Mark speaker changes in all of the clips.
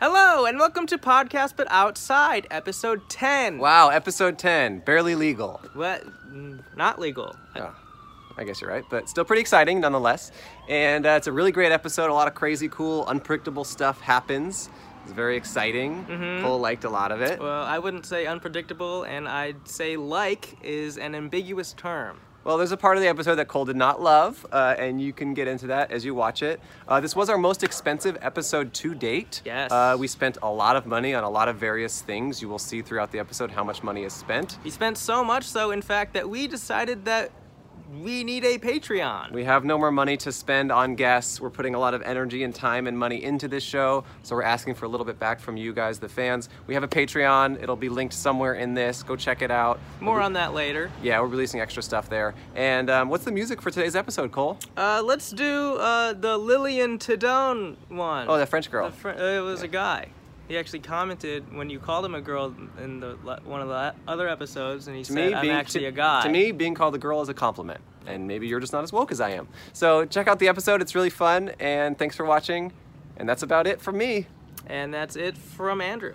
Speaker 1: Hello, and welcome to Podcast But Outside, episode 10.
Speaker 2: Wow, episode 10, barely legal.
Speaker 1: What? Mm, Not legal.
Speaker 2: Oh, I guess you're right, but still pretty exciting nonetheless. And uh, it's a really great episode. A lot of crazy, cool, unpredictable stuff happens. It's very exciting. Cole liked a lot of it.
Speaker 1: Well, I wouldn't say unpredictable, and I'd say like is an ambiguous term.
Speaker 2: Well, there's a part of the episode that Cole did not love, uh, and you can get into that as you watch it. Uh, this was our most expensive episode to date.
Speaker 1: Yes.
Speaker 2: Uh, we spent a lot of money on a lot of various things. You will see throughout the episode how much money is spent.
Speaker 1: We spent so much so, in fact, that we decided that we need a Patreon.
Speaker 2: We have no more money to spend on guests. We're putting a lot of energy and time and money into this show, so we're asking for a little bit back from you guys, the fans. We have a Patreon. It'll be linked somewhere in this. Go check it out.
Speaker 1: More on that later.
Speaker 2: Yeah, we're releasing extra stuff there. And um, what's the music for today's episode, Cole?
Speaker 1: Uh, let's do uh, the Lillian Tadone one.
Speaker 2: Oh, that French girl.
Speaker 1: The fr- uh, it was a guy. He actually commented when you called him a girl in the le- one of the le- other episodes, and he said, "I'm actually
Speaker 2: to-
Speaker 1: a guy."
Speaker 2: To me, being called a girl is a compliment, and maybe you're just not as woke as I am. So check out the episode; it's really fun. And thanks for watching. And that's about it from me.
Speaker 1: And that's it from Andrew.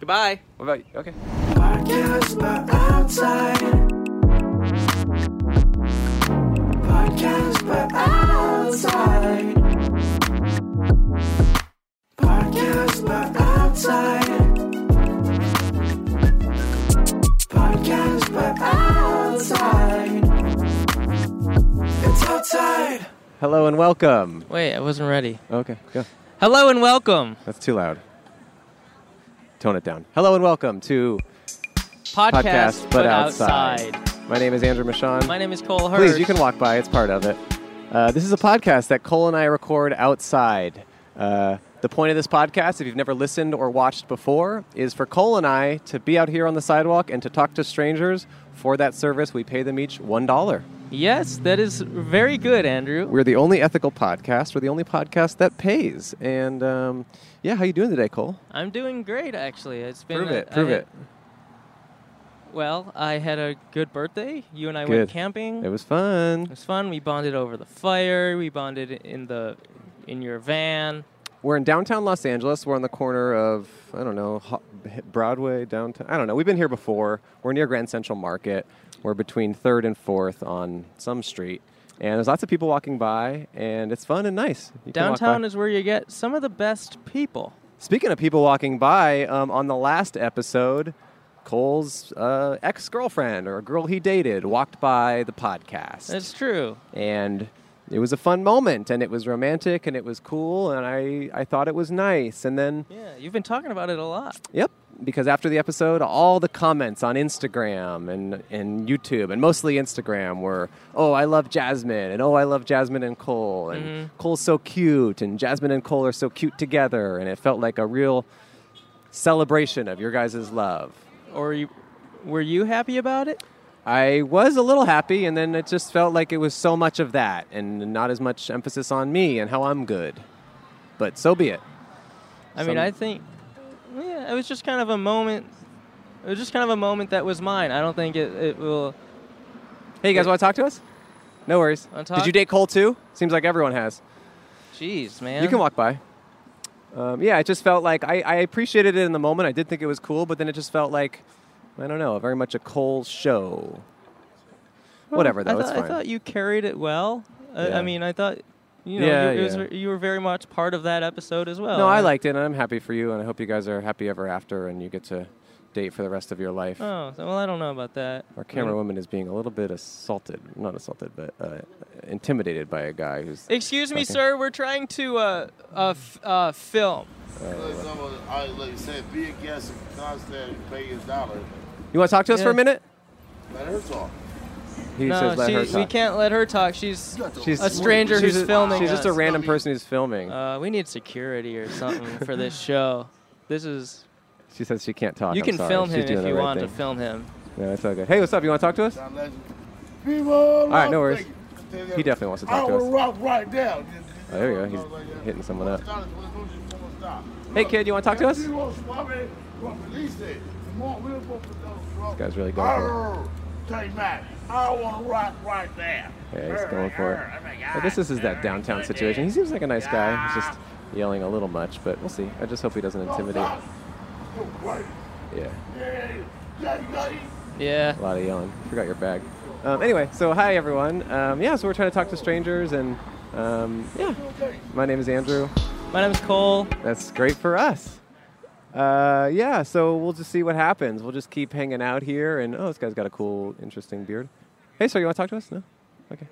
Speaker 1: Goodbye.
Speaker 2: What about you? Okay.
Speaker 3: Podcast but outside. Podcast but outside. Podcast but outside. Podcast but outside. It's outside.
Speaker 2: Hello and welcome.
Speaker 1: Wait, I wasn't ready.
Speaker 2: Okay, go.
Speaker 1: Hello and welcome.
Speaker 2: That's too loud. Tone it down. Hello and welcome to
Speaker 1: Podcast,
Speaker 2: Podcast, but, outside. My name is Andrew Michon.
Speaker 1: My name is Cole Hurd.
Speaker 2: Please, you can walk by. It's part of it. Uh, this is a podcast that Cole and I record outside. Uh, the point of this podcast, if you've never listened or watched before, is for Cole and I to be out here on the sidewalk and to talk to strangers. For that service, we pay them each $1.
Speaker 1: Yes, that is very good, Andrew.
Speaker 2: We're the only ethical podcast. We're the only podcast that pays. And um, yeah, how you doing today, Cole?
Speaker 1: I'm doing great, actually. It's been
Speaker 2: prove
Speaker 1: a-
Speaker 2: it. Prove
Speaker 1: I-
Speaker 2: it.
Speaker 1: Well, I had a good birthday. You and I
Speaker 2: Good.
Speaker 1: went camping.
Speaker 2: It
Speaker 1: It
Speaker 2: was fun.
Speaker 1: was fun. We bonded over the fire. We bonded in the in your van.
Speaker 2: We're in downtown Los Angeles. We're on the corner of I don't know Ho- Broadway downtown. I don't know. We've been here before. We're near Grand Central Market. We're between Third and Fourth on some street, and there's lots of people walking by, and it's fun and nice. You can walk
Speaker 1: Downtown
Speaker 2: by.
Speaker 1: is where you get some of the best people.
Speaker 2: Speaking of people walking by, um, on the last episode, Cole's uh, ex-girlfriend or a girl he dated walked by the podcast
Speaker 1: That's true.
Speaker 2: and it was a fun moment and it was romantic and it was cool and I, I thought it was nice and then
Speaker 1: Yeah, you've been talking about it a lot.
Speaker 2: Yep, because after the episode, all the comments on Instagram and, and YouTube, and mostly Instagram, were, oh, I love Jasmine, and oh, I love Jasmine and Cole, and
Speaker 1: Mm-hmm.
Speaker 2: Cole's so cute, and Jasmine and Cole are so cute together, and it felt like a real celebration of your guys' love.
Speaker 1: Or you, were you happy about it?
Speaker 2: I was a little happy, and then it just felt like it was so much of that, and not as much emphasis on me and how I'm good. But so be it.
Speaker 1: I mean,
Speaker 2: Some-
Speaker 1: I think, yeah, it was just kind of a moment. It was just kind of a moment that was mine. I don't think it, it will.
Speaker 2: Hey, you guys want to talk to us? No worries.
Speaker 1: Wanna
Speaker 2: Did
Speaker 1: talk?
Speaker 2: you date Cole too? Seems like everyone has.
Speaker 1: Jeez, man.
Speaker 2: You can walk by. Um, yeah, it just felt like I, I appreciated it in the moment. I did think it was cool, but then it just felt like I don't know, very much a Cole show. Whatever,
Speaker 1: I
Speaker 2: though, it's
Speaker 1: thought-
Speaker 2: fine.
Speaker 1: I thought you carried it well. I,
Speaker 2: Yeah.
Speaker 1: I mean, I thought, you know,
Speaker 2: Yeah,
Speaker 1: you, it was-
Speaker 2: yeah.
Speaker 1: you were very much part of that episode as well.
Speaker 2: no, I liked it, and I'm happy for you, and I hope you guys are happy ever after, and you get to date for the rest of your life.
Speaker 1: Oh, so- well, I don't know about that.
Speaker 2: Our camera woman is being a little bit assaulted, not assaulted, but uh, intimidated by a guy who's.
Speaker 1: Excuse me,
Speaker 2: Okay.
Speaker 1: sir. We're trying to uh, uh, f- uh, film.
Speaker 4: Like someone, I like said, be a guest and constantly pay his dollar.
Speaker 2: You want to talk to us for
Speaker 1: Yeah.
Speaker 2: a minute?
Speaker 4: Let her talk.
Speaker 2: He
Speaker 1: no,
Speaker 2: says, "Let
Speaker 1: she,
Speaker 2: her
Speaker 1: we
Speaker 2: talk."
Speaker 1: can't let her talk. She's. a stranger
Speaker 2: she's
Speaker 1: who's
Speaker 2: a-
Speaker 1: filming
Speaker 2: She's just a
Speaker 1: us.
Speaker 2: random person who's filming.
Speaker 1: Uh, we need security or something for this show. This is.
Speaker 2: she says she can't talk.
Speaker 1: You
Speaker 2: I'm
Speaker 1: can
Speaker 2: sorry.
Speaker 1: film
Speaker 2: She's
Speaker 1: him
Speaker 2: doing
Speaker 1: if
Speaker 2: the
Speaker 1: you
Speaker 2: right
Speaker 1: want
Speaker 2: thing.
Speaker 1: to film him.
Speaker 2: No, it's all good. Hey, what's up? You want to talk to us?
Speaker 4: John Legend. People, all
Speaker 2: right, no worries. He definitely wants to talk to
Speaker 4: I
Speaker 2: us.
Speaker 4: would rock right now.
Speaker 2: Oh, there we go. He's hitting someone up. Hey,
Speaker 4: Hey,
Speaker 2: kid, you wanna talk to us?
Speaker 4: You want to swap it? Well, release it. Come on, we'll go for those drugs.
Speaker 2: guy's really going for
Speaker 4: Take back. I want to rock right now.
Speaker 2: Yeah, he's going for it.
Speaker 4: Oh my
Speaker 2: But this, this is that
Speaker 4: God.
Speaker 2: downtown situation. He seems like a nice guy. He's just yelling a little much, but we'll see. I just hope he doesn't intimidate.
Speaker 4: Oh,
Speaker 2: Yeah,
Speaker 1: Yeah.
Speaker 2: a lot of yelling. Forgot your bag. Um, anyway, so hi everyone. Um, yeah, so we're trying to talk to strangers, and um, yeah, my name is Andrew.
Speaker 1: My name's Cole.
Speaker 2: That's great for us. Uh, yeah, so we'll just see what happens. We'll just keep hanging out here, and oh, this guy's got a cool, interesting beard. Hey, sir, you want to talk to us? No. Okay.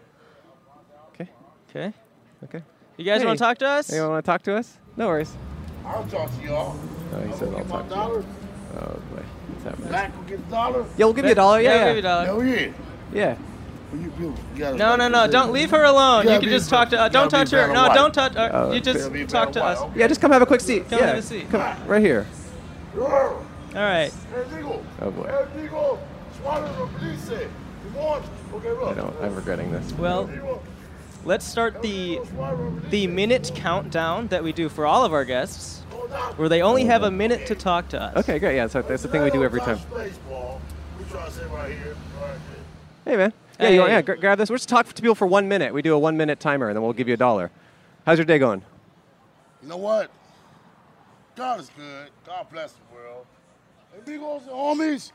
Speaker 2: Okay.
Speaker 1: Okay.
Speaker 2: Okay.
Speaker 1: You guys
Speaker 2: Hey.
Speaker 1: want to talk to us?
Speaker 2: Anyone want to talk to us? No worries.
Speaker 4: I'll talk to y'all.
Speaker 2: Oh, he
Speaker 4: I'll
Speaker 2: said
Speaker 4: get
Speaker 2: I'll
Speaker 4: my
Speaker 2: talk to you.
Speaker 4: dollar.
Speaker 2: Oh boy, what's happening?
Speaker 4: Mac will get a dollar.
Speaker 2: Yeah, we'll give you a dollar.
Speaker 1: we'll
Speaker 2: Yeah,
Speaker 1: give you a
Speaker 2: yeah,
Speaker 1: dollar.
Speaker 4: Hell yeah.
Speaker 2: yeah.
Speaker 4: Well, you, you gotta
Speaker 1: No, no, no! Don't leave her alone. You,
Speaker 4: You gotta
Speaker 1: can
Speaker 4: be
Speaker 1: just
Speaker 4: a-
Speaker 1: talk to. Uh,
Speaker 4: you
Speaker 1: don't
Speaker 4: gotta be
Speaker 1: touch
Speaker 4: a
Speaker 1: her.
Speaker 4: better
Speaker 1: No,
Speaker 4: wife.
Speaker 1: don't touch. Uh,
Speaker 2: Oh,
Speaker 1: you just
Speaker 4: gotta be a
Speaker 1: talk to
Speaker 4: better
Speaker 1: us.
Speaker 4: wife.
Speaker 2: Yeah, just come have a quick seat.
Speaker 1: Come
Speaker 2: yeah,
Speaker 1: have a seat.
Speaker 2: Come right here.
Speaker 4: All
Speaker 1: All right.
Speaker 2: Oh, boy.
Speaker 4: eh?
Speaker 2: I don't. I'm regretting this.
Speaker 1: Well, let's start the the minute countdown that we do for all of our guests, where they only have a minute to talk to us.
Speaker 2: Okay, great. Yeah, so that's the thing we do every time.
Speaker 4: Baseball. We try to sit right here. All right, yeah.
Speaker 2: Hey, man. Yeah, you want,
Speaker 1: Hey.
Speaker 2: yeah. Gra- grab this. We'll just talk to people for one minute. We do a one minute timer, and then we'll give you a dollar. How's your day going?
Speaker 4: You know what? God is good. God bless the world. Amigos and homies,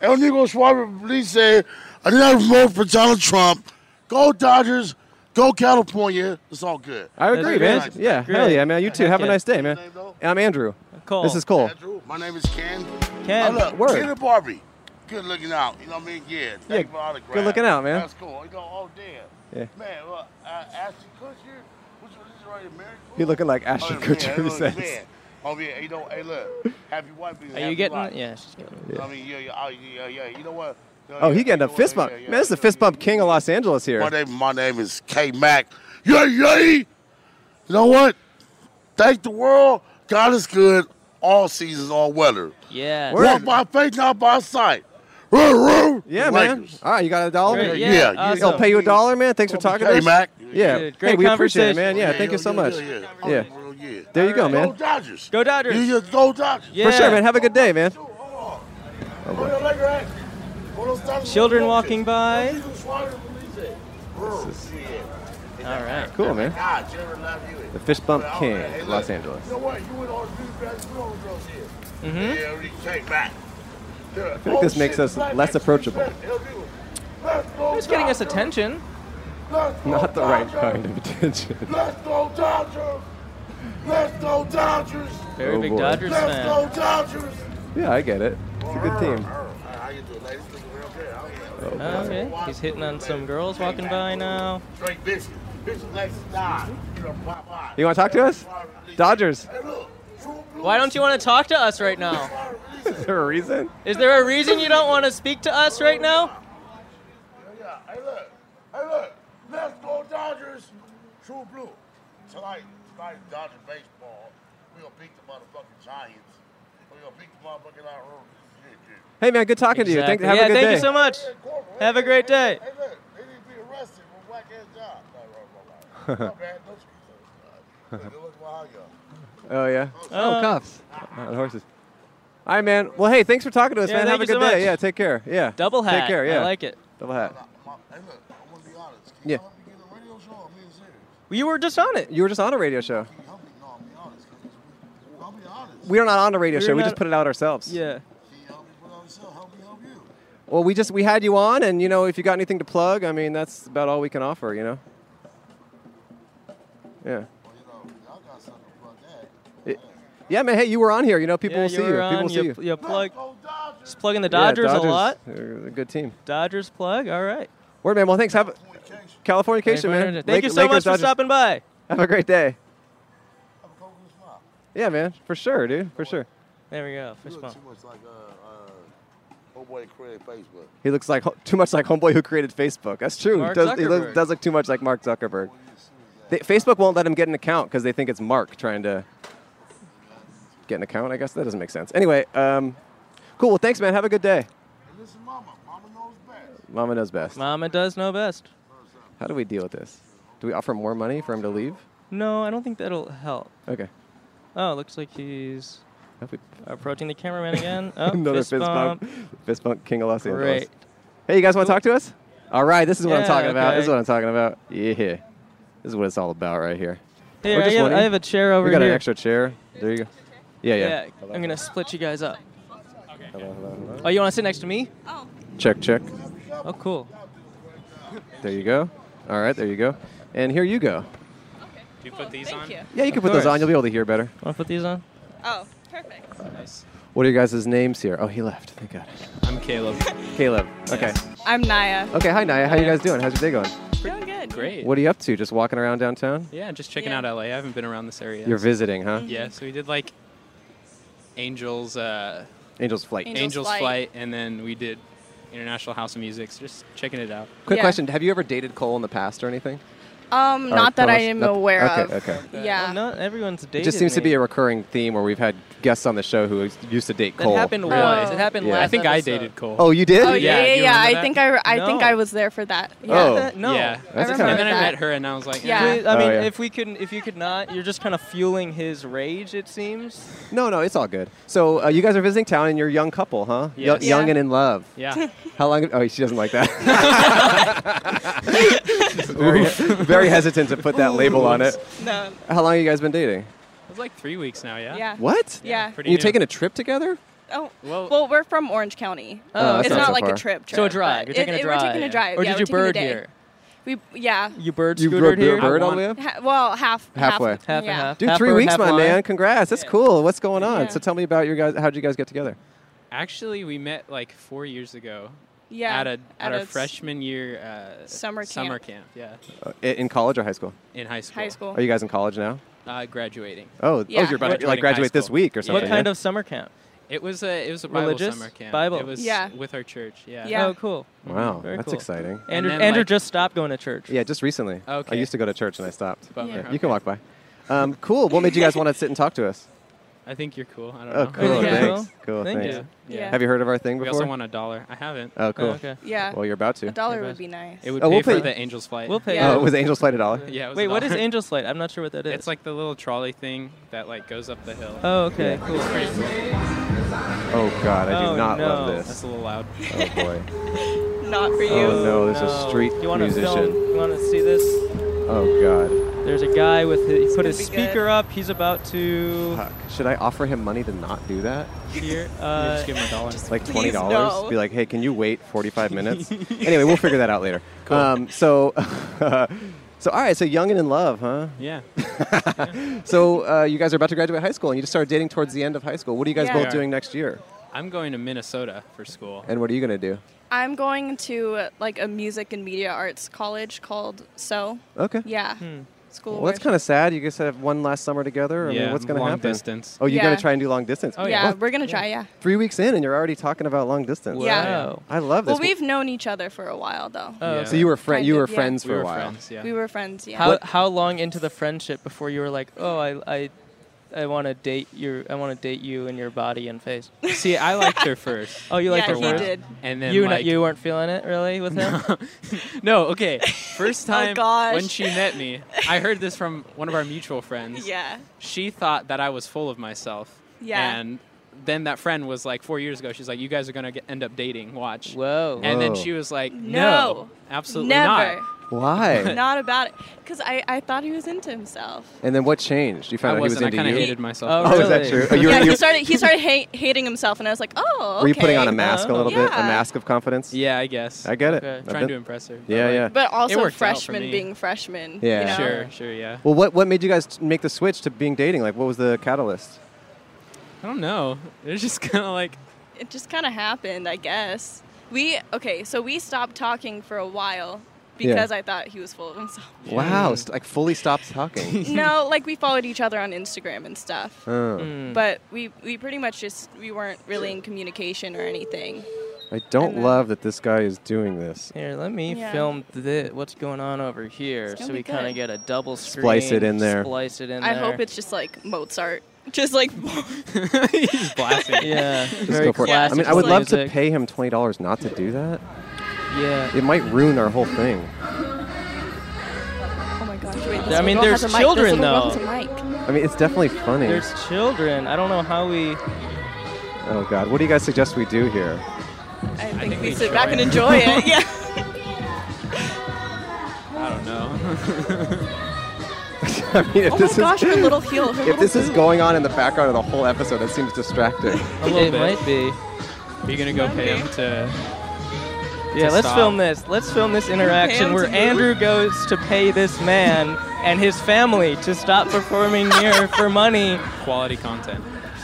Speaker 4: El Nigo Schwaber police said, I did not vote for Donald Trump. Go Dodgers. Go California. It's all good.
Speaker 2: I
Speaker 1: That's
Speaker 2: agree,
Speaker 1: great.
Speaker 2: man. Yeah,
Speaker 1: Great.
Speaker 2: hell yeah, man. You too.
Speaker 1: Heck
Speaker 2: Have a
Speaker 1: yeah.
Speaker 2: nice day, man.
Speaker 4: What's your name,
Speaker 2: And I'm Andrew.
Speaker 1: Cole.
Speaker 2: This is Cole.
Speaker 4: Andrew, my name is Ken.
Speaker 1: Ken.
Speaker 4: Oh, look,
Speaker 2: Word.
Speaker 4: Ken and Barbie. Good looking out. You know what I mean? Yeah. Thank
Speaker 2: Yeah,
Speaker 4: you for the autograph.
Speaker 2: good looking out, man.
Speaker 4: That's cool. You know, oh, damn.
Speaker 2: Yeah.
Speaker 4: Man, well, uh, Ashton Kutcher, which one is right here? Marriage
Speaker 2: You looking like
Speaker 4: Oh,
Speaker 2: Ashton
Speaker 4: yeah,
Speaker 2: Kutcher
Speaker 4: man,
Speaker 2: says.
Speaker 4: man. Oh yeah, you know, hey look, happy white people.
Speaker 1: Are
Speaker 4: happy
Speaker 1: you getting?
Speaker 4: life.
Speaker 1: Yeah, she's getting. it.
Speaker 4: I mean, yeah, yeah, oh, yeah, yeah, yeah. You know what? You know,
Speaker 2: Oh,
Speaker 4: yeah,
Speaker 2: he getting
Speaker 4: you
Speaker 2: a
Speaker 4: know
Speaker 2: fist
Speaker 4: what,
Speaker 2: bump.
Speaker 4: yeah, yeah,
Speaker 2: Man, this is the
Speaker 4: yeah,
Speaker 2: fist
Speaker 4: yeah.
Speaker 2: bump king of Los Angeles here.
Speaker 4: My name, my name is K Mac. Yeah, yeah. You know what? Thank the world. God is good. All seasons, all weather.
Speaker 1: Yeah.
Speaker 2: Word.
Speaker 4: Walk by faith, not by sight. Roo, roo.
Speaker 2: Yeah,
Speaker 4: The
Speaker 2: man.
Speaker 4: Lakers.
Speaker 2: All right, you got a dollar?
Speaker 1: Great,
Speaker 4: yeah, yeah,
Speaker 1: awesome.
Speaker 2: I'll Oh, pay you a dollar, man. Thanks for
Speaker 4: Call me
Speaker 2: talking to us.
Speaker 4: K-Mac.
Speaker 2: Yeah.
Speaker 1: Dude,
Speaker 2: hey,
Speaker 1: great
Speaker 2: we appreciate it,
Speaker 1: conversation.
Speaker 2: man. Yeah, thank you so much.
Speaker 4: Yeah, yeah. Oh,
Speaker 2: Yeah.
Speaker 4: well, yeah.
Speaker 2: There you go,
Speaker 4: Go
Speaker 2: man.
Speaker 4: Dodgers.
Speaker 1: Go Dodgers.
Speaker 4: You just go Dodgers.
Speaker 1: Yeah.
Speaker 2: For sure, man. Have a good day, man.
Speaker 4: Dude, hold on. Where the Laker at? Where those Dodgers
Speaker 1: Children
Speaker 4: were
Speaker 1: walking
Speaker 4: coaches?
Speaker 1: by.
Speaker 4: Those people swatted the police at. Bro, yeah.
Speaker 1: All right.
Speaker 2: Cool, man.
Speaker 4: God, Jerry Love you.
Speaker 2: The fist bump
Speaker 4: But, all
Speaker 2: king,
Speaker 4: right, hey,
Speaker 2: Los
Speaker 4: look,
Speaker 2: Angeles.
Speaker 4: You know what? You went all the big bats, we all the girls here. Yeah, we
Speaker 1: Mm-hmm.
Speaker 4: came back. I
Speaker 2: like this makes us less approachable.
Speaker 1: Just getting us attention.
Speaker 2: Not the right kind of attention.
Speaker 4: Let's go Dodgers! Let's go Dodgers!
Speaker 1: Very
Speaker 2: Oh,
Speaker 1: big
Speaker 2: boy.
Speaker 1: Dodgers
Speaker 4: Let's
Speaker 1: fan.
Speaker 4: go Dodgers!
Speaker 2: Yeah, I get it. It's a good team.
Speaker 4: How you doing, ladies? Looking real good. I don't know.
Speaker 1: Okay. He's hitting on some girls walking by now.
Speaker 4: Straight bitches. Bitches like to die. You know, pop out.
Speaker 2: You want to talk to us? Dodgers.
Speaker 4: Hey, look. True Blue.
Speaker 1: Why don't you want to talk to us right now?
Speaker 2: Is there a reason?
Speaker 1: Is there a reason you don't want to speak to us right now?
Speaker 4: Yeah, hey, look. Hey, look. Let's go Dodgers. True Blue. Tonight, tonight, Dodger baseball. We're going to beat the motherfucking Giants. We're going to beat the motherfucking Iron.
Speaker 2: Hey, man, good talking to you. Thank,
Speaker 1: Exactly.
Speaker 2: have
Speaker 1: yeah,
Speaker 2: a good
Speaker 1: thank
Speaker 2: day.
Speaker 1: you so much. Have a great day.
Speaker 4: Hey, look. They need to be arrested for whack ass job. No, no, no, no. My bad. Don't you Look, look, why y'all?
Speaker 2: Oh, yeah.
Speaker 1: Oh,
Speaker 2: cuffs. Not horses. All right, man. Well, hey, thanks for talking to us,
Speaker 1: Yeah,
Speaker 2: man.
Speaker 1: thank
Speaker 2: Have a
Speaker 1: you
Speaker 2: good
Speaker 1: so
Speaker 2: day.
Speaker 1: much.
Speaker 2: Yeah, take care. Yeah.
Speaker 1: Double hat.
Speaker 2: Take care. Yeah.
Speaker 1: I like it.
Speaker 2: Double hat.
Speaker 4: Hey, look, I want to be honest. Can
Speaker 2: Yeah.
Speaker 4: you help me get a radio show? I'm being serious.
Speaker 1: You were just on it.
Speaker 2: You were just on a radio show.
Speaker 4: Can you help me? No, I'm being honest. I'll be honest.
Speaker 2: We are not on a radio
Speaker 1: We're
Speaker 2: show. We
Speaker 1: not-
Speaker 2: just put it out ourselves.
Speaker 1: Yeah.
Speaker 4: Can you help me put on a show? Help me help you.
Speaker 2: Well, we just we had you on, and you know, if you got anything to plug, I mean, that's about all we can offer. You know. Yeah.
Speaker 4: Well, you know, y'all got something to plug that.
Speaker 2: It- yeah, man. Hey, you were on here. You know, people
Speaker 1: yeah,
Speaker 2: will
Speaker 1: you
Speaker 2: see
Speaker 1: were
Speaker 2: you.
Speaker 1: on,
Speaker 2: people will see you.
Speaker 1: you. you plug,
Speaker 4: Go Dodgers.
Speaker 1: just plugging the
Speaker 2: Yeah,
Speaker 1: Dodgers, a lot.
Speaker 2: They're a good team.
Speaker 1: Dodgers plug. All right.
Speaker 2: Word, man. Well, thanks. Have a
Speaker 4: Communication.
Speaker 2: California
Speaker 1: Thank
Speaker 2: Cation, man.
Speaker 1: you so much for
Speaker 2: Dodgers.
Speaker 1: stopping by.
Speaker 2: Have a great day.
Speaker 4: Have a coconut smile.
Speaker 2: Yeah, man. For sure, dude. For sure.
Speaker 1: There we go.
Speaker 4: You
Speaker 1: Fish
Speaker 4: look
Speaker 1: bump.
Speaker 4: too much like uh, uh, old boy Craig Facebook.
Speaker 2: He looks like too much like homeboy who created Facebook. That's true.
Speaker 1: Mark
Speaker 2: he does, he
Speaker 1: Zuckerberg.
Speaker 2: look, does look too much like Mark Zuckerberg.
Speaker 4: What do
Speaker 2: They,
Speaker 4: you see
Speaker 2: Facebook won't let him get an account because they think it's Mark trying to get an account. I guess that doesn't make sense. Anyway, um, cool. Well, thanks, man. Have a good day.
Speaker 4: that? And listen, Mama. Mama knows best.
Speaker 2: Mama knows best.
Speaker 1: Mama does know best.
Speaker 2: How do we deal with this? Do we offer more money for him to leave?
Speaker 1: No, I don't think that'll help.
Speaker 2: Okay.
Speaker 1: Oh, looks like he's
Speaker 2: Have we-
Speaker 1: approaching the cameraman again. Oh,
Speaker 2: Another
Speaker 1: fist, bump.
Speaker 2: Fist bump, King of Los Angeles.
Speaker 1: Great.
Speaker 2: Hey, you guys want to talk to us? All right, this is what I'm
Speaker 1: Yeah,
Speaker 2: talking about. This is
Speaker 1: okay.
Speaker 2: what I'm talking about. Yeah. This is what it's all about right here.
Speaker 1: Here, I
Speaker 2: just
Speaker 1: have,
Speaker 2: one
Speaker 1: I have a chair over
Speaker 2: We got
Speaker 1: here.
Speaker 2: an extra chair. There you go. Yeah, yeah.
Speaker 1: yeah,
Speaker 2: Hello.
Speaker 1: I'm gonna split you guys up.
Speaker 2: Hello, hello, hello.
Speaker 1: Oh, you want to sit next to me?
Speaker 5: Oh,
Speaker 2: Check, check.
Speaker 1: Oh, cool.
Speaker 2: There you go. All right, there you go. And here you go.
Speaker 5: okay.
Speaker 6: Do you
Speaker 5: cool.
Speaker 6: put these
Speaker 5: Thank
Speaker 6: on?
Speaker 5: you.
Speaker 2: Yeah, you can
Speaker 1: Of
Speaker 2: put those
Speaker 1: course.
Speaker 2: on. You'll be able to hear better.
Speaker 1: Want to put these on?
Speaker 5: Oh, perfect.
Speaker 1: Nice.
Speaker 2: What are your guys' names here? Oh, he left. Thank God.
Speaker 6: I'm Caleb.
Speaker 2: Caleb. Okay.
Speaker 5: I'm Naya.
Speaker 2: Okay. Hi, Naya. How you guys doing? How's your day going?
Speaker 5: Doing good.
Speaker 6: Great.
Speaker 2: What are you up to? Just walking around downtown?
Speaker 6: Yeah, just checking
Speaker 5: Yeah.
Speaker 6: out LA. I haven't been around this area.
Speaker 2: You're visiting, huh?
Speaker 6: yeah, so we did like Angels, uh,
Speaker 2: Angel's Flight.
Speaker 5: Angel-
Speaker 6: Angels
Speaker 5: Angels
Speaker 6: Flight.
Speaker 5: Flight.
Speaker 6: and then we did International House of Music. So just checking it out.
Speaker 2: Quick
Speaker 5: Yeah.
Speaker 2: question: Have you ever dated Cole in the past or anything?
Speaker 5: Um,
Speaker 2: Or
Speaker 5: not that I
Speaker 2: promotion-
Speaker 5: am
Speaker 2: nothing.
Speaker 5: aware
Speaker 2: Oh, Okay,
Speaker 5: of.
Speaker 2: okay.
Speaker 5: Yeah.
Speaker 1: Well, not everyone's dated.
Speaker 2: It just seems to
Speaker 1: me.
Speaker 2: be a recurring theme where we've had guests on the show who used to date
Speaker 1: That
Speaker 2: Cole.
Speaker 1: happened
Speaker 6: Really?
Speaker 1: once. It happened
Speaker 2: Yeah.
Speaker 1: last.
Speaker 6: I think I
Speaker 1: episode.
Speaker 6: dated Cole.
Speaker 2: Oh, you did?
Speaker 5: Oh yeah,
Speaker 6: Yeah,
Speaker 5: yeah,
Speaker 6: you
Speaker 5: yeah. I
Speaker 6: remember
Speaker 5: think I, I think
Speaker 1: No.
Speaker 5: I was there for that. Yeah.
Speaker 2: Oh.
Speaker 1: That- no.
Speaker 6: Yeah.
Speaker 2: That's
Speaker 5: I
Speaker 2: kind
Speaker 6: And
Speaker 2: of
Speaker 6: then I
Speaker 5: that.
Speaker 6: met her, and I was like,
Speaker 5: Yeah.
Speaker 6: eh.
Speaker 1: Please- I
Speaker 2: Oh,
Speaker 1: mean,
Speaker 2: yeah.
Speaker 1: if we couldn't, if you could not, you're just kind of fueling his rage. It seems.
Speaker 2: No, no, it's all good. So uh, you guys are visiting town and you're a young couple, huh? Yo-
Speaker 6: Yes.
Speaker 2: young
Speaker 5: Yeah.
Speaker 2: and in love.
Speaker 6: yeah.
Speaker 2: How long? Oh, she doesn't like that. very, very hesitant to put that label on it.
Speaker 5: No.
Speaker 2: How long have you guys been dating?
Speaker 6: It was like three weeks now. Yeah.
Speaker 5: Yeah.
Speaker 2: What?
Speaker 5: Yeah.
Speaker 6: Pretty
Speaker 2: You're
Speaker 6: new.
Speaker 2: taking a trip together?
Speaker 5: Oh.
Speaker 6: Well-
Speaker 5: Well, we're from Orange County.
Speaker 1: Oh,
Speaker 2: that's
Speaker 5: it's not
Speaker 2: so
Speaker 5: like
Speaker 2: far.
Speaker 5: a trip. trip
Speaker 1: So a drive. You're
Speaker 5: but
Speaker 1: taking
Speaker 5: it-
Speaker 1: a
Speaker 5: it-
Speaker 1: drive.
Speaker 5: We're taking a drive.
Speaker 1: Or
Speaker 5: yeah,
Speaker 1: did
Speaker 5: we're
Speaker 1: you
Speaker 5: taking the
Speaker 1: bird
Speaker 5: day.
Speaker 1: here?
Speaker 5: You yeah.
Speaker 1: You bird
Speaker 2: You
Speaker 1: scootered
Speaker 2: rode
Speaker 1: here.
Speaker 2: bird
Speaker 6: I
Speaker 2: all
Speaker 6: want-
Speaker 2: the way up?
Speaker 5: Ha- well, half
Speaker 2: Halfway.
Speaker 1: Half and
Speaker 5: yeah.
Speaker 1: half.
Speaker 2: Dude,
Speaker 1: half
Speaker 2: three
Speaker 1: bird,
Speaker 2: weeks,
Speaker 1: half
Speaker 2: my
Speaker 1: wine.
Speaker 2: man. Congrats. That's cool. What's going on?
Speaker 5: Yeah.
Speaker 2: So tell me about your guys. How'd you guys get together?
Speaker 6: Actually, we met like four years ago.
Speaker 5: Yeah.
Speaker 6: At a at,
Speaker 5: a
Speaker 6: our
Speaker 5: s-
Speaker 6: freshman year uh,
Speaker 5: summer
Speaker 6: Summer camp.
Speaker 5: camp.
Speaker 6: Yeah.
Speaker 2: Uh, i- in college or high school?
Speaker 6: In high school.
Speaker 5: high school.
Speaker 2: Are you guys in college now?
Speaker 6: Uh, graduating.
Speaker 2: Oh,
Speaker 5: Yeah.
Speaker 2: oh, you're about to
Speaker 6: Graduating
Speaker 2: like
Speaker 6: high
Speaker 2: graduate this
Speaker 6: school.
Speaker 2: week or
Speaker 6: Yeah.
Speaker 2: something.
Speaker 1: What kind
Speaker 2: yeah?
Speaker 1: of summer camp?
Speaker 6: It was a it was a Bible
Speaker 1: Religious?
Speaker 6: summer camp.
Speaker 1: Bible.
Speaker 6: It was
Speaker 5: Yeah.
Speaker 6: with our church. Yeah.
Speaker 5: Yeah.
Speaker 1: Oh, cool.
Speaker 2: Wow,
Speaker 1: Very
Speaker 2: that's
Speaker 1: cool.
Speaker 2: exciting.
Speaker 1: Andrew,
Speaker 6: then,
Speaker 1: Andrew
Speaker 6: like-
Speaker 1: just stopped going to church.
Speaker 2: Yeah, just recently. I
Speaker 6: Okay.
Speaker 2: used to go to church and I stopped.
Speaker 6: Bummer,
Speaker 5: Yeah.
Speaker 2: You can walk
Speaker 6: okay.
Speaker 2: by. Um, cool. What made you guys want to sit and talk to us?
Speaker 6: I think you're cool. I don't
Speaker 2: Oh,
Speaker 6: know.
Speaker 2: cool.
Speaker 1: Yeah.
Speaker 2: Thanks. Cool.
Speaker 1: Thank
Speaker 6: Yeah.
Speaker 2: thanks.
Speaker 6: Yeah.
Speaker 5: Yeah.
Speaker 2: Have you heard of our thing
Speaker 6: We
Speaker 2: before?
Speaker 6: also won a dollar. I haven't.
Speaker 2: oh, cool.
Speaker 1: Oh, okay.
Speaker 5: Yeah.
Speaker 2: Well, you're about to.
Speaker 5: a dollar
Speaker 1: Yeah.
Speaker 5: would be nice.
Speaker 6: It would
Speaker 2: Oh,
Speaker 6: pay
Speaker 2: we'll
Speaker 6: for
Speaker 2: pay-
Speaker 6: the Angel's flight.
Speaker 1: We'll pay.
Speaker 5: Yeah.
Speaker 2: Oh, was Angel's flight a dollar?
Speaker 6: Yeah. It was a
Speaker 1: Wait, what is
Speaker 6: dollar.
Speaker 1: Angel's Light? I'm not sure what that is.
Speaker 6: It's like the little trolley thing that like goes up the hill.
Speaker 1: Oh, okay, cool.
Speaker 2: Oh God, I do
Speaker 1: Oh,
Speaker 2: not love
Speaker 1: no.
Speaker 6: That's
Speaker 2: this.
Speaker 6: a little loud.
Speaker 2: Oh boy.
Speaker 5: Not for you.
Speaker 2: Oh no, this is
Speaker 1: No.
Speaker 2: street
Speaker 1: you wanna Film,
Speaker 2: musician.
Speaker 1: you want to see this?
Speaker 2: Oh God.
Speaker 1: There's a guy with his, he put his
Speaker 5: It's gonna be good.
Speaker 1: speaker up. He's about to
Speaker 2: Fuck. Should I offer him money to not do that?
Speaker 1: here.
Speaker 6: You
Speaker 1: Uh,
Speaker 6: just give him a dollar.
Speaker 2: Like twenty
Speaker 5: Please,
Speaker 2: dollars?
Speaker 5: no.
Speaker 2: Be like, hey, can you wait forty-five minutes? anyway, we'll figure that out later. Um, so, so all right. So young and in love, huh?
Speaker 6: yeah.
Speaker 2: So uh, you guys are about to graduate high school, and you just started dating towards the end of high school. What are you guys
Speaker 5: Yeah.
Speaker 2: both
Speaker 6: Yeah.
Speaker 2: doing next year?
Speaker 6: I'm going to Minnesota for school.
Speaker 2: And what are you gonna do?
Speaker 5: I'm going to uh, like a music and media arts college called So.
Speaker 2: Okay.
Speaker 5: Yeah.
Speaker 6: Hmm.
Speaker 5: School.
Speaker 2: Well, that's kind of sad. You guys have one last summer together. I mean,
Speaker 6: Yeah,
Speaker 2: what's gonna
Speaker 6: long
Speaker 2: happen?
Speaker 6: distance.
Speaker 2: Oh, you're
Speaker 5: Yeah.
Speaker 2: gonna try and do long distance.
Speaker 6: Oh,
Speaker 5: yeah,
Speaker 6: yeah.
Speaker 5: we're gonna try. Yeah.
Speaker 2: Three weeks in, and you're already talking about long distance.
Speaker 1: wow.
Speaker 5: Yeah.
Speaker 2: I love this.
Speaker 5: Well, we've known each other for a while though.
Speaker 1: Oh,
Speaker 6: Yeah.
Speaker 2: so you were friend.
Speaker 5: Kind
Speaker 2: You
Speaker 5: of,
Speaker 2: were
Speaker 5: yeah.
Speaker 2: friends
Speaker 6: we
Speaker 2: for
Speaker 6: were
Speaker 2: a while.
Speaker 6: friends. Yeah.
Speaker 5: we were friends. Yeah.
Speaker 1: How how long into the friendship before you were like, oh, I I, I want to date your I want to date you in your body and face.
Speaker 6: See, I liked her first.
Speaker 1: Oh, you like
Speaker 5: Yeah,
Speaker 1: her
Speaker 5: he
Speaker 1: first?
Speaker 5: did.
Speaker 6: And then
Speaker 1: you n-
Speaker 6: like,
Speaker 1: you weren't feeling it really with him.
Speaker 6: No, okay. First time
Speaker 5: Oh, gosh.
Speaker 6: when she met me, I heard this from one of our mutual friends.
Speaker 5: Yeah.
Speaker 6: She thought that I was full of myself.
Speaker 5: Yeah.
Speaker 6: And then that friend was like 4 years ago, she's like you guys are going to end up dating. Watch.
Speaker 1: Whoa.
Speaker 6: And then
Speaker 2: Whoa.
Speaker 6: she was like, "No,
Speaker 5: No.
Speaker 6: absolutely
Speaker 5: Never.
Speaker 6: not."
Speaker 2: Why?
Speaker 5: Not about it. Cause I I thought he was into himself.
Speaker 2: and then what changed? You
Speaker 6: I
Speaker 2: found out he was
Speaker 6: wasn't. I
Speaker 2: into
Speaker 6: kind of
Speaker 2: you.
Speaker 6: hated myself.
Speaker 1: Oh,
Speaker 6: for
Speaker 2: Oh,
Speaker 6: it.
Speaker 2: is that
Speaker 1: Really?
Speaker 2: true? Oh, you,
Speaker 5: yeah.
Speaker 2: you-
Speaker 5: he started he started ha- hating himself, and I was like, oh.
Speaker 2: were you putting on a
Speaker 5: okay.
Speaker 2: mask a little bit, a
Speaker 5: Yeah.
Speaker 2: mask of confidence?
Speaker 6: Yeah, I guess.
Speaker 2: I get it.
Speaker 1: Okay.
Speaker 2: I've
Speaker 6: Trying to
Speaker 2: been-
Speaker 6: impress her.
Speaker 2: Yeah, yeah.
Speaker 5: But also
Speaker 6: worked out for
Speaker 5: freshmen
Speaker 6: me.
Speaker 5: being freshmen.
Speaker 2: Yeah.
Speaker 5: You know?
Speaker 6: Sure, sure, yeah.
Speaker 2: Well, what what made you guys make the switch to being dating? Like, what was the catalyst?
Speaker 6: I don't know. It's just kind of like
Speaker 5: it just kind of happened, I guess. We okay, so we stopped talking for a while because I thought he was full of himself.
Speaker 2: Wow, st- like fully stopped talking.
Speaker 5: no, like we followed each other on Instagram and stuff,
Speaker 2: Oh,
Speaker 1: Hmm.
Speaker 5: but we we pretty much just we weren't really in communication or anything.
Speaker 2: I don't
Speaker 5: And then-
Speaker 2: love that this guy is doing this.
Speaker 1: Here, let me
Speaker 5: Yeah.
Speaker 1: film thi- what's going on over here,
Speaker 5: It's
Speaker 1: so
Speaker 5: gonna
Speaker 1: we
Speaker 5: be
Speaker 1: kind of
Speaker 5: good.
Speaker 1: get a double screen.
Speaker 2: Splice it in there.
Speaker 1: Splice it in
Speaker 5: I
Speaker 1: there.
Speaker 5: hope it's just like Mozart, just like
Speaker 6: he's blasting. it.
Speaker 1: yeah.
Speaker 2: Just
Speaker 1: very
Speaker 2: go for it. I
Speaker 1: classical
Speaker 2: mean, I would love to
Speaker 1: music.
Speaker 2: pay him twenty dollars not to do that.
Speaker 1: Yeah.
Speaker 2: It might ruin our whole thing.
Speaker 5: oh my gosh, wait,
Speaker 1: I mean, there's children though.
Speaker 2: I mean, it's definitely funny.
Speaker 1: There's children. I don't know how we.
Speaker 2: oh God, what do you guys suggest we do here?
Speaker 5: I think,
Speaker 6: think
Speaker 5: we,
Speaker 6: we
Speaker 5: sit back
Speaker 6: enjoy
Speaker 5: and
Speaker 6: it.
Speaker 5: enjoy it.
Speaker 6: I
Speaker 5: Yeah,
Speaker 6: don't know.
Speaker 2: I mean, if
Speaker 5: Oh my
Speaker 2: this
Speaker 5: gosh,
Speaker 2: is
Speaker 5: her little heel. Her
Speaker 2: if
Speaker 5: little
Speaker 2: this is
Speaker 5: boot.
Speaker 2: going on in the background of the whole episode, that seems distracting.
Speaker 6: A little
Speaker 1: it
Speaker 6: bit.
Speaker 1: might be.
Speaker 6: Are you gonna go pay him to?
Speaker 1: Yeah,
Speaker 6: to
Speaker 1: let's
Speaker 6: stop.
Speaker 1: film this. Let's film this interaction
Speaker 5: Pam
Speaker 1: where
Speaker 5: to move.
Speaker 1: Andrew goes to pay this man and his family to stop performing here for money.
Speaker 6: quality content.
Speaker 2: I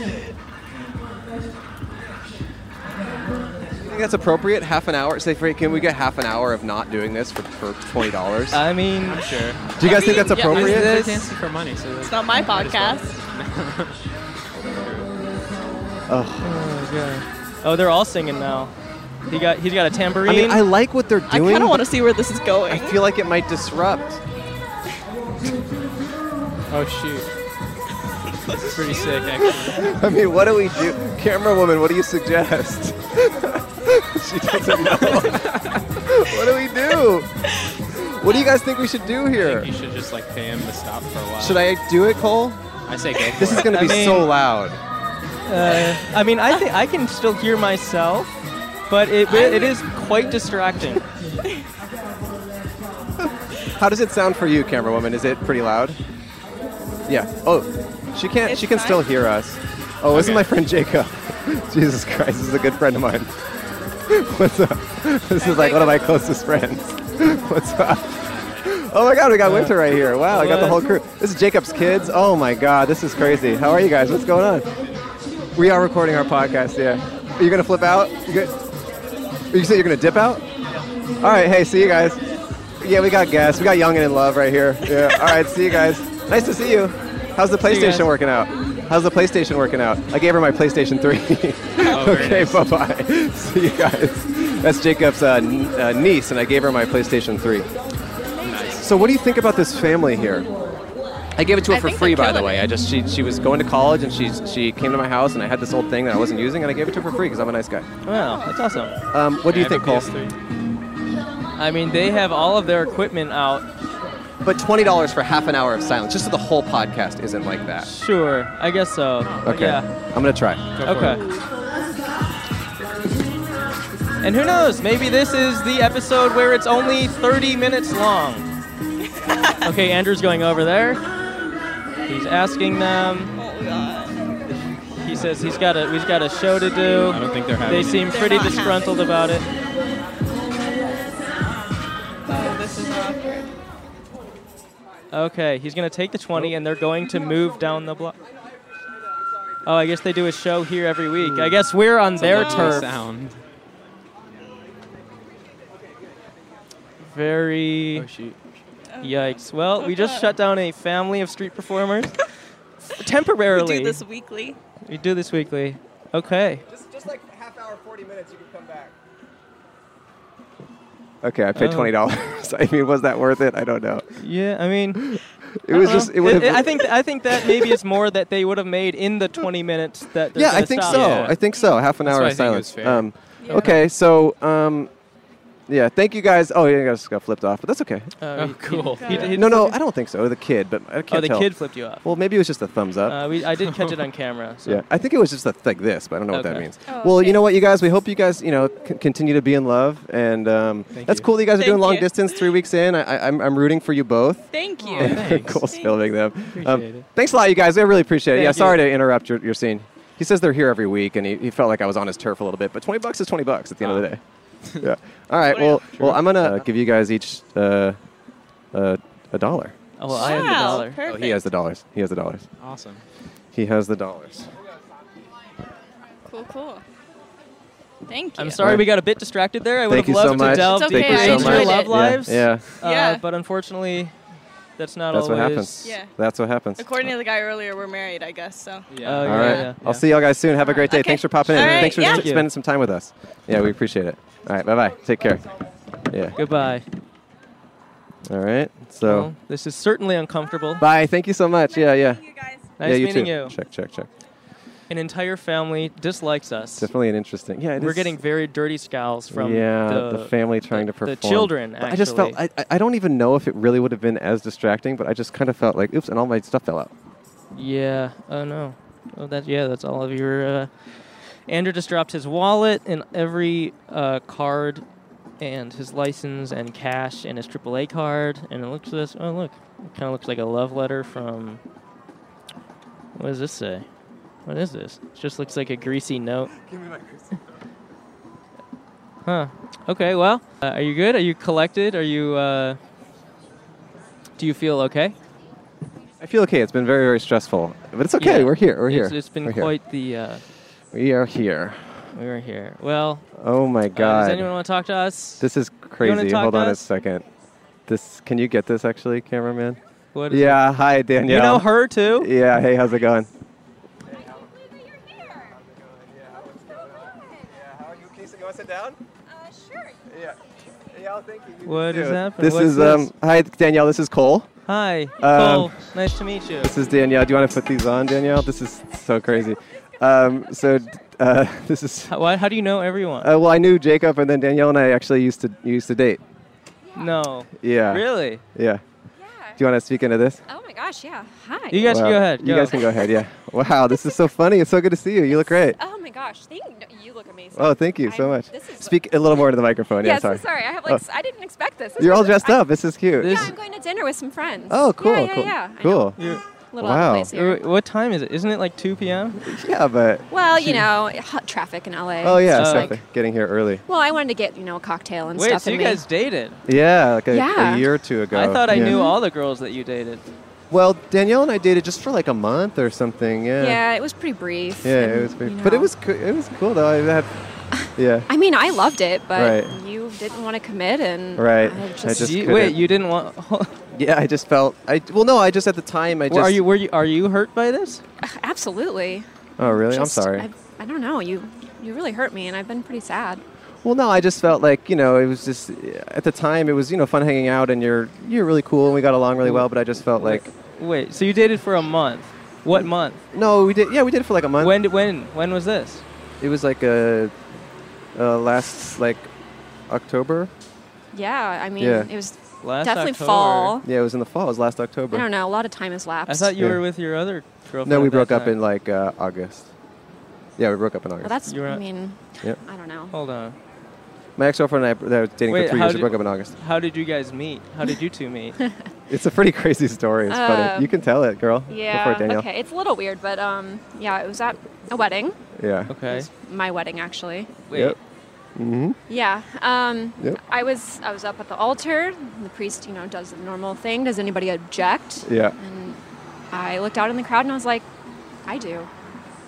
Speaker 2: think that's appropriate. Half an hour. Say, Frank, can we get half an hour of not doing this for, for twenty dollars?
Speaker 1: I mean,
Speaker 6: I'm sure.
Speaker 2: Do you guys think that's
Speaker 5: yeah, Uh, I mean,
Speaker 2: appropriate?
Speaker 1: this-
Speaker 6: It's dancing for money, so
Speaker 5: It's not my podcast.
Speaker 1: oh, they're all singing now. He got he's got a tambourine.
Speaker 2: I mean, I like what they're
Speaker 5: I
Speaker 2: doing.
Speaker 5: kind of
Speaker 2: but
Speaker 5: want to see where this is going.
Speaker 2: I feel like it might disrupt.
Speaker 6: Oh shoot. That's pretty sick, actually.
Speaker 2: I mean, what do we do? Camera woman, what do you suggest? she doesn't know. what do we do? What do you guys think we should do here?
Speaker 6: You should just like pay him to stop for a while.
Speaker 2: Should I do it, Cole?
Speaker 6: I say go.
Speaker 2: This is going to
Speaker 1: I
Speaker 2: be
Speaker 1: mean-
Speaker 2: so loud.
Speaker 1: Uh, I mean, I think I can still hear myself, but it, it is quite distracting.
Speaker 2: How does it sound for you, camera woman? Is it pretty loud? Yeah. Oh, she can't.
Speaker 5: It's
Speaker 2: she can still
Speaker 5: fine.
Speaker 2: hear us. Oh, this is
Speaker 6: Okay.
Speaker 2: my friend Jacob. Jesus Christ, this is a good friend of mine. What's up? This is like one of my closest friends. What's up? Oh my God, we got Winter right here. Wow, I got the whole crew. This is Jacob's kids. Oh my God, this is crazy. How are you guys? What's going on? We are recording our podcast. Yeah. Are you gonna flip out? You good? You said you're gonna dip out? All right. Hey, see you guys. Yeah, we got guests. We got Young and in Love right here. Yeah. All right. See you guys. Nice to see you. How's the
Speaker 1: you guys.
Speaker 2: PlayStation working out? How's the PlayStation working out? I gave her my PlayStation 3.
Speaker 6: Oh, very
Speaker 2: okay,
Speaker 6: nice.
Speaker 2: bye bye. See you guys. That's Jacob's uh, n- uh, niece, and I gave her my PlayStation 3. So, what do you think about this family here? I gave it to her
Speaker 5: I
Speaker 2: for
Speaker 5: think
Speaker 2: free,
Speaker 5: they're
Speaker 2: by the
Speaker 5: killing
Speaker 2: way.
Speaker 5: it.
Speaker 2: I just she she was going to college, and she she came to my house, and I had this old thing that I wasn't using, and I gave it to her for free because I'm a nice guy.
Speaker 1: Wow, that's awesome.
Speaker 2: Um, what do you
Speaker 6: I
Speaker 2: think,
Speaker 6: have a
Speaker 2: Cole?
Speaker 6: PS3.
Speaker 1: I mean, they have all of their equipment out.
Speaker 2: But twenty dollars for half an hour of silence, just so the whole podcast isn't like that.
Speaker 1: Sure, I guess so.
Speaker 2: Okay,
Speaker 1: Yeah.
Speaker 2: I'm gonna try.
Speaker 6: Go for
Speaker 1: Okay.
Speaker 6: it.
Speaker 1: And who knows? Maybe this is the episode where it's only 30 minutes long. okay, Andrew's going over there. He's asking them.
Speaker 5: oh god.
Speaker 1: He says he's got a he's got a show to do.
Speaker 6: I don't think they're having.
Speaker 1: They
Speaker 6: it.
Speaker 1: seem pretty
Speaker 5: not happy.
Speaker 1: disgruntled about it.
Speaker 5: Oh, this is awkward.
Speaker 1: Okay, he's gonna take the 20, and they're going to move down the block. Oh, I guess they do a show here every week. I guess we're on their
Speaker 6: Lovely
Speaker 1: turf.
Speaker 6: Sound.
Speaker 1: Very
Speaker 6: Oh shoot.
Speaker 1: yikes. Well, we just
Speaker 5: God.
Speaker 1: shut down a family of street performers
Speaker 5: We
Speaker 1: temporarily.
Speaker 5: do this weekly.
Speaker 1: We do this weekly. Okay.
Speaker 2: Just, just like half hour, forty minutes, you can come back. Okay, I
Speaker 1: Oh.
Speaker 2: paid twenty dollars. I mean, was that worth it? I don't know.
Speaker 1: Yeah, I mean,
Speaker 2: It was
Speaker 1: well,
Speaker 2: just. Uh-huh. It would.
Speaker 1: I think I think that maybe it's more that they would have made in the 20 minutes that. they're
Speaker 2: Yeah, I
Speaker 1: gonna
Speaker 2: think
Speaker 1: stop.
Speaker 2: so.
Speaker 6: Yeah.
Speaker 2: I think so. Half an
Speaker 6: That's
Speaker 2: hour
Speaker 6: why I
Speaker 2: of
Speaker 6: think it was
Speaker 2: silence.
Speaker 6: fair.
Speaker 2: Um,
Speaker 5: Yeah.
Speaker 2: Okay, so um, yeah, thank you guys. Oh, yeah, you guys got flipped off, but that's okay.
Speaker 1: Uh,
Speaker 6: Oh cool.
Speaker 1: he- he- he-
Speaker 2: No, no, I don't think so. The kid, but I can't
Speaker 1: Oh, the
Speaker 2: tell.
Speaker 1: kid flipped you off.
Speaker 2: Well, maybe it was just a thumbs up.
Speaker 1: Uh, we, I did catch it on camera. So.
Speaker 2: Yeah, I think it was just a, like this, but I don't know what that
Speaker 1: Okay.
Speaker 2: means.
Speaker 5: Oh,
Speaker 2: well, you
Speaker 5: okay.
Speaker 2: know what, you guys, we hope you guys, you know, c- continue to be in love, and um, that's
Speaker 6: you.
Speaker 2: cool that you guys are
Speaker 5: Thank
Speaker 2: doing long
Speaker 5: you.
Speaker 2: distance. Three weeks in, I, I, I'm, I'm rooting for you both.
Speaker 5: Thank you.
Speaker 6: thanks.
Speaker 2: Cole's filming them. Um,
Speaker 6: Appreciate it.
Speaker 2: Thanks a lot, you guys. I really appreciate it.
Speaker 1: Thank
Speaker 2: yeah,
Speaker 1: you.
Speaker 2: sorry to interrupt your, your scene. He says they're here every week, and he, he felt like I was on his turf a little bit, but 20 bucks is 20 bucks at the end of the day. yeah. All right. Well, well, I'm gonna uh, give you guys each uh, uh, a dollar.
Speaker 1: Oh, well, I have the
Speaker 5: Wow,
Speaker 1: dollar.
Speaker 2: Oh,
Speaker 5: Perfect.
Speaker 2: he has the dollars. He has the dollars.
Speaker 6: Awesome.
Speaker 2: He has the dollars.
Speaker 5: Cool, cool. Thank you.
Speaker 1: I'm sorry we got a bit distracted there. I would
Speaker 2: Thank
Speaker 1: have
Speaker 2: you so
Speaker 1: loved to
Speaker 2: much.
Speaker 1: delve
Speaker 5: It's
Speaker 1: deeper
Speaker 5: okay,
Speaker 1: into
Speaker 5: I enjoyed
Speaker 1: your
Speaker 5: it.
Speaker 1: love
Speaker 5: Yeah,
Speaker 1: lives.
Speaker 2: Yeah.
Speaker 5: Yeah.
Speaker 1: Uh, but unfortunately, that's not
Speaker 2: That's what
Speaker 1: always.
Speaker 2: happens.
Speaker 5: Yeah.
Speaker 2: That's what happens.
Speaker 5: According to the guy earlier, we're married, I guess. So
Speaker 6: Yeah.
Speaker 1: Oh,
Speaker 2: All right.
Speaker 1: yeah.
Speaker 2: I'll see y'all guys soon. Have a great day.
Speaker 5: Okay.
Speaker 2: Thanks for popping in.
Speaker 5: All right,
Speaker 2: Thanks for
Speaker 5: yeah.
Speaker 2: sp-
Speaker 1: Thank you.
Speaker 2: spending some time with us. Yeah, we appreciate it. All right. Bye bye. Take care. Yeah.
Speaker 1: Goodbye.
Speaker 2: All right.
Speaker 1: Well,
Speaker 2: So,
Speaker 1: this is certainly uncomfortable.
Speaker 2: bye. Thank you so much. Yeah, yeah.
Speaker 1: Nice
Speaker 2: yeah, you
Speaker 1: meeting
Speaker 2: too.
Speaker 1: you.
Speaker 2: Check, check, check.
Speaker 1: An entire family dislikes us.
Speaker 2: Definitely an interesting. Yeah, it
Speaker 1: We're
Speaker 2: is-
Speaker 1: getting very dirty scowls from
Speaker 2: yeah,
Speaker 1: the,
Speaker 2: the, family trying to
Speaker 1: the
Speaker 2: perform.
Speaker 1: children,
Speaker 2: But I just felt I,
Speaker 1: actually.
Speaker 2: I I don't even know if it really would have been as distracting, but I just kind of felt like oops, and all my stuff fell out.
Speaker 1: Yeah. Oh no. Oh, that. Yeah, that's all of your. Uh, Andrew just dropped his wallet and every uh, card and his license and cash and his AAA card. And it looks this. Oh look, it kind of looks like a love letter from. What does this say? What is this? It just looks like a greasy note.
Speaker 2: Give me my
Speaker 1: Huh. Okay. Well, uh, are you good? Are you collected? Are you? Uh, do you feel okay?
Speaker 2: I feel okay. It's been very, very stressful, but it's okay.
Speaker 1: Yeah.
Speaker 2: We're here. We're here.
Speaker 1: It's- it's been
Speaker 2: We're here.
Speaker 1: quite the. Uh,
Speaker 2: We are here.
Speaker 1: we were here. Well,
Speaker 2: Oh my
Speaker 1: uh, does
Speaker 2: god.
Speaker 1: anyone want to talk to us?
Speaker 2: this is
Speaker 1: wanna
Speaker 2: crazy.
Speaker 1: talk
Speaker 2: Hold
Speaker 1: to
Speaker 2: on a
Speaker 1: us?
Speaker 2: second. This can you get this actually, cameraman?
Speaker 1: What is-
Speaker 2: Yeah. Hi,
Speaker 1: You
Speaker 2: Danielle.
Speaker 1: know her too.
Speaker 2: Yeah. Hey, how's it going? Uh,
Speaker 1: What is happening?
Speaker 2: This
Speaker 1: What's
Speaker 2: is um. Hi, Danielle. This is Cole.
Speaker 1: Hi,
Speaker 2: Um,
Speaker 1: Cole. Nice to meet you.
Speaker 2: This is Danielle. Do you want to put these on, Danielle? This is so crazy. Um. So, uh, this is.
Speaker 1: How, why- how do you know everyone?
Speaker 2: Uh, well, I knew Jacob, and then Danielle and I actually used to used to date.
Speaker 1: no.
Speaker 2: Yeah.
Speaker 1: Really?
Speaker 2: Yeah.
Speaker 7: Yeah.
Speaker 2: Do you want to speak into this?
Speaker 7: Oh my gosh, yeah. Hi.
Speaker 1: You guys
Speaker 2: Wow.
Speaker 1: can go ahead.
Speaker 2: You guys can go ahead. Yeah. Wow, this is so funny. It's so good to see you. You look great.
Speaker 7: Oh my gosh, thank no, you. look amazing.
Speaker 2: Oh, thank you so
Speaker 7: I'm-
Speaker 2: much.
Speaker 7: This is
Speaker 2: Speak a little more into the microphone.
Speaker 7: Yeah,
Speaker 2: Yeah, sorry.
Speaker 7: so sorry. I have
Speaker 2: Oh.
Speaker 7: like s I didn't expect this. This
Speaker 2: You're all
Speaker 7: is-
Speaker 2: dressed
Speaker 7: I-
Speaker 2: up. This is cute.
Speaker 7: Yeah,
Speaker 1: This-
Speaker 7: I'm going to dinner with some friends.
Speaker 2: oh, cool.
Speaker 7: Yeah, yeah,
Speaker 2: cool.
Speaker 7: yeah. I know.
Speaker 2: Cool.
Speaker 7: Little
Speaker 2: Wow.
Speaker 7: out of place here.
Speaker 1: Wh- What time is it? Isn't it like 2 p.m.?
Speaker 2: Yeah, but
Speaker 7: Well, you know, hot traffic in LA.
Speaker 2: oh yeah,
Speaker 1: Uh,
Speaker 2: so
Speaker 1: like-
Speaker 2: they're getting here early.
Speaker 7: Well, I wanted to get you know a cocktail and
Speaker 1: Wait,
Speaker 7: stuff.
Speaker 1: so you
Speaker 7: in me.
Speaker 1: guys dated?
Speaker 2: Yeah, like a,
Speaker 7: Yeah.
Speaker 2: a year or two ago.
Speaker 1: I thought I
Speaker 2: Yeah.
Speaker 1: knew all the girls that you dated.
Speaker 2: Well, Danielle and I dated just for like a month or something. Yeah.
Speaker 7: Yeah, it was pretty brief.
Speaker 2: Yeah,
Speaker 7: and,
Speaker 2: it was, pretty,
Speaker 7: you
Speaker 2: but it
Speaker 7: know.
Speaker 2: was coo- it was cool though. I had, yeah.
Speaker 7: I mean, I loved it, but
Speaker 2: Right.
Speaker 7: you didn't want to commit, and
Speaker 2: Right.
Speaker 7: I
Speaker 2: I
Speaker 7: just,
Speaker 2: just-
Speaker 1: Do you-
Speaker 2: couldn't.
Speaker 1: wait, you didn't want.
Speaker 2: Yeah, I just felt I well no, I just at the time I just
Speaker 1: Well, are you were you are you hurt by this?
Speaker 7: absolutely.
Speaker 2: Oh really?
Speaker 7: Just-
Speaker 2: I'm sorry.
Speaker 7: I, I don't know. You you really hurt me, and I've been pretty sad.
Speaker 2: well no, I just felt like, you know, it was just at the time it was, you know, fun hanging out and you're you're really cool and we got along really well, but I just felt like
Speaker 1: Wait, so you dated for a month? What month?
Speaker 2: no, we did yeah, we did it for like a month.
Speaker 1: When did when when was this?
Speaker 2: it was like a, uh last like October.
Speaker 7: Yeah, I mean,
Speaker 2: Yeah.
Speaker 7: it was
Speaker 1: Last
Speaker 7: definitely
Speaker 1: October.
Speaker 7: fall.
Speaker 2: Yeah, it was in the fall. It was last October.
Speaker 7: I don't know. A lot of time has lapsed.
Speaker 1: I thought you
Speaker 2: Yeah.
Speaker 1: were with your other girlfriend.
Speaker 2: No, we
Speaker 1: at that
Speaker 2: broke up
Speaker 1: time.
Speaker 2: in like uh, August. Yeah, we broke up in August.
Speaker 7: Well, Oh, that's.
Speaker 1: You were-
Speaker 7: I mean,
Speaker 2: Yep.
Speaker 7: I don't know.
Speaker 1: Hold on.
Speaker 2: My ex-girlfriend and I that I was dating
Speaker 1: Wait,
Speaker 2: for 3
Speaker 1: how
Speaker 2: years. We
Speaker 1: did-
Speaker 2: broke up in August.
Speaker 1: How did you guys meet? How did you two meet?
Speaker 2: It's a pretty crazy story. It's
Speaker 7: Um,
Speaker 2: funny. You can tell it, girl. Go for it,
Speaker 7: Yeah.
Speaker 2: Danielle.
Speaker 7: okay. It's a little weird, but um, yeah, it was at a wedding.
Speaker 2: Yeah.
Speaker 7: It
Speaker 1: Okay.
Speaker 7: was my wedding, actually.
Speaker 1: Wait.
Speaker 2: Yep. Mhm.
Speaker 7: Yeah. Um,
Speaker 2: Yep.
Speaker 7: I was I was up at the altar. The priest, you know, does the normal thing. Does anybody object?
Speaker 2: Yeah.
Speaker 7: And I looked out in the crowd and I was like, I do.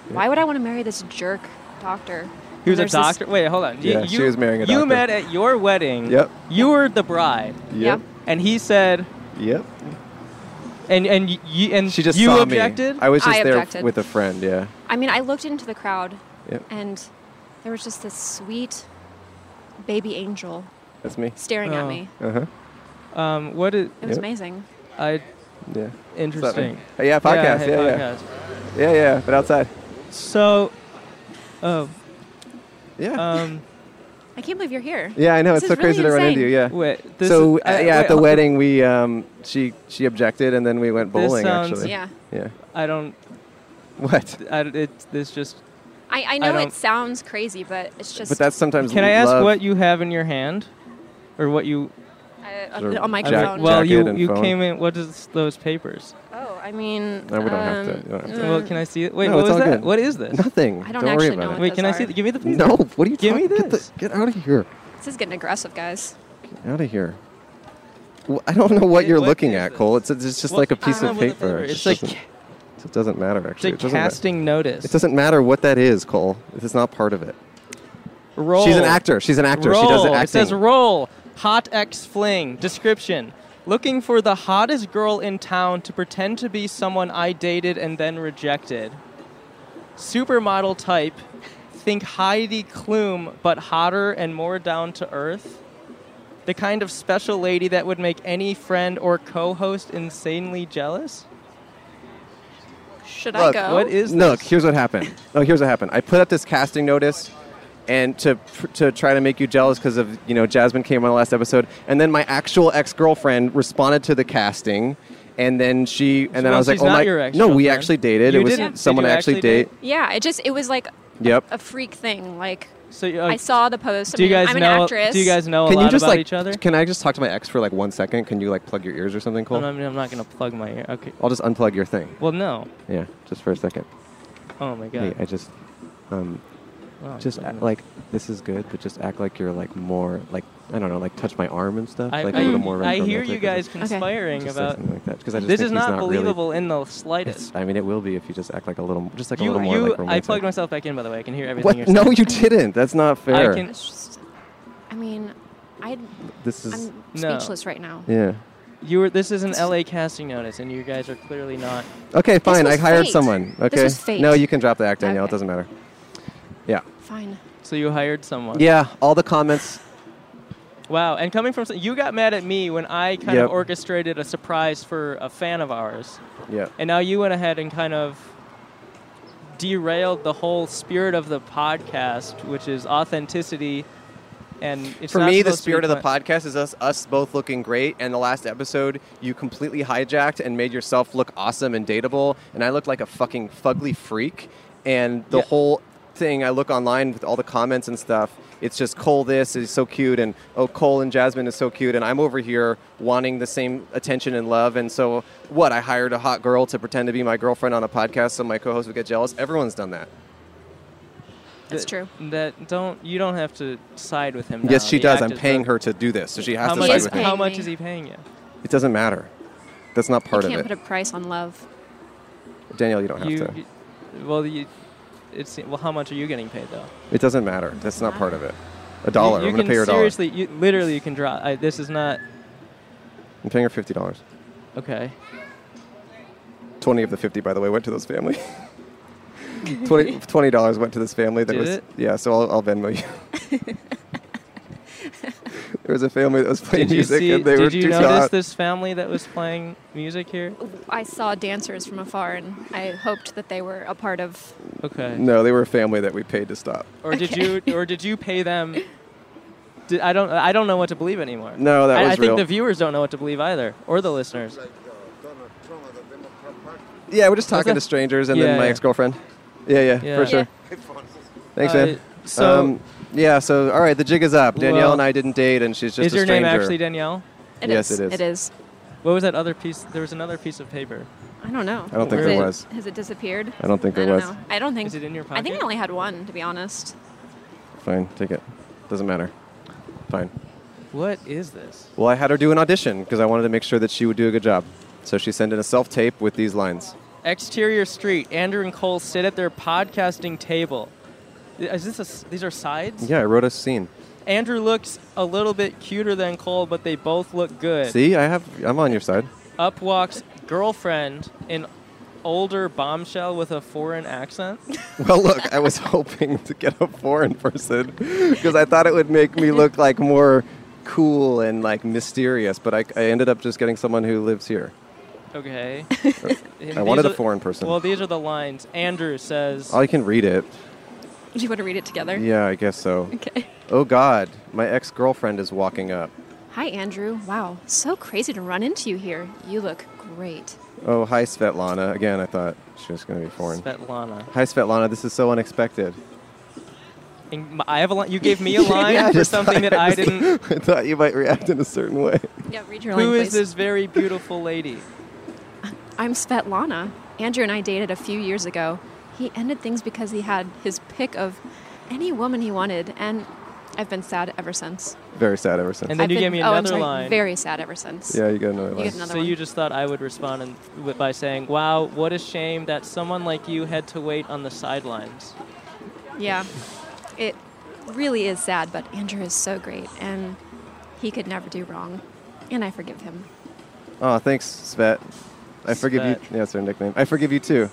Speaker 7: Why would I want to marry this jerk doctor?
Speaker 1: He was a
Speaker 7: There's this-
Speaker 1: doctor. Wait, hold on. You-
Speaker 2: Yeah, she
Speaker 1: you-
Speaker 2: was marrying a
Speaker 1: You
Speaker 2: doctor.
Speaker 1: met at your wedding.
Speaker 2: Yep.
Speaker 1: You were the bride,
Speaker 7: Yeah.
Speaker 2: Yep.
Speaker 1: and he said,
Speaker 2: Yep.
Speaker 1: and and you and
Speaker 2: She just
Speaker 1: you
Speaker 2: saw
Speaker 1: objected.
Speaker 2: me. I was just
Speaker 7: I
Speaker 2: there
Speaker 7: objected.
Speaker 2: with a friend. Yeah.
Speaker 7: I mean, I looked into the crowd
Speaker 2: Yep.
Speaker 7: and there was just this sweet baby angel
Speaker 2: That's me.
Speaker 7: staring
Speaker 1: Oh.
Speaker 7: at me.
Speaker 2: Uh huh.
Speaker 1: um, what is
Speaker 7: It was
Speaker 2: Yep.
Speaker 7: amazing.
Speaker 1: I?
Speaker 2: Yeah.
Speaker 1: Interesting.
Speaker 2: Uh, yeah. Podcast. Yeah.
Speaker 1: hey,
Speaker 2: Yeah. Yeah.
Speaker 1: podcast. Um,
Speaker 2: yeah. But outside.
Speaker 1: So, oh,
Speaker 2: Yeah.
Speaker 1: um,
Speaker 7: I can't believe you're here.
Speaker 2: yeah. I know.
Speaker 7: this
Speaker 2: It's so
Speaker 7: is really
Speaker 2: crazy to run into you.
Speaker 7: insane.
Speaker 2: Yeah.
Speaker 1: wait. This
Speaker 2: so
Speaker 1: is-
Speaker 2: uh, yeah,
Speaker 1: I-
Speaker 2: at
Speaker 1: wait,
Speaker 2: the
Speaker 1: hold-
Speaker 2: wedding we um she she objected and then we went
Speaker 1: This
Speaker 2: bowling
Speaker 1: sounds-
Speaker 2: actually.
Speaker 7: Yeah.
Speaker 2: Yeah.
Speaker 1: I don't.
Speaker 2: What?
Speaker 1: I, it, this just.
Speaker 7: I, I know
Speaker 1: don't-
Speaker 7: it sounds crazy, but it's just
Speaker 2: But that's sometimes.
Speaker 1: Can I ask
Speaker 2: love.
Speaker 1: what you have in your hand, or what you?
Speaker 7: uh,
Speaker 2: Sort of
Speaker 7: on my
Speaker 2: jack-
Speaker 7: phone.
Speaker 1: well, you
Speaker 2: jacket and
Speaker 1: you
Speaker 2: phone.
Speaker 1: came in. What is those papers?
Speaker 7: Oh, I mean.
Speaker 2: No, we don't have to-
Speaker 7: um,
Speaker 2: you don't have to.
Speaker 1: Well, can I see it? Wait,
Speaker 2: No,
Speaker 1: what
Speaker 2: it's
Speaker 1: was
Speaker 2: all
Speaker 1: that?
Speaker 2: good.
Speaker 1: What is this?
Speaker 2: Nothing.
Speaker 7: I
Speaker 2: don't
Speaker 7: don't
Speaker 2: worry
Speaker 7: actually
Speaker 2: about
Speaker 7: know
Speaker 2: it.
Speaker 7: what
Speaker 1: Wait, can I see?
Speaker 7: Those
Speaker 1: The,
Speaker 7: are-
Speaker 1: give me the paper.
Speaker 2: No. What are you?
Speaker 1: Give me
Speaker 2: talking-
Speaker 1: this.
Speaker 2: Get, the, get out of here.
Speaker 7: This is getting aggressive, guys.
Speaker 2: Get out of here. Wh- I don't know what
Speaker 1: Wait,
Speaker 2: you're
Speaker 1: what
Speaker 2: looking
Speaker 1: is
Speaker 2: at,
Speaker 1: this?
Speaker 2: Cole. It's, it's just
Speaker 1: Well,
Speaker 2: like a
Speaker 1: I don't
Speaker 2: piece
Speaker 1: know
Speaker 2: of
Speaker 1: what the
Speaker 2: paper.
Speaker 1: paper
Speaker 2: It
Speaker 1: is.
Speaker 2: just
Speaker 1: It's like-
Speaker 2: doesn't- it doesn't matter
Speaker 1: It's
Speaker 2: actually.
Speaker 1: a
Speaker 2: it doesn't ma-
Speaker 1: casting notice.
Speaker 2: It doesn't matter what that is, Cole. This is not part of it.
Speaker 1: Roll.
Speaker 2: She's an actor. She's an actor.
Speaker 1: Roll.
Speaker 2: She does acting.
Speaker 1: It says roll. Hot X fling. Description. Looking for the hottest girl in town to pretend to be someone I dated and then rejected. Supermodel type. Think Heidi Klum, but hotter and more down to earth. The kind of special lady that would make any friend or co host insanely jealous?
Speaker 7: Should
Speaker 2: Look,
Speaker 7: I go?
Speaker 1: What is
Speaker 2: Look,
Speaker 1: this?
Speaker 2: here's what happened. No, here's what happened. I put up this casting notice, and to to try to make you jealous because of you know Jasmine came on the last episode, and then my actual ex girlfriend responded to the casting, and then she and then
Speaker 1: Well,
Speaker 2: I was like,
Speaker 1: she's
Speaker 2: oh
Speaker 1: not
Speaker 2: my,
Speaker 1: your
Speaker 2: no, we
Speaker 1: ex-girlfriend.
Speaker 2: actually dated.
Speaker 1: You
Speaker 2: it was
Speaker 1: didn't- did
Speaker 2: someone
Speaker 1: you
Speaker 2: I actually
Speaker 1: actually
Speaker 2: date.
Speaker 1: date?
Speaker 7: yeah, it just it was like
Speaker 2: Yep.
Speaker 7: a freak thing. Like
Speaker 1: So you, uh,
Speaker 7: I saw the post.
Speaker 1: do you
Speaker 7: I mean,
Speaker 1: guys
Speaker 7: I'm an
Speaker 1: know?
Speaker 7: actress.
Speaker 1: Do you guys know a
Speaker 2: Can
Speaker 1: lot
Speaker 2: you just
Speaker 1: about
Speaker 2: like?
Speaker 1: each other?
Speaker 2: Can I just talk to my ex for like one second? Can you like plug your ears or something? Cool.
Speaker 1: I'm, not- I'm not gonna plug my ear. Okay.
Speaker 2: I'll just unplug your thing.
Speaker 1: Well, no.
Speaker 2: Yeah, just for a second.
Speaker 1: Oh my god.
Speaker 2: Hey, I just, um,
Speaker 1: Oh,
Speaker 2: just
Speaker 1: fucking-
Speaker 2: act like this is good, but just act like you're like more like I don't know, like touch my arm and stuff,
Speaker 1: I,
Speaker 2: like
Speaker 1: I,
Speaker 2: a little more.
Speaker 1: I
Speaker 2: romantic
Speaker 1: hear
Speaker 2: or
Speaker 1: you
Speaker 2: something.
Speaker 1: guys
Speaker 7: Okay.
Speaker 1: conspiring
Speaker 2: Just say
Speaker 1: about.
Speaker 2: something like that, 'cause I just
Speaker 1: This
Speaker 2: think
Speaker 1: is
Speaker 2: he's
Speaker 1: not
Speaker 2: not really-
Speaker 1: believable in the
Speaker 2: It's-
Speaker 1: slightest.
Speaker 2: I mean, it will be if you just act like a little, just like a
Speaker 1: You,
Speaker 2: little more
Speaker 1: you.
Speaker 2: like
Speaker 1: I
Speaker 2: romantic.
Speaker 1: plugged myself back in, by the way. I can hear everything
Speaker 2: What?
Speaker 1: you're
Speaker 2: No,
Speaker 1: saying.
Speaker 2: you didn't. That's not fair.
Speaker 1: can-
Speaker 7: It's just- I mean, I
Speaker 2: this is
Speaker 7: I'm
Speaker 1: No.
Speaker 7: speechless right now.
Speaker 2: yeah.
Speaker 1: You were. This is an LA casting notice, and you guys are clearly not.
Speaker 2: Okay, fine.
Speaker 7: was
Speaker 2: I hired
Speaker 7: fate.
Speaker 2: someone.
Speaker 7: This
Speaker 2: Okay.
Speaker 7: was fate.
Speaker 2: No, you can drop the act, Danielle.
Speaker 7: Okay.
Speaker 2: It doesn't matter. Yeah.
Speaker 7: Fine.
Speaker 1: So you hired someone.
Speaker 2: Yeah. All the comments.
Speaker 1: Wow. And coming from, s- you got mad at me when I kind
Speaker 2: Yep.
Speaker 1: of orchestrated a surprise for a fan of ours,
Speaker 2: Yeah.
Speaker 1: and now you went ahead and kind of derailed the whole spirit of the podcast, which is authenticity. And it's
Speaker 2: For
Speaker 1: not
Speaker 2: me, the
Speaker 1: supposed to be
Speaker 2: spirit of the
Speaker 1: pla-
Speaker 2: podcast is us us both looking great. And the last episode, you completely hijacked and made yourself look awesome and dateable. And I looked like a fucking fugly freak. And the
Speaker 1: Yeah.
Speaker 2: whole thing, I look online with all the comments and stuff. It's just Cole. This is so cute, and oh, Cole and Jasmine is so cute, and I'm over here wanting the same attention and love. And so, what? I hired a hot girl to pretend to be my girlfriend on a podcast, so my co-host would get jealous. Everyone's done that.
Speaker 7: That's
Speaker 1: that-
Speaker 7: true.
Speaker 1: That don't you don't have to side with him.
Speaker 2: yes,
Speaker 1: now.
Speaker 2: she
Speaker 1: The
Speaker 2: does.
Speaker 1: act
Speaker 2: I'm
Speaker 1: is
Speaker 2: paying
Speaker 1: done.
Speaker 2: her to do this, so she has
Speaker 1: How
Speaker 2: to
Speaker 1: much,
Speaker 2: side
Speaker 7: is
Speaker 2: with
Speaker 7: paying
Speaker 2: me.
Speaker 1: how much
Speaker 7: me.
Speaker 1: is he paying you?
Speaker 2: It doesn't matter. That's not part
Speaker 7: you
Speaker 2: of
Speaker 7: can't
Speaker 2: it.
Speaker 7: put a price on love.
Speaker 2: Danielle, you don't have
Speaker 1: you,
Speaker 2: to.
Speaker 1: you- well, you, it's well. How much are you getting paid though?
Speaker 2: it doesn't matter. That's not part of it. A dollar.
Speaker 1: You, you
Speaker 2: I'm gonna
Speaker 1: can
Speaker 2: pay her a dollar.
Speaker 1: seriously, you literally, you can draw. I, this is not
Speaker 2: I'm paying her fifty dollars.
Speaker 1: okay.
Speaker 2: Twenty of the fifty, by the way, went to those family. 20 Twenty dollars went to this family. That
Speaker 1: Did
Speaker 2: was
Speaker 1: it?
Speaker 2: yeah. So I'll, I'll Venmo you. there was a family that was playing
Speaker 1: Did you
Speaker 2: music,
Speaker 1: see?
Speaker 2: and they were
Speaker 1: Did you
Speaker 2: too
Speaker 1: notice
Speaker 2: hot.
Speaker 1: this family that was playing music here?
Speaker 7: I saw dancers from afar, and I hoped that they were a part of.
Speaker 1: Okay.
Speaker 2: No, they were a family that we paid to stop.
Speaker 1: Or did you? Or did you pay them? Did, I don't. I don't know what to believe anymore.
Speaker 2: No, that
Speaker 1: I,
Speaker 2: was
Speaker 1: I think
Speaker 2: real.
Speaker 1: the viewers don't know what to believe either, or the listeners.
Speaker 2: yeah, we're just talking
Speaker 1: that?
Speaker 2: to strangers, and
Speaker 1: Yeah,
Speaker 2: then my
Speaker 1: yeah.
Speaker 2: ex girlfriend. Yeah, yeah,
Speaker 1: Yeah.
Speaker 2: for sure. Thanks,
Speaker 1: Uh,
Speaker 2: man. Um,
Speaker 1: so-
Speaker 2: yeah, so all right, the jig is up. Danielle
Speaker 1: Well-
Speaker 2: and I didn't date, and she's just
Speaker 1: is
Speaker 2: a
Speaker 1: your name
Speaker 2: stranger.
Speaker 1: actually Danielle?
Speaker 7: It
Speaker 2: Yes,
Speaker 7: is.
Speaker 2: it is.
Speaker 7: It is.
Speaker 1: What was that other piece? There was another piece of paper.
Speaker 7: I don't know.
Speaker 2: I don't think
Speaker 7: Is
Speaker 1: there
Speaker 7: it-
Speaker 2: was.
Speaker 7: Has it disappeared?
Speaker 2: I don't think there
Speaker 7: I don't
Speaker 2: was.
Speaker 7: Know. I don't think.
Speaker 1: Is it in your
Speaker 7: I think I
Speaker 1: pocket?
Speaker 7: only had one, to be honest.
Speaker 2: Fine, take it. Doesn't matter. Fine.
Speaker 1: What is this?
Speaker 2: Well, I had her do an audition because I wanted to make sure that she would do a good job. So she sent in a self tape with these lines.
Speaker 1: Exterior street. Andrew and Cole sit at their podcasting table. Is this a s these are sides?
Speaker 2: Yeah, I wrote a scene.
Speaker 1: Andrew looks a little bit cuter than Cole, but they both look good.
Speaker 2: See, I have. I'm on your side.
Speaker 1: Up walks girlfriend, an older bombshell with a foreign accent.
Speaker 2: Well, look, I was hoping to get a foreign person because I thought it would make me look like more cool and like mysterious. But I, I ended up just getting someone who lives here.
Speaker 1: Okay. And
Speaker 2: I wanted
Speaker 1: these
Speaker 2: a foreign person.
Speaker 1: Well, these are the lines. Andrew says,
Speaker 2: I can read it.
Speaker 7: Do you want to read it together?
Speaker 2: Yeah, I guess so.
Speaker 7: Okay.
Speaker 2: Oh God, my ex girlfriend is walking up.
Speaker 7: Hi, Andrew. Wow, so crazy to run into you here. You look great.
Speaker 2: Oh, hi Svetlana. Again, I thought she was going to be foreign.
Speaker 1: Svetlana.
Speaker 2: Hi Svetlana, this is so unexpected.
Speaker 1: And m- I have a line. You gave me a line
Speaker 2: Yeah, I
Speaker 1: for
Speaker 2: just
Speaker 1: something
Speaker 2: thought-
Speaker 1: that I,
Speaker 2: just-
Speaker 1: didn't.
Speaker 2: I thought you might react in a certain way.
Speaker 7: Yeah, read your line,
Speaker 1: Who
Speaker 7: please.
Speaker 1: is this very beautiful lady?
Speaker 7: I'm Svetlana. Andrew and I dated a few years ago. He ended things because he had his pick of any woman he wanted, and I've been sad ever since.
Speaker 2: Very sad ever since.
Speaker 1: And then
Speaker 7: I've
Speaker 1: you
Speaker 7: been-
Speaker 1: gave me
Speaker 7: oh, I'm
Speaker 1: another
Speaker 7: sorry,
Speaker 1: line.
Speaker 7: Very sad ever since.
Speaker 2: yeah, you got another line.
Speaker 7: get another
Speaker 1: so
Speaker 7: one.
Speaker 1: you just thought I would respond in, w- by saying, "Wow, what a shame that someone like you had to wait on the sidelines."
Speaker 7: Yeah. It really is sad, but Andrew is so great, and he could never do wrong. And I forgive him.
Speaker 2: Oh, thanks Svet. I forgive you.
Speaker 1: Svet.
Speaker 2: Yeah, that's her nickname. I forgive you too.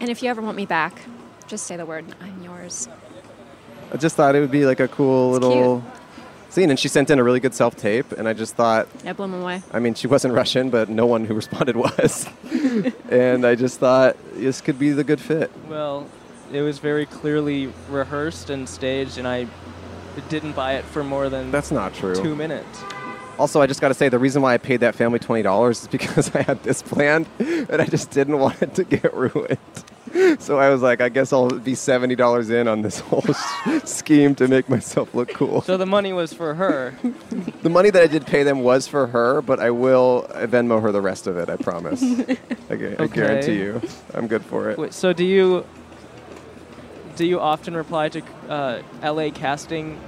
Speaker 7: And if you ever want me back, just say the word, and I'm yours.
Speaker 2: I just thought it would be like a cool
Speaker 7: It's
Speaker 2: little scene. And she sent in a really good self tape, and I just thought
Speaker 7: I blow him away.
Speaker 2: I mean, she wasn't Russian, but no one who responded was. and I just thought this could be the good fit.
Speaker 1: Well, it was very clearly rehearsed and staged, and I didn't buy it for more than
Speaker 2: That's not true.
Speaker 1: two minutes.
Speaker 2: Also, I just got to say the reason why I paid that family twenty dollars is because I had this planned, and I just didn't want it to get ruined. So I was like, I guess I'll be seventy dollars in on this whole s- scheme to make myself look cool.
Speaker 1: So the money was for her.
Speaker 2: The money that I did pay them was for her, but I will uh, Venmo her the rest of it. I promise. I, gu- I
Speaker 1: Okay.
Speaker 2: guarantee you, I'm good for it.
Speaker 1: Wait, so do you do you often reply to uh, LA casting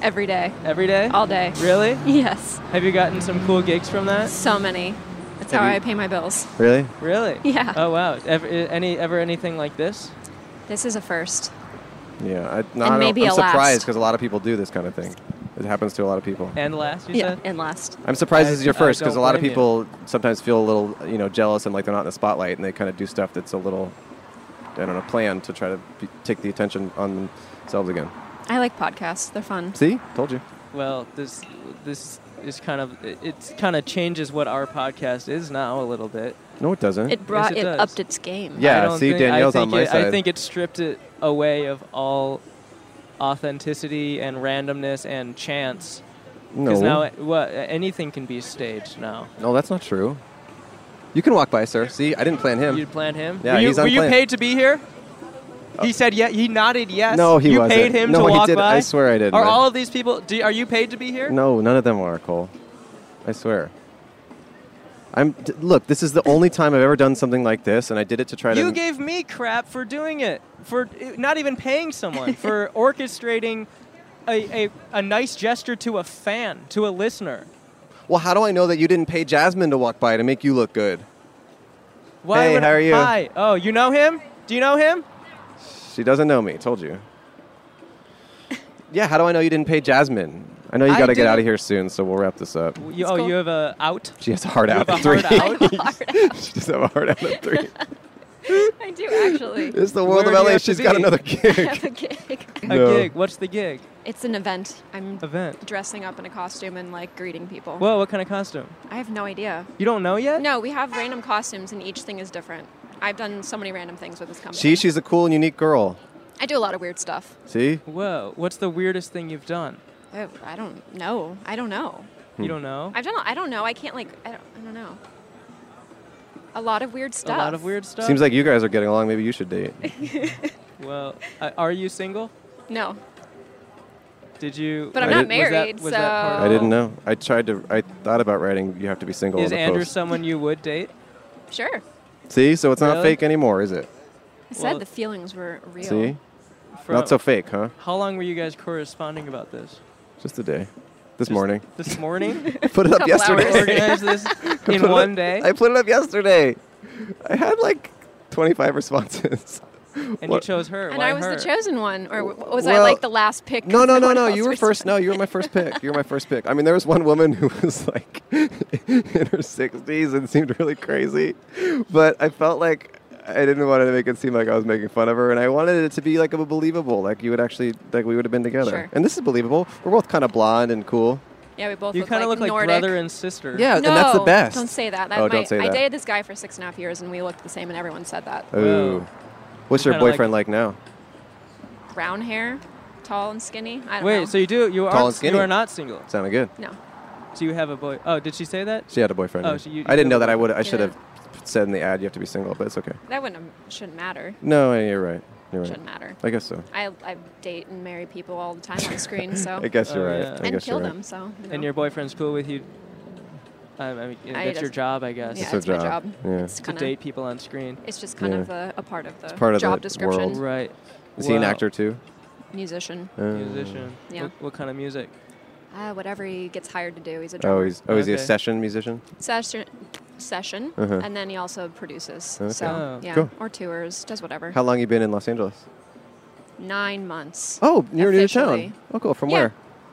Speaker 7: Every day,
Speaker 1: every day?
Speaker 7: all day.
Speaker 1: Really?
Speaker 7: Yes,
Speaker 1: Have you gotten some cool gigs from that?
Speaker 7: so many. That's
Speaker 2: Have
Speaker 7: how
Speaker 2: you-
Speaker 7: I pay my bills.
Speaker 2: Really?
Speaker 1: Really?
Speaker 7: Yeah.
Speaker 1: Oh wow. Ever, any ever anything like this?
Speaker 7: This is a first.
Speaker 2: Yeah. I, no, I don't-
Speaker 7: maybe
Speaker 2: I'm
Speaker 7: a
Speaker 2: surprised
Speaker 7: last.
Speaker 2: because a lot of people do this kind of thing. It happens to a lot of people.
Speaker 1: And last, you said.
Speaker 7: and last.
Speaker 2: I'm surprised this is your
Speaker 1: I
Speaker 2: first because a
Speaker 1: don't
Speaker 2: lot of
Speaker 1: blame you.
Speaker 2: people sometimes feel a little, you know, jealous and like they're not in the spotlight and they kind of do stuff that's a little, I don't know, planned to try to be, take the attention on themselves again.
Speaker 7: I like podcasts. They're fun.
Speaker 2: See, told you.
Speaker 1: Well, this this is kind of it- it's kind of changes what our podcast is now a little bit.
Speaker 2: No, it doesn't.
Speaker 7: It brought
Speaker 1: Yes, it
Speaker 7: it,
Speaker 1: does.
Speaker 7: upped its game.
Speaker 2: Yeah.
Speaker 1: I don't
Speaker 2: see,
Speaker 1: think, I
Speaker 2: Danielle's on
Speaker 1: think
Speaker 2: my
Speaker 1: it, I
Speaker 2: side.
Speaker 1: think it stripped it away of all authenticity and randomness and chance.
Speaker 2: no,
Speaker 1: Because now, it- what anything can be staged now.
Speaker 2: no, that's not true. You can walk by, sir. See, I didn't plan
Speaker 1: You
Speaker 2: him.
Speaker 1: plan him?
Speaker 2: Yeah,
Speaker 1: were you,
Speaker 2: he's
Speaker 1: were you
Speaker 2: unplanned.
Speaker 1: paid to be here? He said yeah. He nodded yes.
Speaker 2: No, he
Speaker 1: you
Speaker 2: wasn't.
Speaker 1: paid him
Speaker 2: No,
Speaker 1: to
Speaker 2: he
Speaker 1: walk
Speaker 2: didn't.
Speaker 1: by.
Speaker 2: I swear I didn't.
Speaker 1: Are
Speaker 2: I-
Speaker 1: all of these people? Do, are you paid to be here?
Speaker 2: No, none of them are Cole. I swear. I'm d- look. This is the only time I've ever done something like this, and I did it to try to.
Speaker 1: You gave me crap for doing it, for uh, not even paying someone, for orchestrating a, a, a nice gesture to a fan, to a listener.
Speaker 2: well, how do I know that you didn't pay Jasmine to walk by to make you look good?
Speaker 1: Why
Speaker 2: Hey,
Speaker 1: would-
Speaker 2: how are you?
Speaker 1: Hi. Oh, you know him? Do you know him?
Speaker 2: She doesn't know me. Told you. Yeah, how do I know you didn't pay Jasmine? I know you
Speaker 1: I
Speaker 2: got to get
Speaker 1: didn't-
Speaker 2: out of here soon, so we'll wrap this up.
Speaker 1: You, oh,
Speaker 7: cool.
Speaker 1: you have a out.
Speaker 2: She has a hard out
Speaker 1: have
Speaker 2: at
Speaker 1: a
Speaker 2: three.
Speaker 1: hard out?
Speaker 2: she does have a hard out at three.
Speaker 7: I do actually.
Speaker 2: It's the world
Speaker 1: Where do
Speaker 2: of
Speaker 1: you
Speaker 2: LA.
Speaker 1: have to
Speaker 2: She's got
Speaker 1: be?
Speaker 2: another gig.
Speaker 7: have a gig.
Speaker 1: A
Speaker 2: No.
Speaker 1: gig. What's the gig?
Speaker 7: It's an event. I'm
Speaker 1: Event.
Speaker 7: dressing up in a costume and like greeting people.
Speaker 1: Whoa, what kind of costume?
Speaker 7: I have no idea.
Speaker 1: You don't know yet?
Speaker 7: No, we have random costumes and each thing is different. I've done so many random things with this company.
Speaker 2: See, she's a cool and unique girl.
Speaker 7: I do a lot of weird stuff.
Speaker 2: See?
Speaker 1: Whoa, what's the weirdest thing you've done?
Speaker 7: I, I don't know. I don't know.
Speaker 2: Hmm.
Speaker 1: You don't know?
Speaker 7: I've done. I don't know. I can't like. I don't, I don't know. A lot of weird
Speaker 1: a
Speaker 7: stuff.
Speaker 1: lot of weird stuff.
Speaker 2: Seems like you guys are getting along. Maybe you should date.
Speaker 1: Well, I- are you single?
Speaker 7: No,
Speaker 1: Did you?
Speaker 7: but I'm
Speaker 2: I
Speaker 7: not
Speaker 2: didn't-
Speaker 1: was that-
Speaker 7: married,
Speaker 1: was
Speaker 7: so
Speaker 1: that part of
Speaker 2: I didn't know. I tried to. I thought about writing. You have to be single.
Speaker 1: Is
Speaker 2: on the
Speaker 1: Andrew
Speaker 2: post.
Speaker 1: someone you would date?
Speaker 7: Sure.
Speaker 2: See, so it's not
Speaker 1: Really?
Speaker 2: fake anymore, is it?
Speaker 7: I said
Speaker 1: Well-
Speaker 7: the feelings were real.
Speaker 2: See,
Speaker 1: From,
Speaker 2: not so fake, huh?
Speaker 1: How long were you guys corresponding about this?
Speaker 2: Just a day. This
Speaker 1: Just
Speaker 2: morning.
Speaker 1: This morning?
Speaker 2: I put it up
Speaker 7: Couple hours.
Speaker 2: yesterday.
Speaker 1: Organize this
Speaker 2: I
Speaker 1: in
Speaker 2: put it-
Speaker 1: one day?
Speaker 2: I put it up yesterday. I had like 25 responses.
Speaker 1: and you
Speaker 2: what-
Speaker 1: chose her.
Speaker 7: And
Speaker 1: Why
Speaker 7: I was
Speaker 1: her?
Speaker 7: the chosen one, or w- was I
Speaker 2: Well-
Speaker 7: like the last pick?
Speaker 2: No,
Speaker 7: 'cause
Speaker 2: no, no,
Speaker 7: one
Speaker 2: no.
Speaker 7: else
Speaker 2: You were
Speaker 7: was-
Speaker 2: first. No, you were my first pick. You were my first pick. I mean, there was one woman who was like in her 60s and seemed really crazy, but I felt like I didn't want to make it seem like I was making fun of her, and I wanted it to be like a believable, like you would actually, like we would have been together.
Speaker 7: Sure.
Speaker 2: And this is believable. We're both kind of blonde and cool.
Speaker 7: Yeah, we both.
Speaker 1: You
Speaker 7: kind of
Speaker 1: look like
Speaker 7: Nordic.
Speaker 1: brother and sister.
Speaker 2: Yeah,
Speaker 7: no,
Speaker 2: and that's the best.
Speaker 7: Don't say that. that
Speaker 2: Oh,
Speaker 7: might,
Speaker 2: don't say
Speaker 7: I
Speaker 2: that.
Speaker 7: dated this guy for six and a half years, and we looked the same, and everyone said that.
Speaker 2: Ooh.
Speaker 1: Whoa.
Speaker 2: What's your
Speaker 1: Kinda like-
Speaker 2: boyfriend like, now?
Speaker 7: Brown hair, tall and skinny. I don't
Speaker 1: Wait,
Speaker 7: know.
Speaker 1: so you do you
Speaker 2: Tall
Speaker 1: are
Speaker 2: and skinny.
Speaker 1: you are not single.
Speaker 2: Sounded good.
Speaker 7: no,
Speaker 1: Do you have a boy? Oh, did she say that?
Speaker 2: She had a boyfriend.
Speaker 1: Oh,
Speaker 2: yeah.
Speaker 1: so you-
Speaker 2: I
Speaker 1: you
Speaker 2: didn't
Speaker 1: know
Speaker 2: know that. I would. I
Speaker 7: Yeah.
Speaker 2: should have said in the ad, you have to be single, but it's okay.
Speaker 7: that wouldn't shouldn't matter.
Speaker 2: No, yeah, you're right. You're right.
Speaker 7: Shouldn't matter.
Speaker 2: I guess so.
Speaker 7: I, I date and marry people all the time on screen, so
Speaker 2: I guess you're
Speaker 1: Oh,
Speaker 2: right.
Speaker 1: yeah.
Speaker 2: I
Speaker 7: and
Speaker 2: guess
Speaker 7: kill
Speaker 2: you're right.
Speaker 7: them. So you know.
Speaker 1: And your boyfriend's cool with you. I, I mean,
Speaker 7: I
Speaker 1: that's your
Speaker 7: just-
Speaker 1: job, I guess.
Speaker 7: yeah,
Speaker 2: her
Speaker 7: it's my
Speaker 2: job.
Speaker 7: job.
Speaker 2: Yeah.
Speaker 7: It's
Speaker 1: To
Speaker 7: kind of
Speaker 1: date people on screen.
Speaker 7: it's just kind
Speaker 2: Yeah.
Speaker 7: of a, a part of the
Speaker 2: part of
Speaker 7: job
Speaker 2: the
Speaker 7: description.
Speaker 2: world.
Speaker 1: Right.
Speaker 2: Is he an
Speaker 1: Wow.
Speaker 2: actor too?
Speaker 7: Musician,
Speaker 2: Uh,
Speaker 1: Musician.
Speaker 7: Yeah.
Speaker 1: What, what kind of music?
Speaker 7: uh, whatever he gets hired to do, he's a drummer.
Speaker 2: Oh, he's oh, is he a
Speaker 1: Okay.
Speaker 2: session musician?
Speaker 7: session, session,
Speaker 2: Uh-huh.
Speaker 7: and then he also produces.
Speaker 2: Okay.
Speaker 7: So
Speaker 1: Oh.
Speaker 7: yeah,
Speaker 2: Cool.
Speaker 7: or tours, does whatever.
Speaker 2: How long you been in Los Angeles?
Speaker 7: Nine months.
Speaker 2: Oh, you're new to town.
Speaker 7: Officially.
Speaker 2: Oh, cool. From
Speaker 7: Yeah.
Speaker 2: where?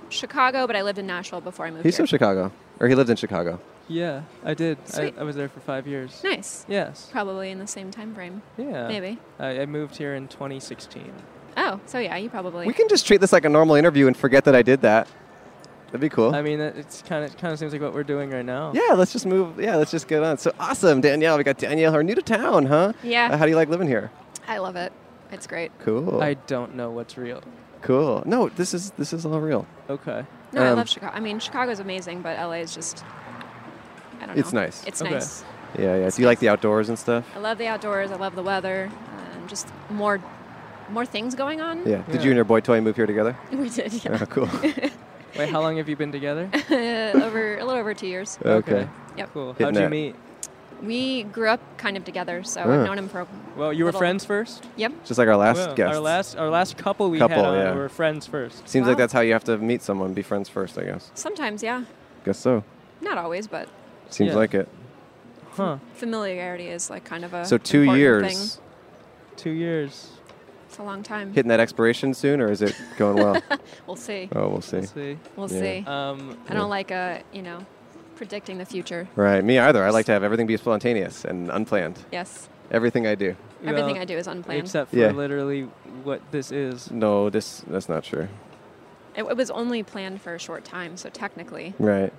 Speaker 7: Chicago, but I lived in Nashville before I moved
Speaker 2: He's
Speaker 7: here.
Speaker 2: from Chicago, or he lived in Chicago.
Speaker 1: Yeah, I did. I,
Speaker 7: Sweet.
Speaker 1: I was there for five years.
Speaker 7: nice.
Speaker 1: Yes.
Speaker 7: Probably in the same time frame.
Speaker 1: Yeah.
Speaker 7: Maybe.
Speaker 1: I, I moved here in 2016.
Speaker 7: Oh, so yeah, you probably.
Speaker 2: We can just treat this like a normal interview and forget that I did that. That'd be cool.
Speaker 1: I mean, oh. that- it's kind of kind of seems like what we're doing right now.
Speaker 2: yeah, let's just move. Yeah, let's just get on. So awesome, Danielle. We got Danielle. Her new to town, huh?
Speaker 7: Yeah.
Speaker 2: Uh, how do you like living here?
Speaker 7: I love it. It's great.
Speaker 2: Cool.
Speaker 1: I don't know what's real.
Speaker 2: cool. No, this is this is all real.
Speaker 1: Okay.
Speaker 7: No, I
Speaker 2: Um,
Speaker 7: love Chicago. I mean, Chicago's amazing, but LA is just. I don't know.
Speaker 2: It's nice.
Speaker 7: It's
Speaker 1: Okay.
Speaker 7: nice.
Speaker 2: Yeah, yeah. Do you like the outdoors and stuff?
Speaker 7: I love the outdoors. I love the weather. I um, just more more things going on.
Speaker 2: Yeah. Did
Speaker 1: Yeah.
Speaker 2: you and your boy toy move here together?
Speaker 7: We did, yeah.
Speaker 2: Oh, cool.
Speaker 1: Wait, how long have you been together?
Speaker 7: over a little over two years.
Speaker 2: okay.
Speaker 7: Yep.
Speaker 1: Cool.
Speaker 2: Hitting
Speaker 1: How'd you
Speaker 2: it.
Speaker 1: meet?
Speaker 7: We grew up kind of together, so
Speaker 2: Ah.
Speaker 7: I've known him for. a-
Speaker 1: Well, you were
Speaker 7: Little-
Speaker 1: friends first.
Speaker 7: Yep.
Speaker 2: Just like our last
Speaker 1: Well,
Speaker 2: guest.
Speaker 1: Our last, our last couple we
Speaker 2: Couple,
Speaker 1: had on
Speaker 2: yeah.
Speaker 1: were friends first.
Speaker 2: Seems like
Speaker 7: Wow.
Speaker 2: that's how you have to meet someone. Be friends first, I guess.
Speaker 7: Sometimes, yeah.
Speaker 2: Guess so.
Speaker 7: Not always, but
Speaker 2: Seems
Speaker 1: Yeah.
Speaker 2: like it.
Speaker 1: Huh?
Speaker 7: familiarity is like kind of a.
Speaker 2: So two
Speaker 7: important
Speaker 2: years.
Speaker 7: Thing.
Speaker 1: Two years.
Speaker 7: It's a long time.
Speaker 2: Hitting that expiration soon, or is it going well?
Speaker 7: We'll see.
Speaker 2: oh, we'll see.
Speaker 1: Let's see.
Speaker 7: We'll
Speaker 2: Yeah.
Speaker 7: see.
Speaker 1: Um,
Speaker 7: I don't like uh, you know, predicting the future.
Speaker 2: Right. Me either. I like to have everything be spontaneous and unplanned.
Speaker 7: Yes.
Speaker 2: Everything I do.
Speaker 7: Everything
Speaker 1: well,
Speaker 7: I do is unplanned.
Speaker 1: except for
Speaker 2: Yeah.
Speaker 1: literally what this is.
Speaker 2: No, this that's not true.
Speaker 7: it, it was only planned for a short time, so technically.
Speaker 2: Right.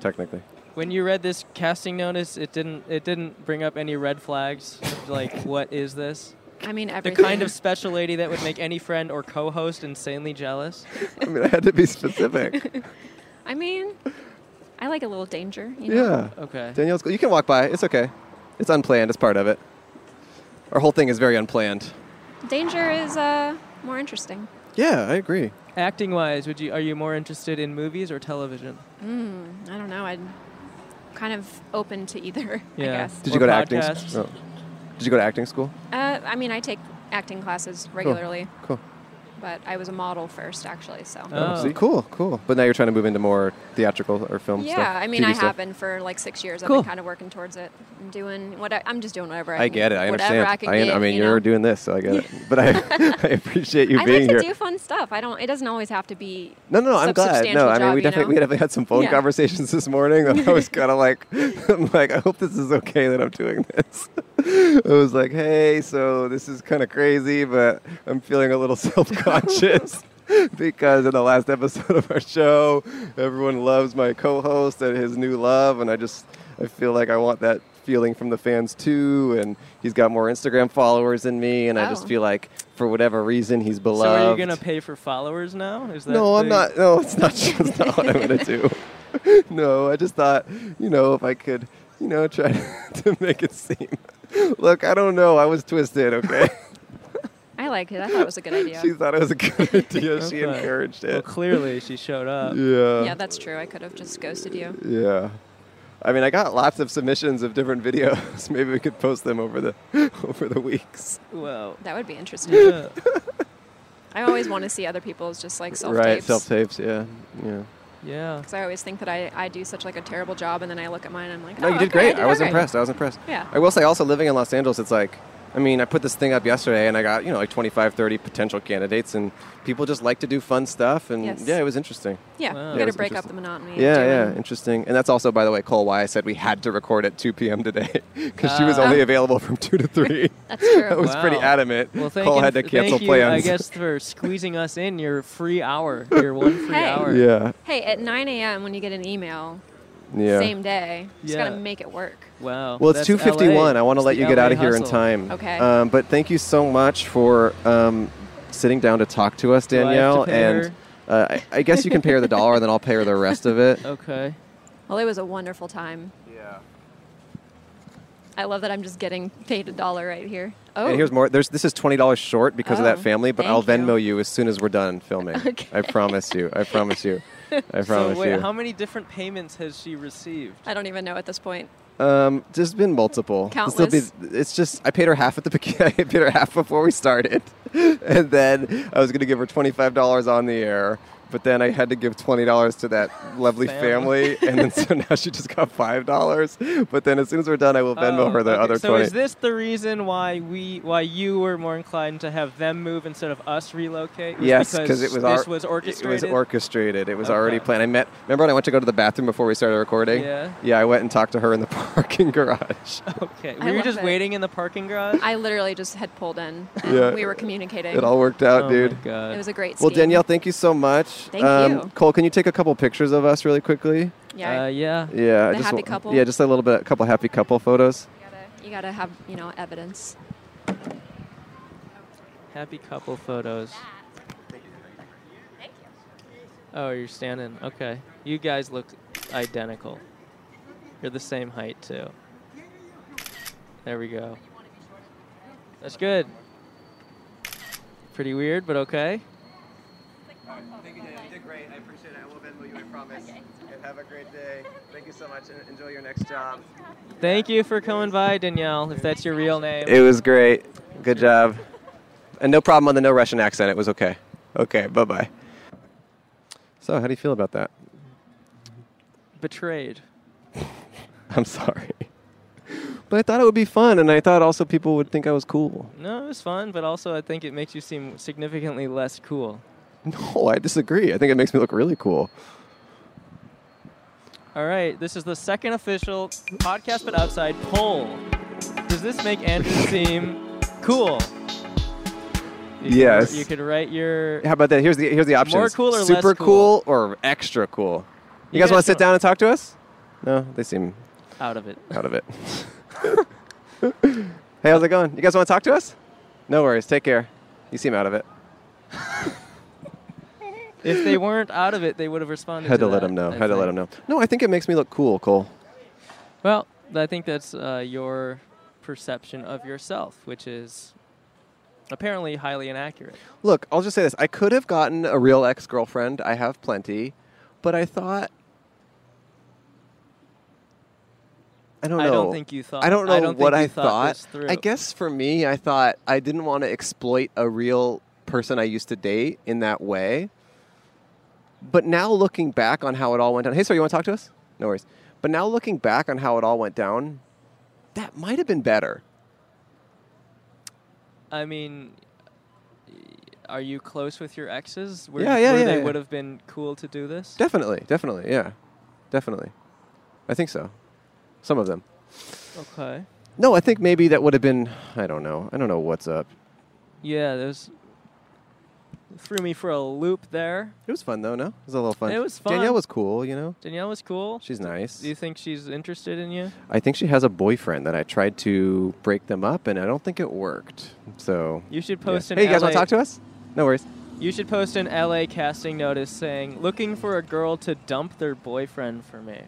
Speaker 2: Technically.
Speaker 1: When you read this casting notice, it didn't it didn't bring up any red flags. like, what is this?
Speaker 7: I mean,
Speaker 1: The
Speaker 7: everything.
Speaker 1: kind of special lady that would make any friend or co-host insanely jealous.
Speaker 2: I mean, I had to be specific.
Speaker 7: I mean, I like a little danger. You know?
Speaker 2: yeah.
Speaker 1: Okay.
Speaker 2: Danielle's. You can walk by. It's okay. It's unplanned. It's part of it. Our whole thing is very unplanned.
Speaker 7: Danger is uh, more interesting.
Speaker 2: Yeah, I agree.
Speaker 1: Acting wise, would you are you more interested in movies or television?
Speaker 7: I don't know. I'm kind of open to either. I
Speaker 1: Yeah.
Speaker 7: guess.
Speaker 2: Did
Speaker 1: Or
Speaker 2: you go to acting?
Speaker 1: podcasts.
Speaker 2: oh. Did you go to acting school?
Speaker 7: Uh, I mean, I take acting classes regularly,
Speaker 2: Cool.
Speaker 7: but I was a model first, actually. So.
Speaker 1: Oh.
Speaker 2: See, cool, cool. But now you're trying to move into more theatrical or film
Speaker 7: yeah,
Speaker 2: stuff.
Speaker 7: I mean,
Speaker 2: TV
Speaker 7: I
Speaker 2: stuff.
Speaker 7: have been for like six years. I've
Speaker 1: Cool.
Speaker 7: been kind of working towards it. I'm doing what I, I'm just doing whatever I.
Speaker 2: I
Speaker 7: can-
Speaker 2: get it. I
Speaker 7: whatever
Speaker 2: understand.
Speaker 7: I can
Speaker 2: I,
Speaker 7: get,
Speaker 2: I mean,
Speaker 7: you
Speaker 2: you're
Speaker 7: know?
Speaker 2: doing this, so I get it. But I, I appreciate you
Speaker 7: I
Speaker 2: being
Speaker 7: like
Speaker 2: here.
Speaker 7: to do fun stuff. I don't. It doesn't always have to be.
Speaker 2: no, no, no, I'm
Speaker 7: sub-
Speaker 2: glad.
Speaker 7: substantial
Speaker 2: No, I mean,
Speaker 7: job,
Speaker 2: we
Speaker 7: you
Speaker 2: definitely, we
Speaker 7: know?
Speaker 2: definitely had some phone
Speaker 7: Yeah.
Speaker 2: conversations this morning that I was kind of like, I'm like, I hope this is okay that I'm doing this. It was like, hey, so this is kind of crazy, but I'm feeling a little self-conscious. Because in the last episode of our show, everyone loves my co-host and his new love, and I just I feel like I want that feeling from the fans too. And he's got more Instagram followers than me, and I just
Speaker 7: Oh.
Speaker 2: feel like for whatever reason he's beloved.
Speaker 1: So are you gonna pay for followers now? Is that
Speaker 2: No, I'm
Speaker 1: the-
Speaker 2: not. No, it's not. That's not what I'm gonna do. No, I just thought, you know, if I could, you know, try to make it seem. Look, I don't know. I was twisted. Okay,
Speaker 7: I liked it. I thought it was a good idea.
Speaker 2: she thought it was a good idea. She
Speaker 1: Okay.
Speaker 2: encouraged
Speaker 1: Well,
Speaker 2: it.
Speaker 1: clearly she showed up.
Speaker 2: Yeah.
Speaker 7: yeah, that's true. I could have just ghosted you.
Speaker 2: Yeah. I mean, I got lots of submissions of different videos. Maybe we could post them over the over the weeks.
Speaker 1: Well.
Speaker 7: That would be interesting.
Speaker 1: yeah.
Speaker 7: I always want to see other people's just like self
Speaker 2: Right,
Speaker 7: tapes.
Speaker 2: self tapes. Yeah, yeah.
Speaker 1: yeah.
Speaker 7: Because I always think that I, I do such like a terrible job, and then I look at mine and I'm like,
Speaker 2: No,
Speaker 7: oh,
Speaker 2: you did
Speaker 7: okay,
Speaker 2: great. I was
Speaker 7: all right."
Speaker 2: impressed. I was impressed.
Speaker 7: Yeah.
Speaker 2: I will say also living in Los Angeles, it's like, I mean, I put this thing up yesterday and I got, you know, like 25, 30 potential candidates and people just like to do fun stuff. And
Speaker 7: Yes.
Speaker 2: yeah, it was interesting.
Speaker 7: Yeah,
Speaker 1: Wow.
Speaker 7: you
Speaker 1: Yeah,
Speaker 7: got
Speaker 2: it's
Speaker 7: to break up
Speaker 2: interesting.
Speaker 7: the monotony. of
Speaker 2: Yeah,
Speaker 7: doing-
Speaker 2: yeah, interesting. And that's also, by the way, Cole, why I said we had to record at 2 p.m. today because she was
Speaker 1: Ah.
Speaker 7: Oh.
Speaker 2: only available from 2 to 3.
Speaker 7: That's true.
Speaker 2: I was pretty
Speaker 1: Wow.
Speaker 2: adamant.
Speaker 1: Well, thank
Speaker 2: Cole
Speaker 1: you,
Speaker 2: had to
Speaker 1: f-
Speaker 2: cancel
Speaker 1: thank you,
Speaker 2: plans.
Speaker 1: I guess for squeezing us in your free hour, your one free
Speaker 7: Hey.
Speaker 1: hour.
Speaker 2: Yeah,
Speaker 7: hey, at 9 a.m. when you get an email,
Speaker 2: yeah.
Speaker 7: same day, you just got
Speaker 1: Yeah.
Speaker 7: to make it work.
Speaker 1: Wow.
Speaker 2: Well, it's
Speaker 1: that's LA.
Speaker 2: 2:51. I want to
Speaker 1: It's
Speaker 2: let
Speaker 1: the
Speaker 2: you get
Speaker 1: LA
Speaker 2: out of here in
Speaker 1: hustle.
Speaker 2: time.
Speaker 7: Okay.
Speaker 2: Um, but thank you so much for um, sitting down to talk to us,
Speaker 1: I have to
Speaker 2: Danielle.
Speaker 1: pay
Speaker 2: and uh, I, I guess you can pay her the dollar, and then I'll pay her the rest of it.
Speaker 1: Okay.
Speaker 7: Well, it was a wonderful time.
Speaker 2: Yeah.
Speaker 7: I love that I'm just getting paid a dollar right here. Oh,
Speaker 2: And here's more. There's this is twenty dollars short because of that
Speaker 7: Oh,
Speaker 2: family, but
Speaker 7: thank
Speaker 2: I'll Venmo you. as soon as we're done filming.
Speaker 7: Okay.
Speaker 2: I promise you. I promise you. I
Speaker 1: So
Speaker 2: promise
Speaker 1: wait,
Speaker 2: you.
Speaker 1: how many different payments has she received?
Speaker 7: I don't even know at this point.
Speaker 2: Um, there's been multiple. This will
Speaker 7: Countless.
Speaker 2: it's just I paid her half at the beginning. I paid her half before we started, and then I was going to give her twenty five dollars on the air, but then I had to give twenty dollars to that lovely
Speaker 1: Family.
Speaker 2: family, and then so now she just got five dollars. But then as soon as we're done, I will Venmo
Speaker 1: Oh,
Speaker 2: her the
Speaker 1: okay.
Speaker 2: other
Speaker 1: so
Speaker 2: twenty.
Speaker 1: is this the reason why we, why you were more inclined to have them move instead of us relocate? Was
Speaker 2: yes,
Speaker 1: because
Speaker 2: because it was
Speaker 1: this
Speaker 2: our-
Speaker 1: was orchestrated.
Speaker 2: It was orchestrated. It was
Speaker 1: Okay.
Speaker 2: already planned. I met. Remember when I went to go to the bathroom before we started recording?
Speaker 1: Yeah.
Speaker 2: Yeah, I went and talked to her in the parking garage.
Speaker 1: okay.
Speaker 7: I
Speaker 1: Were you
Speaker 7: love
Speaker 1: just
Speaker 7: it.
Speaker 1: waiting in the parking garage?
Speaker 7: I literally just had pulled in. and
Speaker 2: Yeah.
Speaker 7: We were communicating.
Speaker 2: It all worked out,
Speaker 1: oh
Speaker 2: dude.
Speaker 1: My God.
Speaker 7: It was a great.
Speaker 2: Well,
Speaker 7: scheme.
Speaker 2: Danielle, thank you so much. Um,
Speaker 7: Thank you.
Speaker 2: Cole, can you take a couple pictures of us really quickly?
Speaker 7: Yeah.
Speaker 1: Uh, yeah.
Speaker 2: Yeah, I
Speaker 7: The happy
Speaker 2: wa-
Speaker 7: couple?
Speaker 2: Yeah, just a little bit, a couple happy couple photos.
Speaker 7: you, gotta, you gotta have you know evidence.
Speaker 1: Happy couple photos. Oh, you're standing. Okay. You guys look identical. You're the same height, too. There we go. That's good. pretty weird, but okay.
Speaker 2: Thank you, Dana. You did great. I appreciate it. I will Venmo you, I promise. And have a great day. Thank you so much. and Enjoy your next job.
Speaker 1: Thank you for coming by, Danielle, if that's your real name.
Speaker 2: It was great. Good job. And no problem on the no Russian accent. It was okay. Okay, bye bye. So, how do you feel about that?
Speaker 1: Betrayed.
Speaker 2: I'm sorry. But I thought it would be fun, and I thought also people would think I was cool.
Speaker 1: No, it was fun, but also I think it makes you seem significantly less cool.
Speaker 7: Mm.
Speaker 2: No, I disagree. I think it makes me look really cool.
Speaker 1: All right, this is the second official podcast but outside poll. Does this make Andrew seem cool? You can-
Speaker 2: Yes.
Speaker 1: you could write your.
Speaker 2: How about that? Here's the here's the options.
Speaker 1: cool or less
Speaker 2: Super cool
Speaker 1: cool?
Speaker 2: or extra cool? You
Speaker 1: You
Speaker 2: guys want
Speaker 1: guys
Speaker 2: to sit
Speaker 1: go.
Speaker 2: down and talk to us? No, they seem
Speaker 1: out of it.
Speaker 2: out of it. hey, how's it going? You guys want to talk to us? No worries. Take care. You seem out of it.
Speaker 1: If they weren't out of it, they would have responded.
Speaker 2: Had to
Speaker 1: that,
Speaker 2: let them know.
Speaker 1: I
Speaker 2: Had to let
Speaker 1: think.
Speaker 2: them know. No, I think it makes me look cool, Cole.
Speaker 1: Well, I think that's uh, your perception of yourself, which is apparently highly inaccurate.
Speaker 2: Look, I'll just say this. I could have gotten a real ex girlfriend. I have plenty. But I thought. I don't know.
Speaker 1: I don't think you thought.
Speaker 2: I don't know
Speaker 1: think
Speaker 2: what
Speaker 1: you
Speaker 2: I
Speaker 1: thought.
Speaker 2: thought.
Speaker 1: this through.
Speaker 2: I guess for me, I thought I didn't want to exploit a real person I used to date in that way. But now looking back on how it all went down, hey, sir, you want to talk to us? No worries. But now looking back on how it all went down, that might have been better.
Speaker 1: I mean, are you close with your exes? Where,
Speaker 2: Yeah, yeah,
Speaker 1: where
Speaker 2: yeah,
Speaker 1: they
Speaker 2: yeah.
Speaker 1: would have been cool to do this.
Speaker 2: Definitely, definitely, yeah, definitely. I think so. Some of them.
Speaker 1: okay.
Speaker 2: No, I think maybe that would have been. I don't know. I don't know what's up.
Speaker 1: Yeah, there's threw me for a loop there.
Speaker 2: It was fun though. No, it was a little fun.
Speaker 1: It was fun.
Speaker 2: Danielle was cool. You know,
Speaker 1: Danielle was cool.
Speaker 2: she's nice.
Speaker 1: Do you think she's interested in you?
Speaker 2: I think she has a boyfriend that I tried to break them up, and I don't think it worked. So,
Speaker 1: You should post
Speaker 2: yeah.
Speaker 1: an
Speaker 2: hey, you guys
Speaker 1: LA
Speaker 2: want to talk to us? No worries.
Speaker 1: You should post an LA casting notice saying, looking for a girl to dump their boyfriend for me.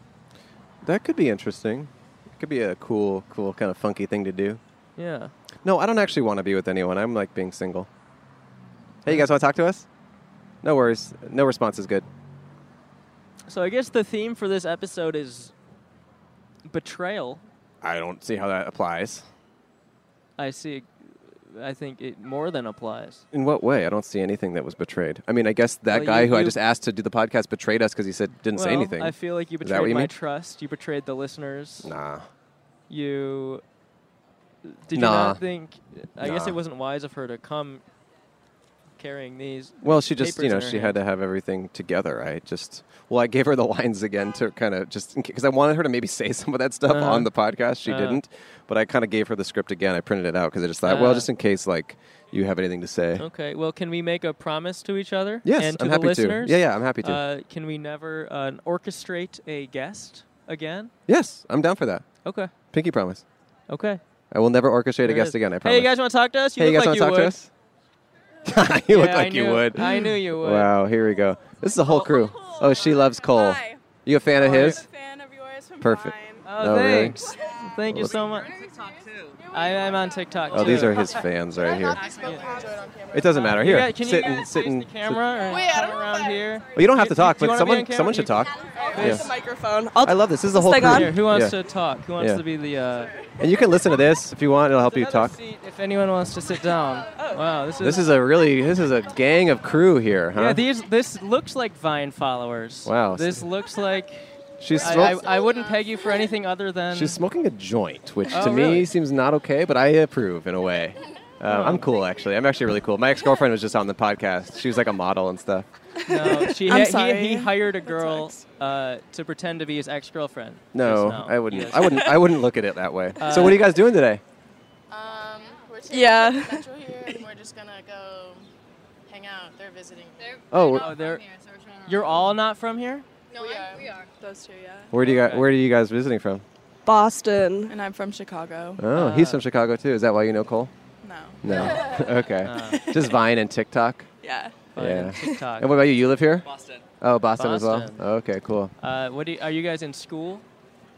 Speaker 2: That could be interesting. It could be a cool, cool kind of funky thing to do.
Speaker 1: Yeah.
Speaker 2: No, I don't actually want to be with anyone. I'm like being single. Hey, you guys want to talk to us? No worries. No response is good.
Speaker 1: So I guess the theme for this episode is betrayal.
Speaker 2: I don't see how that applies.
Speaker 1: I see. I think it more than applies.
Speaker 2: In what way? I don't see anything that was betrayed. I mean, I guess that
Speaker 1: Well,
Speaker 2: guy
Speaker 1: you-
Speaker 2: who I
Speaker 1: you-
Speaker 2: just asked to do the podcast betrayed us because he said didn't say
Speaker 1: Well,
Speaker 2: anything.
Speaker 1: I feel like you
Speaker 2: Is that what
Speaker 1: betrayed
Speaker 2: you
Speaker 1: my
Speaker 2: mean?
Speaker 1: trust. You betrayed the listeners.
Speaker 2: nah.
Speaker 1: You did you
Speaker 2: Nah.
Speaker 1: not think? I guess
Speaker 2: Nah.
Speaker 1: it wasn't wise of her to come carrying these.
Speaker 2: Well, she just,
Speaker 1: papers
Speaker 2: you
Speaker 1: in
Speaker 2: know,
Speaker 1: her
Speaker 2: she had to have everything together. I just, well, I gave her the lines again to kind of just, because I wanted her to maybe say some of that stuff
Speaker 1: Uh-huh.
Speaker 2: on the podcast. She
Speaker 1: Uh.
Speaker 2: didn't, but I kind of gave her the script again. I printed it out because I just thought,
Speaker 1: Uh.
Speaker 2: well, just in case, like, you have anything to say.
Speaker 1: Okay. Well, can we make a promise to each other?
Speaker 2: Yes,
Speaker 1: Oh, and to
Speaker 2: I'm
Speaker 1: the
Speaker 2: happy
Speaker 1: listeners?
Speaker 2: to. Yeah, yeah, I'm happy to.
Speaker 1: Uh, can we never uh, orchestrate a guest again?
Speaker 2: yes, I'm down for that.
Speaker 1: Okay.
Speaker 2: Pinky promise.
Speaker 1: Okay.
Speaker 2: I will never orchestrate
Speaker 1: There
Speaker 2: a
Speaker 1: it
Speaker 2: guest
Speaker 1: is.
Speaker 2: again. I
Speaker 1: Hey,
Speaker 2: promise.
Speaker 1: you guys want to talk to us? You
Speaker 2: Hey,
Speaker 1: look
Speaker 2: you
Speaker 1: like
Speaker 2: guys
Speaker 1: you
Speaker 2: want
Speaker 1: would.
Speaker 2: to talk to us? you look
Speaker 1: Yeah, I
Speaker 2: like you
Speaker 1: knew-
Speaker 2: would.
Speaker 1: I knew you would.
Speaker 2: Wow, here we go. This is the whole crew. Oh, she loves Cole.
Speaker 5: Hi.
Speaker 2: You a fan of his?
Speaker 5: fan of yours from
Speaker 2: Perfect.
Speaker 1: Oh,
Speaker 2: No, really?
Speaker 1: thanks. Thank you so much. Oh. I am on TikTok.
Speaker 2: Oh,
Speaker 1: too.
Speaker 2: these are his fans right here. It doesn't matter.
Speaker 1: You
Speaker 2: Here,
Speaker 1: guys- can
Speaker 2: sit
Speaker 1: you
Speaker 2: and
Speaker 1: guys
Speaker 2: sit
Speaker 1: face
Speaker 2: and
Speaker 1: the camera or come around here?
Speaker 2: Well, you don't have to
Speaker 1: Do you-
Speaker 2: talk,
Speaker 1: do you
Speaker 2: but
Speaker 1: wanna be on
Speaker 2: someone
Speaker 1: camera?
Speaker 2: someone should talk.
Speaker 5: There's
Speaker 2: Yeah.
Speaker 5: the microphone. I'll
Speaker 2: I love this. This is the whole
Speaker 5: thing
Speaker 2: crew.
Speaker 5: on?
Speaker 1: Here, who wants
Speaker 2: Yeah.
Speaker 1: to talk? Who wants
Speaker 2: Yeah.
Speaker 1: to be the? Uh,
Speaker 2: And you can listen to this if you want. It'll help you
Speaker 1: another
Speaker 2: talk.
Speaker 1: seat if anyone wants to sit down. Oh. Wow, this is.
Speaker 2: This is a really this is a gang of crew here, huh?
Speaker 1: yeah, these this looks like Vine followers.
Speaker 2: Wow.
Speaker 1: This looks like
Speaker 2: she's
Speaker 1: I,
Speaker 2: smok-
Speaker 1: I, I wouldn't peg you for anything other than
Speaker 2: she's smoking a joint, which
Speaker 1: Oh,
Speaker 2: to
Speaker 1: really? Oh.
Speaker 2: me seems not okay, but I approve in a way. Um, I'm cool actually. I'm actually really cool. My ex girlfriend was just on the podcast. She was like a model and stuff.
Speaker 1: no. She
Speaker 5: I'm
Speaker 1: ha-
Speaker 5: sorry.
Speaker 1: He, he hired a girl uh, to pretend to be his ex girlfriend.
Speaker 2: No, I wouldn't. I wouldn't. I wouldn't look at it that way. so
Speaker 1: Uh,
Speaker 2: what are you guys doing today?
Speaker 8: Um, we're taking
Speaker 5: Yeah.
Speaker 8: yeah. Central here, and we're just gonna go hang out. They're visiting.
Speaker 2: Oh,
Speaker 1: Oh,
Speaker 2: where,
Speaker 1: there. You're all not from here.
Speaker 8: no, we are.
Speaker 5: Those two, yeah.
Speaker 2: where do you guys, where are you guys visiting from?
Speaker 5: Boston. And I'm from Chicago.
Speaker 2: Oh, he's from Chicago too. Is that why you know Cole?
Speaker 5: No.
Speaker 2: No. okay.
Speaker 1: Uh,
Speaker 2: Just Vine and TikTok.
Speaker 5: Yeah.
Speaker 1: Vine and TikTok.
Speaker 2: And what about you? You live here?
Speaker 9: Boston.
Speaker 2: Oh, Boston, as
Speaker 1: Boston.
Speaker 2: well. Okay, cool.
Speaker 1: Uh, what do you, are you guys in school,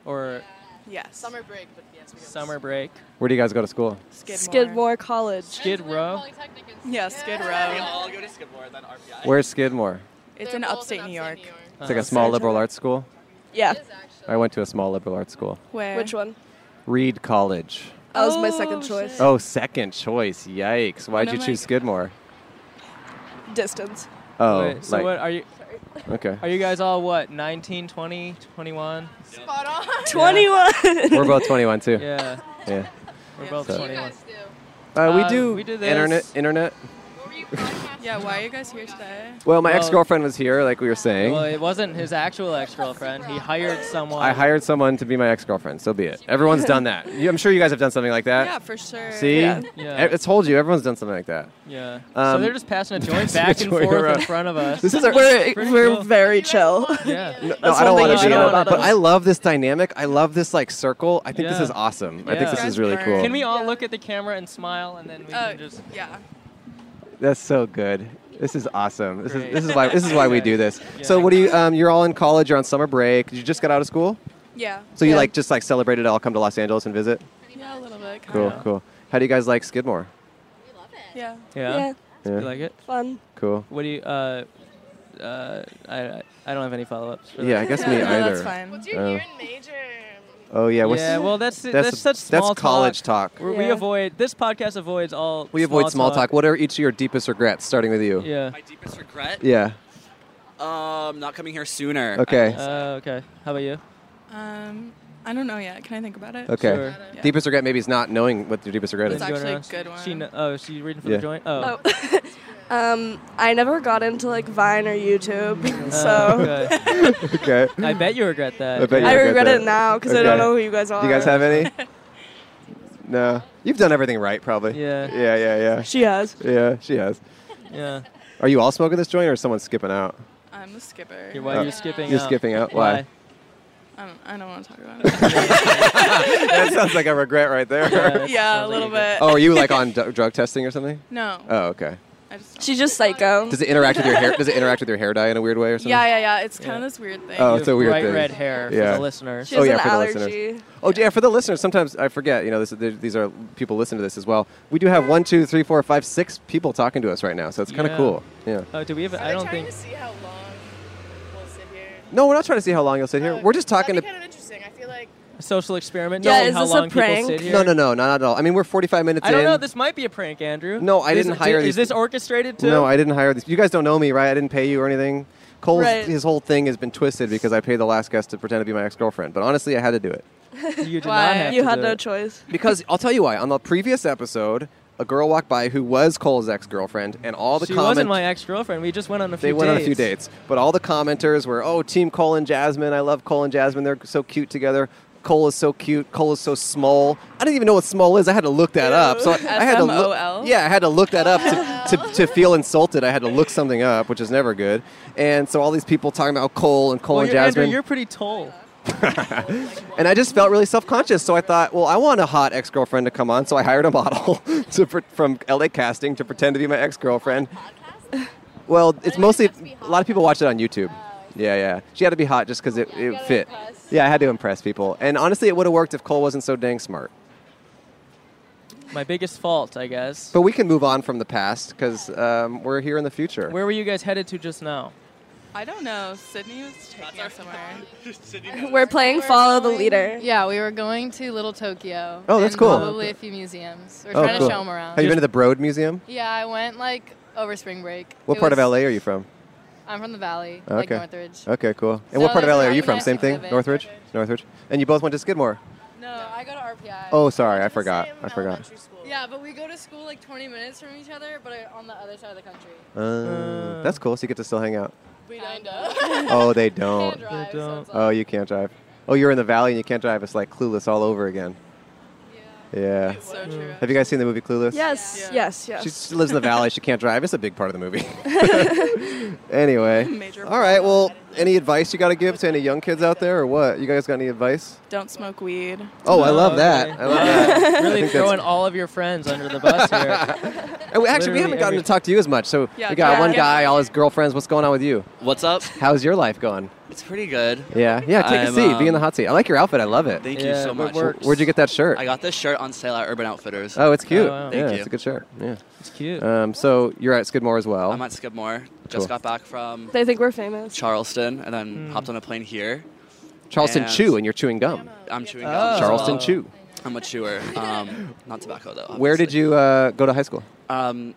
Speaker 1: or
Speaker 5: Yes.
Speaker 8: Summer break, but yes, we go. to
Speaker 1: Summer break.
Speaker 2: Where do you guys go to school?
Speaker 5: Skidmore.
Speaker 9: Skidmore College.
Speaker 1: Skid Row.
Speaker 5: Yeah, Skid Row.
Speaker 6: all go to Skidmore, then RPI.
Speaker 2: Where's Skidmore?
Speaker 5: It's
Speaker 8: They're
Speaker 5: in
Speaker 8: both
Speaker 5: upstate New York.
Speaker 2: It's
Speaker 1: Uh,
Speaker 2: like a small liberal arts school.
Speaker 9: Yeah.
Speaker 2: I went to a small liberal arts school.
Speaker 5: Where?
Speaker 9: Which one?
Speaker 2: Reed College.
Speaker 9: That was my
Speaker 5: Oh,
Speaker 9: second choice.
Speaker 2: Oh, second choice. Yikes. Why'd
Speaker 5: One
Speaker 2: you
Speaker 5: of my-
Speaker 2: choose Skidmore?
Speaker 9: Distance.
Speaker 2: Oh,
Speaker 1: Wait, so
Speaker 2: like-
Speaker 1: what are you?
Speaker 2: okay.
Speaker 1: Are you guys all what? 19, 20, 21?
Speaker 8: Spot on.
Speaker 9: 21.
Speaker 2: We're both 21 too.
Speaker 1: Yeah,
Speaker 2: Yeah.
Speaker 1: we're both
Speaker 2: So-
Speaker 1: 21.
Speaker 2: Uh, we
Speaker 1: Uh,
Speaker 2: do
Speaker 1: we do this.
Speaker 2: internet. Internet.
Speaker 5: Yeah, why are you guys here today?
Speaker 2: Well, my
Speaker 1: Well-
Speaker 2: ex-girlfriend was here, like we were saying.
Speaker 1: Well, it wasn't his actual ex-girlfriend. He hired someone.
Speaker 2: I hired someone to be my ex-girlfriend. So be it. Everyone's done that. You- I'm sure you guys have done something like that.
Speaker 5: Yeah, for sure.
Speaker 2: See,
Speaker 5: Yeah.
Speaker 1: Yeah.
Speaker 2: I, I told you, everyone's done something like that.
Speaker 1: Yeah. so
Speaker 2: Um,
Speaker 1: they're just passing a joint
Speaker 2: passing
Speaker 1: back
Speaker 2: a
Speaker 1: and
Speaker 2: joint
Speaker 1: forth in
Speaker 2: around.
Speaker 1: front of us.
Speaker 2: This is our.
Speaker 9: we're
Speaker 1: Pretty
Speaker 9: we're
Speaker 1: cool.
Speaker 9: very chill.
Speaker 1: Yeah.
Speaker 2: No,
Speaker 9: That's
Speaker 2: I don't
Speaker 9: one thing
Speaker 2: want to
Speaker 9: you
Speaker 2: be
Speaker 9: know
Speaker 2: that,
Speaker 9: about
Speaker 2: but
Speaker 9: us.
Speaker 2: I love this dynamic. I love this like circle. I think this
Speaker 1: Yeah.
Speaker 2: is awesome. I think
Speaker 1: Yeah.
Speaker 2: this is really
Speaker 5: Guys
Speaker 2: cool.
Speaker 5: burn.
Speaker 1: Can we all look at the camera and smile, and then we
Speaker 5: Uh,
Speaker 1: can just
Speaker 5: yeah.
Speaker 2: That's so good. This is awesome. This
Speaker 1: Great.
Speaker 2: is this is why this is why we do this. So
Speaker 1: Yeah.
Speaker 2: what do you? Um, you're all in college. You're on summer break. You just got out of school.
Speaker 5: Yeah.
Speaker 2: So you
Speaker 9: Yeah.
Speaker 2: like just like celebrated all come to Los Angeles and visit.
Speaker 5: Yeah, a little bit. Kind
Speaker 2: Cool,
Speaker 1: Yeah.
Speaker 2: cool. How do you guys like Skidmore?
Speaker 5: Yeah.
Speaker 1: yeah?
Speaker 9: yeah.
Speaker 2: Yeah,
Speaker 1: You like it?
Speaker 9: Fun.
Speaker 2: cool.
Speaker 1: What do you? Uh, uh, I I don't have any follow-ups. For
Speaker 2: Yeah, I
Speaker 1: that.
Speaker 2: guess me
Speaker 5: no,
Speaker 2: either.
Speaker 5: That's fine.
Speaker 8: What's your
Speaker 2: Oh.
Speaker 8: year and major?
Speaker 2: Oh yeah, what's
Speaker 1: yeah. Well, that's that's,
Speaker 2: that's
Speaker 1: such small
Speaker 2: that's college
Speaker 1: talk.
Speaker 2: talk.
Speaker 1: Where We
Speaker 9: Yeah.
Speaker 1: avoid this podcast avoids all.
Speaker 2: We avoid small talk. What are each of your deepest regrets, starting with you?
Speaker 1: Yeah.
Speaker 10: My deepest regret?
Speaker 2: Yeah.
Speaker 10: Um, not coming here sooner.
Speaker 2: Okay.
Speaker 1: Uh, okay. How about you?
Speaker 5: Um, I don't know yet. Can I think about it?
Speaker 2: okay.
Speaker 1: Sure.
Speaker 5: Yeah.
Speaker 2: Deepest regret maybe is not knowing what your deepest regret
Speaker 5: That's
Speaker 2: is.
Speaker 1: Anyone
Speaker 5: actually a
Speaker 1: else?
Speaker 5: good one.
Speaker 1: She kn- oh, she reading for
Speaker 2: Yeah.
Speaker 1: the joint. Oh.
Speaker 9: Oh. um, I never got into like Vine or YouTube,
Speaker 1: Uh,
Speaker 9: so
Speaker 1: okay.
Speaker 2: okay.
Speaker 1: I bet you regret that.
Speaker 2: I bet you
Speaker 9: I
Speaker 2: regret
Speaker 9: regret
Speaker 2: that.
Speaker 9: it now because I don't
Speaker 2: Okay.
Speaker 9: know who you guys are.
Speaker 2: Do you guys have any? no. You've done everything right, probably.
Speaker 1: Yeah.
Speaker 2: Yeah, yeah,
Speaker 9: She has.
Speaker 2: yeah. Yeah, she has.
Speaker 1: Yeah.
Speaker 2: Are you all smoking this joint, or is someone skipping out?
Speaker 5: I'm the skipper.
Speaker 1: Okay, Why
Speaker 2: Oh.
Speaker 1: you're skipping?
Speaker 2: You're
Speaker 1: out.
Speaker 2: skipping out.
Speaker 1: Why?
Speaker 2: Why?
Speaker 5: I don't, I don't want to talk about it.
Speaker 2: that sounds like a regret right there.
Speaker 1: that
Speaker 5: yeah, a
Speaker 1: sounds like
Speaker 5: little
Speaker 1: good-
Speaker 5: bit.
Speaker 2: oh, are you like on d- drug testing or something?
Speaker 5: No.
Speaker 2: Oh, okay.
Speaker 5: I just don't.
Speaker 9: She's just psycho.
Speaker 2: Does it interact with your hair? Does it interact with your hair dye in a weird way or something?
Speaker 5: Yeah, yeah, yeah. It's
Speaker 1: Yeah.
Speaker 5: kind of this weird thing.
Speaker 2: Oh,
Speaker 1: you
Speaker 2: it's
Speaker 1: have
Speaker 2: a weird
Speaker 1: bright
Speaker 2: thing.
Speaker 1: red hair
Speaker 2: Yeah.
Speaker 1: for the listeners.
Speaker 9: She has
Speaker 2: Oh, yeah,
Speaker 9: an
Speaker 2: for the listeners.
Speaker 9: allergy.
Speaker 2: Oh, yeah. For the listeners, sometimes I forget. You know, this, th- these are people listen to this as well. We do have one, two, three, four, five, six people talking to us right now, so it's kind of
Speaker 1: Yeah.
Speaker 2: cool. Yeah.
Speaker 1: Oh, do we have?
Speaker 8: Are
Speaker 1: I
Speaker 8: they
Speaker 1: don't
Speaker 8: trying
Speaker 1: think.
Speaker 8: to see how long we'll sit here?
Speaker 2: No, we're not trying to see how long you'll sit here. We're just talking
Speaker 8: That'd
Speaker 2: to.
Speaker 8: be kind of interesting. I feel like
Speaker 1: A social experiment.
Speaker 9: Yeah,
Speaker 1: knowing
Speaker 9: is
Speaker 1: how
Speaker 9: this a
Speaker 1: long people
Speaker 9: prank?
Speaker 1: sit here.
Speaker 2: No, no, no, not at all. I mean, we're 45 minutes
Speaker 1: I don't
Speaker 2: in.
Speaker 1: know. This might be a prank, Andrew.
Speaker 2: No, I
Speaker 1: This-
Speaker 2: didn't
Speaker 1: di-
Speaker 2: hire
Speaker 1: Is
Speaker 2: these
Speaker 1: this
Speaker 2: people.
Speaker 1: orchestrated too?
Speaker 2: No, I didn't hire these. You guys don't know me, right? I didn't pay you or anything. Cole's
Speaker 9: Right.
Speaker 2: his whole thing has been twisted because I paid the last guest to pretend to be my ex-girlfriend. But honestly, I had to do it.
Speaker 1: You did
Speaker 5: Why?
Speaker 1: not have
Speaker 9: You
Speaker 1: to
Speaker 9: had
Speaker 1: do
Speaker 9: no
Speaker 1: it.
Speaker 9: choice.
Speaker 2: Because I'll tell you why. On the previous episode, a girl walked by who was Cole's ex-girlfriend, and all the
Speaker 1: She
Speaker 2: comments
Speaker 1: wasn't my ex-girlfriend. We just went on a few.
Speaker 2: they went
Speaker 1: dates.
Speaker 2: on a few dates, but all the commenters were, "Oh, Team Cole and Jasmine. I love Cole and Jasmine. They're so cute together." Cole is so cute. Cole is so small. I didn't even know what small is. I had to look that up. So I, I had to
Speaker 5: SMOL?
Speaker 2: look. Yeah, I had to look that up to, to, to feel insulted. I had to look something up, which is never good. And so all these people talking about Cole and Cole
Speaker 1: Well,
Speaker 2: and
Speaker 1: you're,
Speaker 2: Jasmine.
Speaker 1: Andrew, you're pretty tall.
Speaker 2: And I just felt really self-conscious, so I thought, well, I want a hot ex-girlfriend to come on, so I hired a model to, pre- from LA casting to pretend to be my ex-girlfriend. Well, it's mostly a lot of people watch it on YouTube. Yeah, yeah. She had to be hot just because it, it fit. Yeah, I had to impress people, and honestly, it would have worked if Cole wasn't so dang smart.
Speaker 1: My biggest fault, I guess.
Speaker 2: But we can move on from the past because um, we're here in the future.
Speaker 1: Where were you guys headed to just now?
Speaker 5: I don't know. Sydney was taking us somewhere.
Speaker 9: We're playing Follow the Leader.
Speaker 11: Yeah, we were going to Little Tokyo.
Speaker 2: Oh, that's
Speaker 11: and
Speaker 2: cool.
Speaker 11: Probably a few museums. We're
Speaker 2: oh,
Speaker 11: trying
Speaker 2: cool.
Speaker 11: to show them around.
Speaker 2: Have you been to the Broad Museum?
Speaker 11: yeah, I went like over spring break.
Speaker 2: What
Speaker 11: It
Speaker 2: part of
Speaker 11: was-
Speaker 2: LA are you from?
Speaker 11: I'm from the Valley, like
Speaker 2: Okay.
Speaker 11: Northridge.
Speaker 2: Okay, cool. And
Speaker 11: So
Speaker 2: what part of
Speaker 11: there's
Speaker 2: LA are
Speaker 11: a
Speaker 2: you from?
Speaker 11: nice
Speaker 2: Same thing,
Speaker 11: exhibit.
Speaker 2: Northridge, Northridge. And you both went to Skidmore.
Speaker 11: No, I go to RPI.
Speaker 2: Oh, sorry, I
Speaker 8: the
Speaker 2: forgot.
Speaker 8: same
Speaker 2: I forgot.
Speaker 8: elementary School.
Speaker 11: Yeah, but we go to school like 20 minutes from each other, but uh, on the other side of the country.
Speaker 2: Uh, that's cool. So you get to still hang out.
Speaker 11: We don't know.
Speaker 2: Oh, they don't.
Speaker 11: drive, So it's
Speaker 2: Oh,
Speaker 11: like,
Speaker 2: you can't drive. Oh, you're in the valley and you can't drive. It's like Clueless all over again. Yeah.
Speaker 12: Oh,
Speaker 5: It's so true.
Speaker 2: Have you guys seen the movie Clueless?
Speaker 9: Yes,
Speaker 5: Yeah.
Speaker 9: yes, yes.
Speaker 2: She, she lives in the valley. She can't drive. It's a big part of the movie. anyway.
Speaker 5: Major.
Speaker 2: All right. Well, any advice you got to give to any young kids out there or what? You guys got any advice?
Speaker 5: Don't smoke weed.
Speaker 2: Oh, I
Speaker 1: Oh,
Speaker 2: love that.
Speaker 1: okay.
Speaker 2: I love that.
Speaker 1: Really
Speaker 2: think that's-
Speaker 1: throwing all of your friends under the bus here.
Speaker 2: And we, actually, we
Speaker 1: Literally
Speaker 2: haven't gotten
Speaker 1: every-
Speaker 2: to talk to you as much. So
Speaker 5: Yeah,
Speaker 2: we got
Speaker 5: yeah.
Speaker 2: one guy, all his girlfriends. What's going on with you?
Speaker 10: What's up?
Speaker 2: How's your life going?
Speaker 10: It's pretty good.
Speaker 2: Yeah, yeah. Take a
Speaker 10: I'm,
Speaker 2: seat. Be in the
Speaker 10: um,
Speaker 2: hot seat. I like your outfit. I love it.
Speaker 10: Thank you so much.
Speaker 2: Wh- Where'd you get that shirt?
Speaker 10: I got this shirt on sale at Urban Outfitters.
Speaker 2: Oh, it's cute.
Speaker 10: Thank
Speaker 2: yeah,
Speaker 10: you.
Speaker 2: it's a good shirt. Yeah,
Speaker 1: it's cute.
Speaker 2: Um, so you're at Skidmore as well.
Speaker 10: I'm at Skidmore.
Speaker 2: Cool.
Speaker 10: Just got back from
Speaker 9: They think we're famous.
Speaker 10: Charleston and
Speaker 1: Hmm.
Speaker 10: then hopped on a plane here.
Speaker 2: Charleston
Speaker 10: And
Speaker 2: Chew, and you're chewing gum.
Speaker 10: I'm chewing
Speaker 2: Oh.
Speaker 10: gum. as
Speaker 2: Charleston
Speaker 10: well.
Speaker 2: Chew.
Speaker 10: I'm a chewer. Um, not tobacco though.
Speaker 2: Where did you uh, go to high school?
Speaker 10: Um,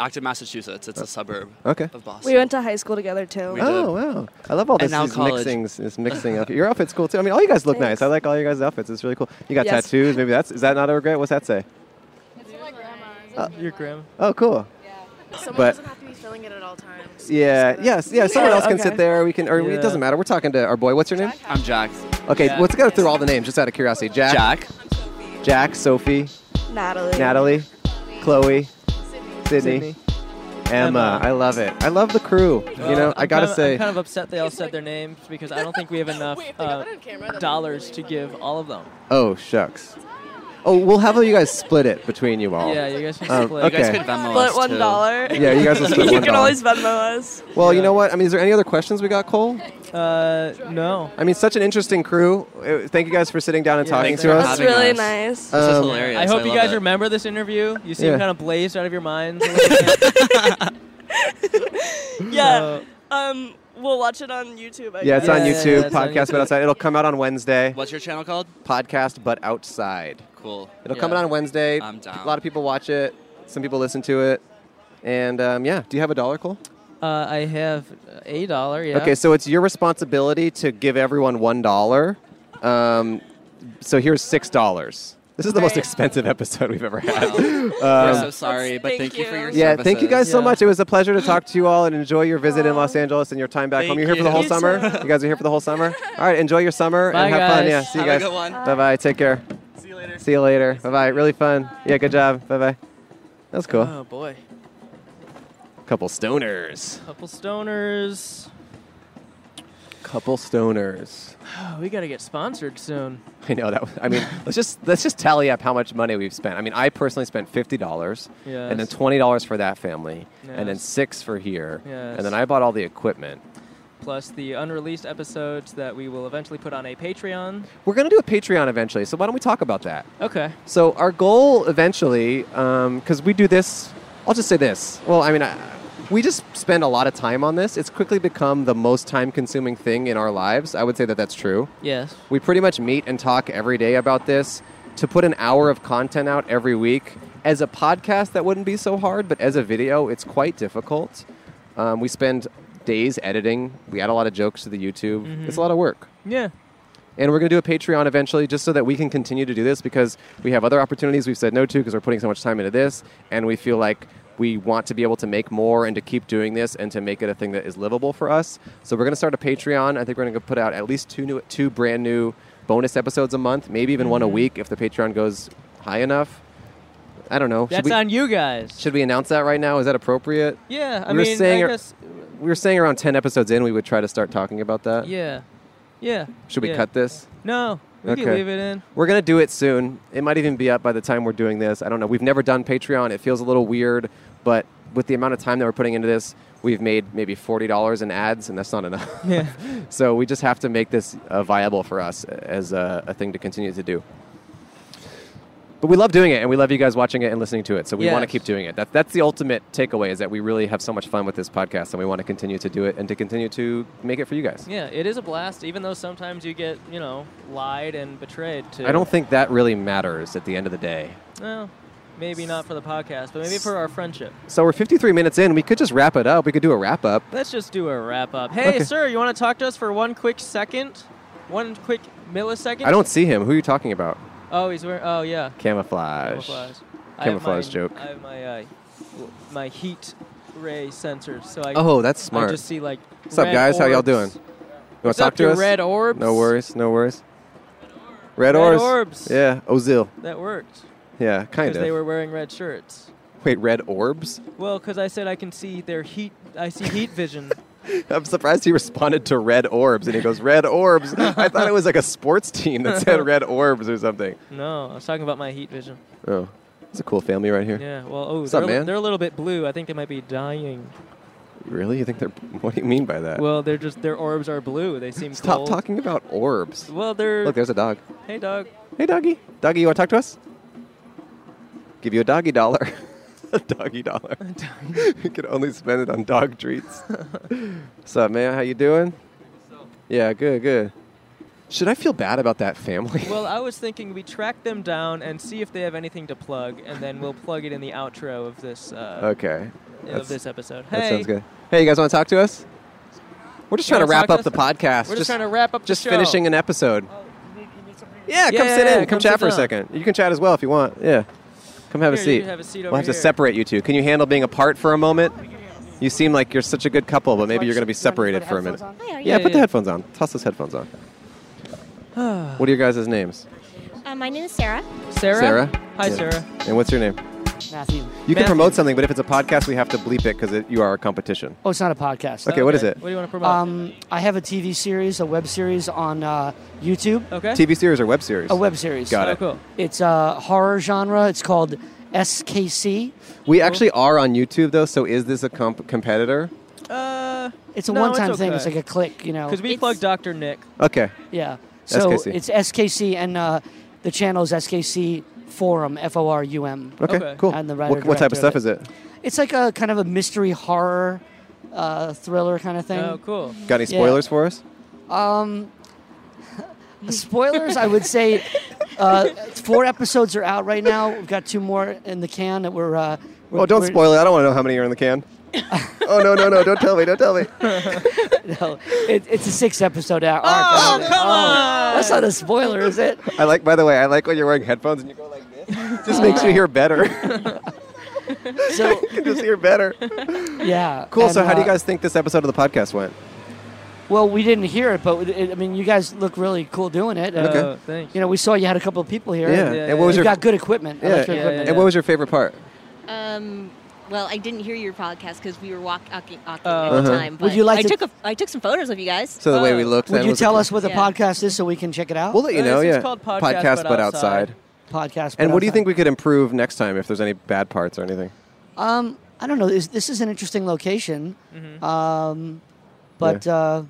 Speaker 10: Acton, Massachusetts. It's a suburb.
Speaker 2: Okay.
Speaker 10: Of Boston.
Speaker 9: We went to high school together too.
Speaker 10: We
Speaker 2: Oh wow! I love all
Speaker 10: And
Speaker 2: this,
Speaker 10: now
Speaker 2: these
Speaker 10: college.
Speaker 2: mixings, this mixing up. Your outfit's cool too. I mean, all you guys look nice. I like all you guys' outfits. It's really cool. You got
Speaker 1: Yes.
Speaker 2: tattoos. Maybe that's is that not a regret? What's that say?
Speaker 1: Your grandma.
Speaker 2: Oh, cool.
Speaker 8: Someone
Speaker 2: But-
Speaker 8: doesn't have to be filling it at all times.
Speaker 2: Yeah, yes, yeah. Someone
Speaker 8: Yeah,
Speaker 2: else can
Speaker 8: okay.
Speaker 2: sit there. We can, or we- it
Speaker 10: Yeah.
Speaker 2: doesn't matter. We're talking to our boy. What's your name?
Speaker 10: I'm Jack.
Speaker 2: Okay, let's go through all the names just out of curiosity. Jack.
Speaker 10: Jack.
Speaker 2: Jack. Sophie.
Speaker 9: Natalie.
Speaker 2: Natalie. Chloe. Sydney.
Speaker 1: Sydney.
Speaker 2: Emma. I love it. I love the crew. you know,
Speaker 1: Well,
Speaker 2: I
Speaker 1: I'm
Speaker 2: gotta
Speaker 1: kind of,
Speaker 2: say.
Speaker 1: I'm kind of upset they all said their names because I don't think we have enough uh, dollars to give all of them.
Speaker 2: oh shucks. Oh, we'll have you guys split it between you all.
Speaker 1: Yeah, you guys should
Speaker 2: Um,
Speaker 1: split.
Speaker 2: okay.
Speaker 9: Split one dollar.
Speaker 2: Yeah, you guys will split
Speaker 9: You
Speaker 2: one
Speaker 9: can
Speaker 2: dollar.
Speaker 9: always Venmo us.
Speaker 2: Well, you know what? I mean, is there any other questions we got, Cole?
Speaker 1: Uh, no.
Speaker 2: I mean, such an interesting crew. Uh, Thank you guys for sitting down and talking
Speaker 1: thanks
Speaker 2: to
Speaker 1: for
Speaker 2: us.
Speaker 1: having That's really us. nice. This
Speaker 10: is
Speaker 2: Um,
Speaker 10: hilarious.
Speaker 1: I hope
Speaker 10: I
Speaker 1: you
Speaker 10: love
Speaker 1: guys
Speaker 10: it.
Speaker 1: remember this interview. You seem
Speaker 2: Yeah.
Speaker 1: kind of blazed out of your mind.
Speaker 9: Yeah. Um, we'll watch it on YouTube. I
Speaker 2: Yeah, it's
Speaker 9: guess.
Speaker 2: on YouTube. podcast, but
Speaker 10: YouTube.
Speaker 2: outside. It'll come out on Wednesday.
Speaker 10: What's your channel called?
Speaker 2: Podcast, but outside.
Speaker 10: Cool.
Speaker 2: It'll come
Speaker 10: Yeah.
Speaker 2: out on Wednesday.
Speaker 10: I'm down.
Speaker 2: A lot of people watch it. Some people listen to it. And um, yeah, do you have a dollar, Cole?
Speaker 1: Uh, I have a dollar. Yeah.
Speaker 2: Okay, so it's your responsibility to give everyone one dollar. Um, so here's six dollars. This is the most expensive episode we've ever had. Um,
Speaker 10: We're so sorry, but thank, you. for your
Speaker 2: Yeah, thank you guys so
Speaker 10: services. Oh.
Speaker 2: much. It was a pleasure to talk to you all and enjoy your visit in Los Angeles and your time back
Speaker 10: Thank
Speaker 2: home. You're here for the
Speaker 10: you.
Speaker 2: whole
Speaker 10: You
Speaker 2: summer.
Speaker 10: too.
Speaker 2: You guys are here for the whole summer. All right, enjoy your summer
Speaker 10: Bye,
Speaker 2: and have fun.
Speaker 10: guys.
Speaker 2: Yeah, see you
Speaker 10: Have a
Speaker 2: guys.
Speaker 10: good one.
Speaker 2: Bye bye. Take care. See you later. See you later. Bye bye. Really fun. Yeah, good job. Bye bye. That was cool.
Speaker 1: Oh boy.
Speaker 2: Couple stoners.
Speaker 1: Couple stoners.
Speaker 2: Couple stoners.
Speaker 1: Oh, we gotta get sponsored soon.
Speaker 2: I know that. Was, I mean, let's just let's just tally up how much money we've spent. I mean, I personally spent fifty dollars, and then
Speaker 1: Yes.
Speaker 2: twenty dollars for that family, and then
Speaker 1: Yes.
Speaker 2: six for here,
Speaker 1: Yes.
Speaker 2: and then I bought all the equipment.
Speaker 1: Plus the unreleased episodes that we will eventually put on a Patreon.
Speaker 2: We're gonna do a Patreon eventually, so why don't we talk about that?
Speaker 1: Okay.
Speaker 2: So our goal eventually, because we do this, I'll just say this. Well, I mean, I, we just spend a lot of time on this. It's quickly become the most time-consuming thing in our lives. I would say that that's true.
Speaker 1: Yes.
Speaker 2: We pretty much meet and talk every day about this. To put an hour of content out every week as a podcast, that wouldn't be so hard, but as a video, it's quite difficult. Um, we spend days editing. We add a lot of jokes to the YouTube.
Speaker 1: Mhm.
Speaker 2: It's a lot of work.
Speaker 1: Yeah.
Speaker 2: And we're going to do a Patreon eventually just so that we can continue to do this because we have other opportunities we've said no to because we're putting so much time into this. And we feel like we want to be able to make more and to keep doing this and to make it a thing that is livable for us. So we're going to start a Patreon. I think we're going to put out at least two, new, two brand new bonus episodes a month, maybe even one a
Speaker 1: Mm-hmm.
Speaker 2: week if the Patreon goes high enough. I don't know. Should
Speaker 1: That's
Speaker 2: we-
Speaker 1: on you guys.
Speaker 2: Should we announce that right now? Is that appropriate?
Speaker 1: Yeah, I
Speaker 2: we were
Speaker 1: mean,
Speaker 2: saying
Speaker 1: I
Speaker 2: ar-
Speaker 1: guess-
Speaker 2: we were saying around ten episodes in, we would try to start talking about that.
Speaker 1: Yeah. Yeah.
Speaker 2: Should we
Speaker 1: yeah.
Speaker 2: cut this?
Speaker 1: No. We can leave it in.
Speaker 2: We're gonna do it soon. It might even be up by the time we're doing this. I don't know. We've never done Patreon. It feels a little weird, but with the amount of time that we're putting into this, we've made maybe forty dollars in ads, and that's not enough.
Speaker 1: Yeah.
Speaker 2: so we just have to make this uh, viable for us as a, a thing to continue to do. But we love doing it, and we love you guys watching it and listening to it. So we want to
Speaker 1: Yes.
Speaker 2: keep doing it. That, that's the ultimate takeaway: is that we really have so much fun with this podcast, and we want to continue to do it and to continue to make it for you guys.
Speaker 1: Yeah, it is a blast, even though sometimes you get, you know, lied and betrayed too.
Speaker 2: I don't think that really matters at the end of the day.
Speaker 1: Well, maybe not for the podcast, but maybe for our friendship.
Speaker 2: So we're 53 minutes in. We could just wrap it up. We could do a wrap up.
Speaker 1: Let's just do a wrap up. Hey,
Speaker 2: Okay.
Speaker 1: sir, you want to talk to us for one quick second? One quick millisecond?
Speaker 2: I don't see him. Who are you talking about?
Speaker 1: Oh, he's wearing. Oh, yeah.
Speaker 2: Camouflage.
Speaker 1: Camouflage. I have
Speaker 2: Camouflage
Speaker 1: mine-
Speaker 2: joke.
Speaker 1: I have my uh, w- my heat ray sensors, so I.
Speaker 2: Oh, that's smart.
Speaker 1: I just see like.
Speaker 2: What's up,
Speaker 1: red
Speaker 2: guys? How y'all
Speaker 1: orbs.
Speaker 2: doing? You want
Speaker 1: What's
Speaker 2: to talk
Speaker 1: up,
Speaker 2: to
Speaker 1: you
Speaker 2: us?
Speaker 1: red orbs?
Speaker 2: No worries. No worries. Red
Speaker 1: Red
Speaker 2: orbs.
Speaker 1: orbs.
Speaker 2: Yeah. Ozil.
Speaker 1: That worked.
Speaker 2: Yeah, kind
Speaker 1: Because they
Speaker 2: of.
Speaker 1: were wearing red shirts.
Speaker 2: Wait, red orbs?
Speaker 1: Well, because I said I can see their heat. I see heat vision.
Speaker 2: I'm surprised he responded to red orbs, and he goes red orbs. I thought it was like a sports team that said red orbs or something.
Speaker 1: No, I was talking about my heat vision.
Speaker 2: Oh, it's a cool family right here.
Speaker 1: Yeah. Well, oh,
Speaker 2: What's
Speaker 1: they're,
Speaker 2: up,
Speaker 1: a li-
Speaker 2: man?
Speaker 1: they're a little bit blue. I think they might be dying.
Speaker 2: Really? You think they're? What do you mean by that?
Speaker 1: Well, they're just their orbs are blue. They seem
Speaker 2: Uh, Stop
Speaker 1: cold.
Speaker 2: talking about orbs.
Speaker 1: Well, they're
Speaker 2: Look, there's a dog.
Speaker 1: Hey, dog.
Speaker 2: Hey, doggy. Doggy, you want to talk to us? Give you a doggy dollar. a doggy dollar. you can only spend it on dog treats. What's up, man? How you doing? Yeah, good, good. Should I feel bad about that family?
Speaker 1: Well, I was thinking we track them down and see if they have anything to plug, and then we'll plug it in the outro of this. Uh,
Speaker 2: okay.
Speaker 1: Of this episode.
Speaker 2: That
Speaker 1: hey.
Speaker 2: sounds good. Hey, you guys want to talk to us? We're just
Speaker 1: You
Speaker 2: trying to
Speaker 1: wanna
Speaker 2: wrap
Speaker 1: talk
Speaker 2: up
Speaker 1: to
Speaker 2: the
Speaker 1: us?
Speaker 2: podcast.
Speaker 1: We're just trying to wrap up the
Speaker 2: Just
Speaker 1: show.
Speaker 2: finishing an episode. Yeah, come sit in. Come, chat for a second. You can chat as well if you want. Yeah. Come have a
Speaker 1: Here, you
Speaker 2: seat.
Speaker 1: can have a seat
Speaker 2: we'll
Speaker 1: over
Speaker 2: have to
Speaker 1: here.
Speaker 2: separate you two. Can you handle being apart for a moment? You seem like you're such a good couple, but maybe you're going to be separated for a minute.
Speaker 12: Hi, are you?
Speaker 2: Yeah,
Speaker 12: Yeah,
Speaker 2: put
Speaker 12: yeah.
Speaker 2: the headphones on. Toss those headphones on.
Speaker 12: uh,
Speaker 2: What are your guys' names?
Speaker 12: my name is Sarah.
Speaker 2: Sarah?
Speaker 1: Hi,
Speaker 2: Yeah.
Speaker 1: Sarah.
Speaker 2: And what's your name?
Speaker 12: Matthew.
Speaker 2: You can promote something, but if it's a podcast, we have to bleep it because you are a competition.
Speaker 12: Oh, it's not a podcast.
Speaker 2: Okay, what is it?
Speaker 1: What do you want to
Speaker 12: promote? Um, I have a TV series, a web series on uh, YouTube.
Speaker 1: Okay. Oh,
Speaker 2: TV series or web series?
Speaker 12: A web series.
Speaker 2: Got it.
Speaker 12: It's a horror genre. It's called SKC.
Speaker 2: We actually are on YouTube, though, so is this a comp- competitor?
Speaker 1: Uh,
Speaker 12: It's a
Speaker 1: no,
Speaker 12: one-time
Speaker 1: it's
Speaker 12: thing.
Speaker 1: okay.
Speaker 12: It's like a click, you know.
Speaker 1: Because we plugged Dr. Nick.
Speaker 2: Okay.
Speaker 12: Yeah. So
Speaker 2: SKC.
Speaker 12: it's SKC, and uh, the channel is SKC Forum, F O R U M.
Speaker 2: Okay, cool.
Speaker 12: And the
Speaker 2: what, what type of stuff
Speaker 12: is
Speaker 2: is it?
Speaker 12: It's like a kind of a mystery horror uh, thriller kind of thing.
Speaker 1: Oh, cool.
Speaker 2: Got any spoilers for us?
Speaker 12: Um, spoilers, I would say uh, four episodes are out right now. We've got two more in the can that we're. Uh, we're
Speaker 2: Oh, don't
Speaker 12: we're-
Speaker 2: spoil it. I don't want to know how many are in the can. oh, no, no, no. Don't tell me. Don't tell me.
Speaker 12: no, it, it's a six episode arc.
Speaker 3: Oh,
Speaker 12: Oh,
Speaker 3: come on.
Speaker 12: That's not a spoiler, is it?
Speaker 2: I like, by the way, I like when you're wearing headphones and you go like this. It just makes you hear better.
Speaker 12: so
Speaker 2: you can just hear better.
Speaker 12: Yeah.
Speaker 2: Cool.
Speaker 12: and,
Speaker 2: so, how do you
Speaker 12: uh,
Speaker 2: guys think this episode of the podcast went?
Speaker 12: Well, we didn't hear it, but it, I mean, you guys look really cool doing it. Uh,
Speaker 2: Okay.
Speaker 1: Uh,
Speaker 2: Oh,
Speaker 12: You know, we saw you had a couple of people here.
Speaker 2: Yeah, Yeah, and what was
Speaker 12: you
Speaker 2: your-
Speaker 12: got good equipment. I like your equipment.
Speaker 2: And what was your favorite part?
Speaker 13: Um, well, I didn't hear your podcast because we were walking, walking, walking
Speaker 2: Uh-huh.
Speaker 13: at the time.
Speaker 2: Would
Speaker 13: But
Speaker 2: you like
Speaker 13: I
Speaker 2: to-
Speaker 13: took a, I took some photos of you guys.
Speaker 2: So the way we looked
Speaker 12: Uh, Would
Speaker 2: then
Speaker 12: you
Speaker 2: was a
Speaker 12: tell
Speaker 2: cool-
Speaker 12: us what the
Speaker 13: Yeah.
Speaker 12: podcast is so we can check it out?
Speaker 2: We'll let you know. yeah.
Speaker 12: Podcast.
Speaker 2: And
Speaker 12: but
Speaker 2: what do you
Speaker 12: outside.
Speaker 2: think we could improve next time if there's any bad parts or anything?
Speaker 12: Um, I don't know. This, this is an interesting location,
Speaker 1: Mm-hmm.
Speaker 12: um, but uh,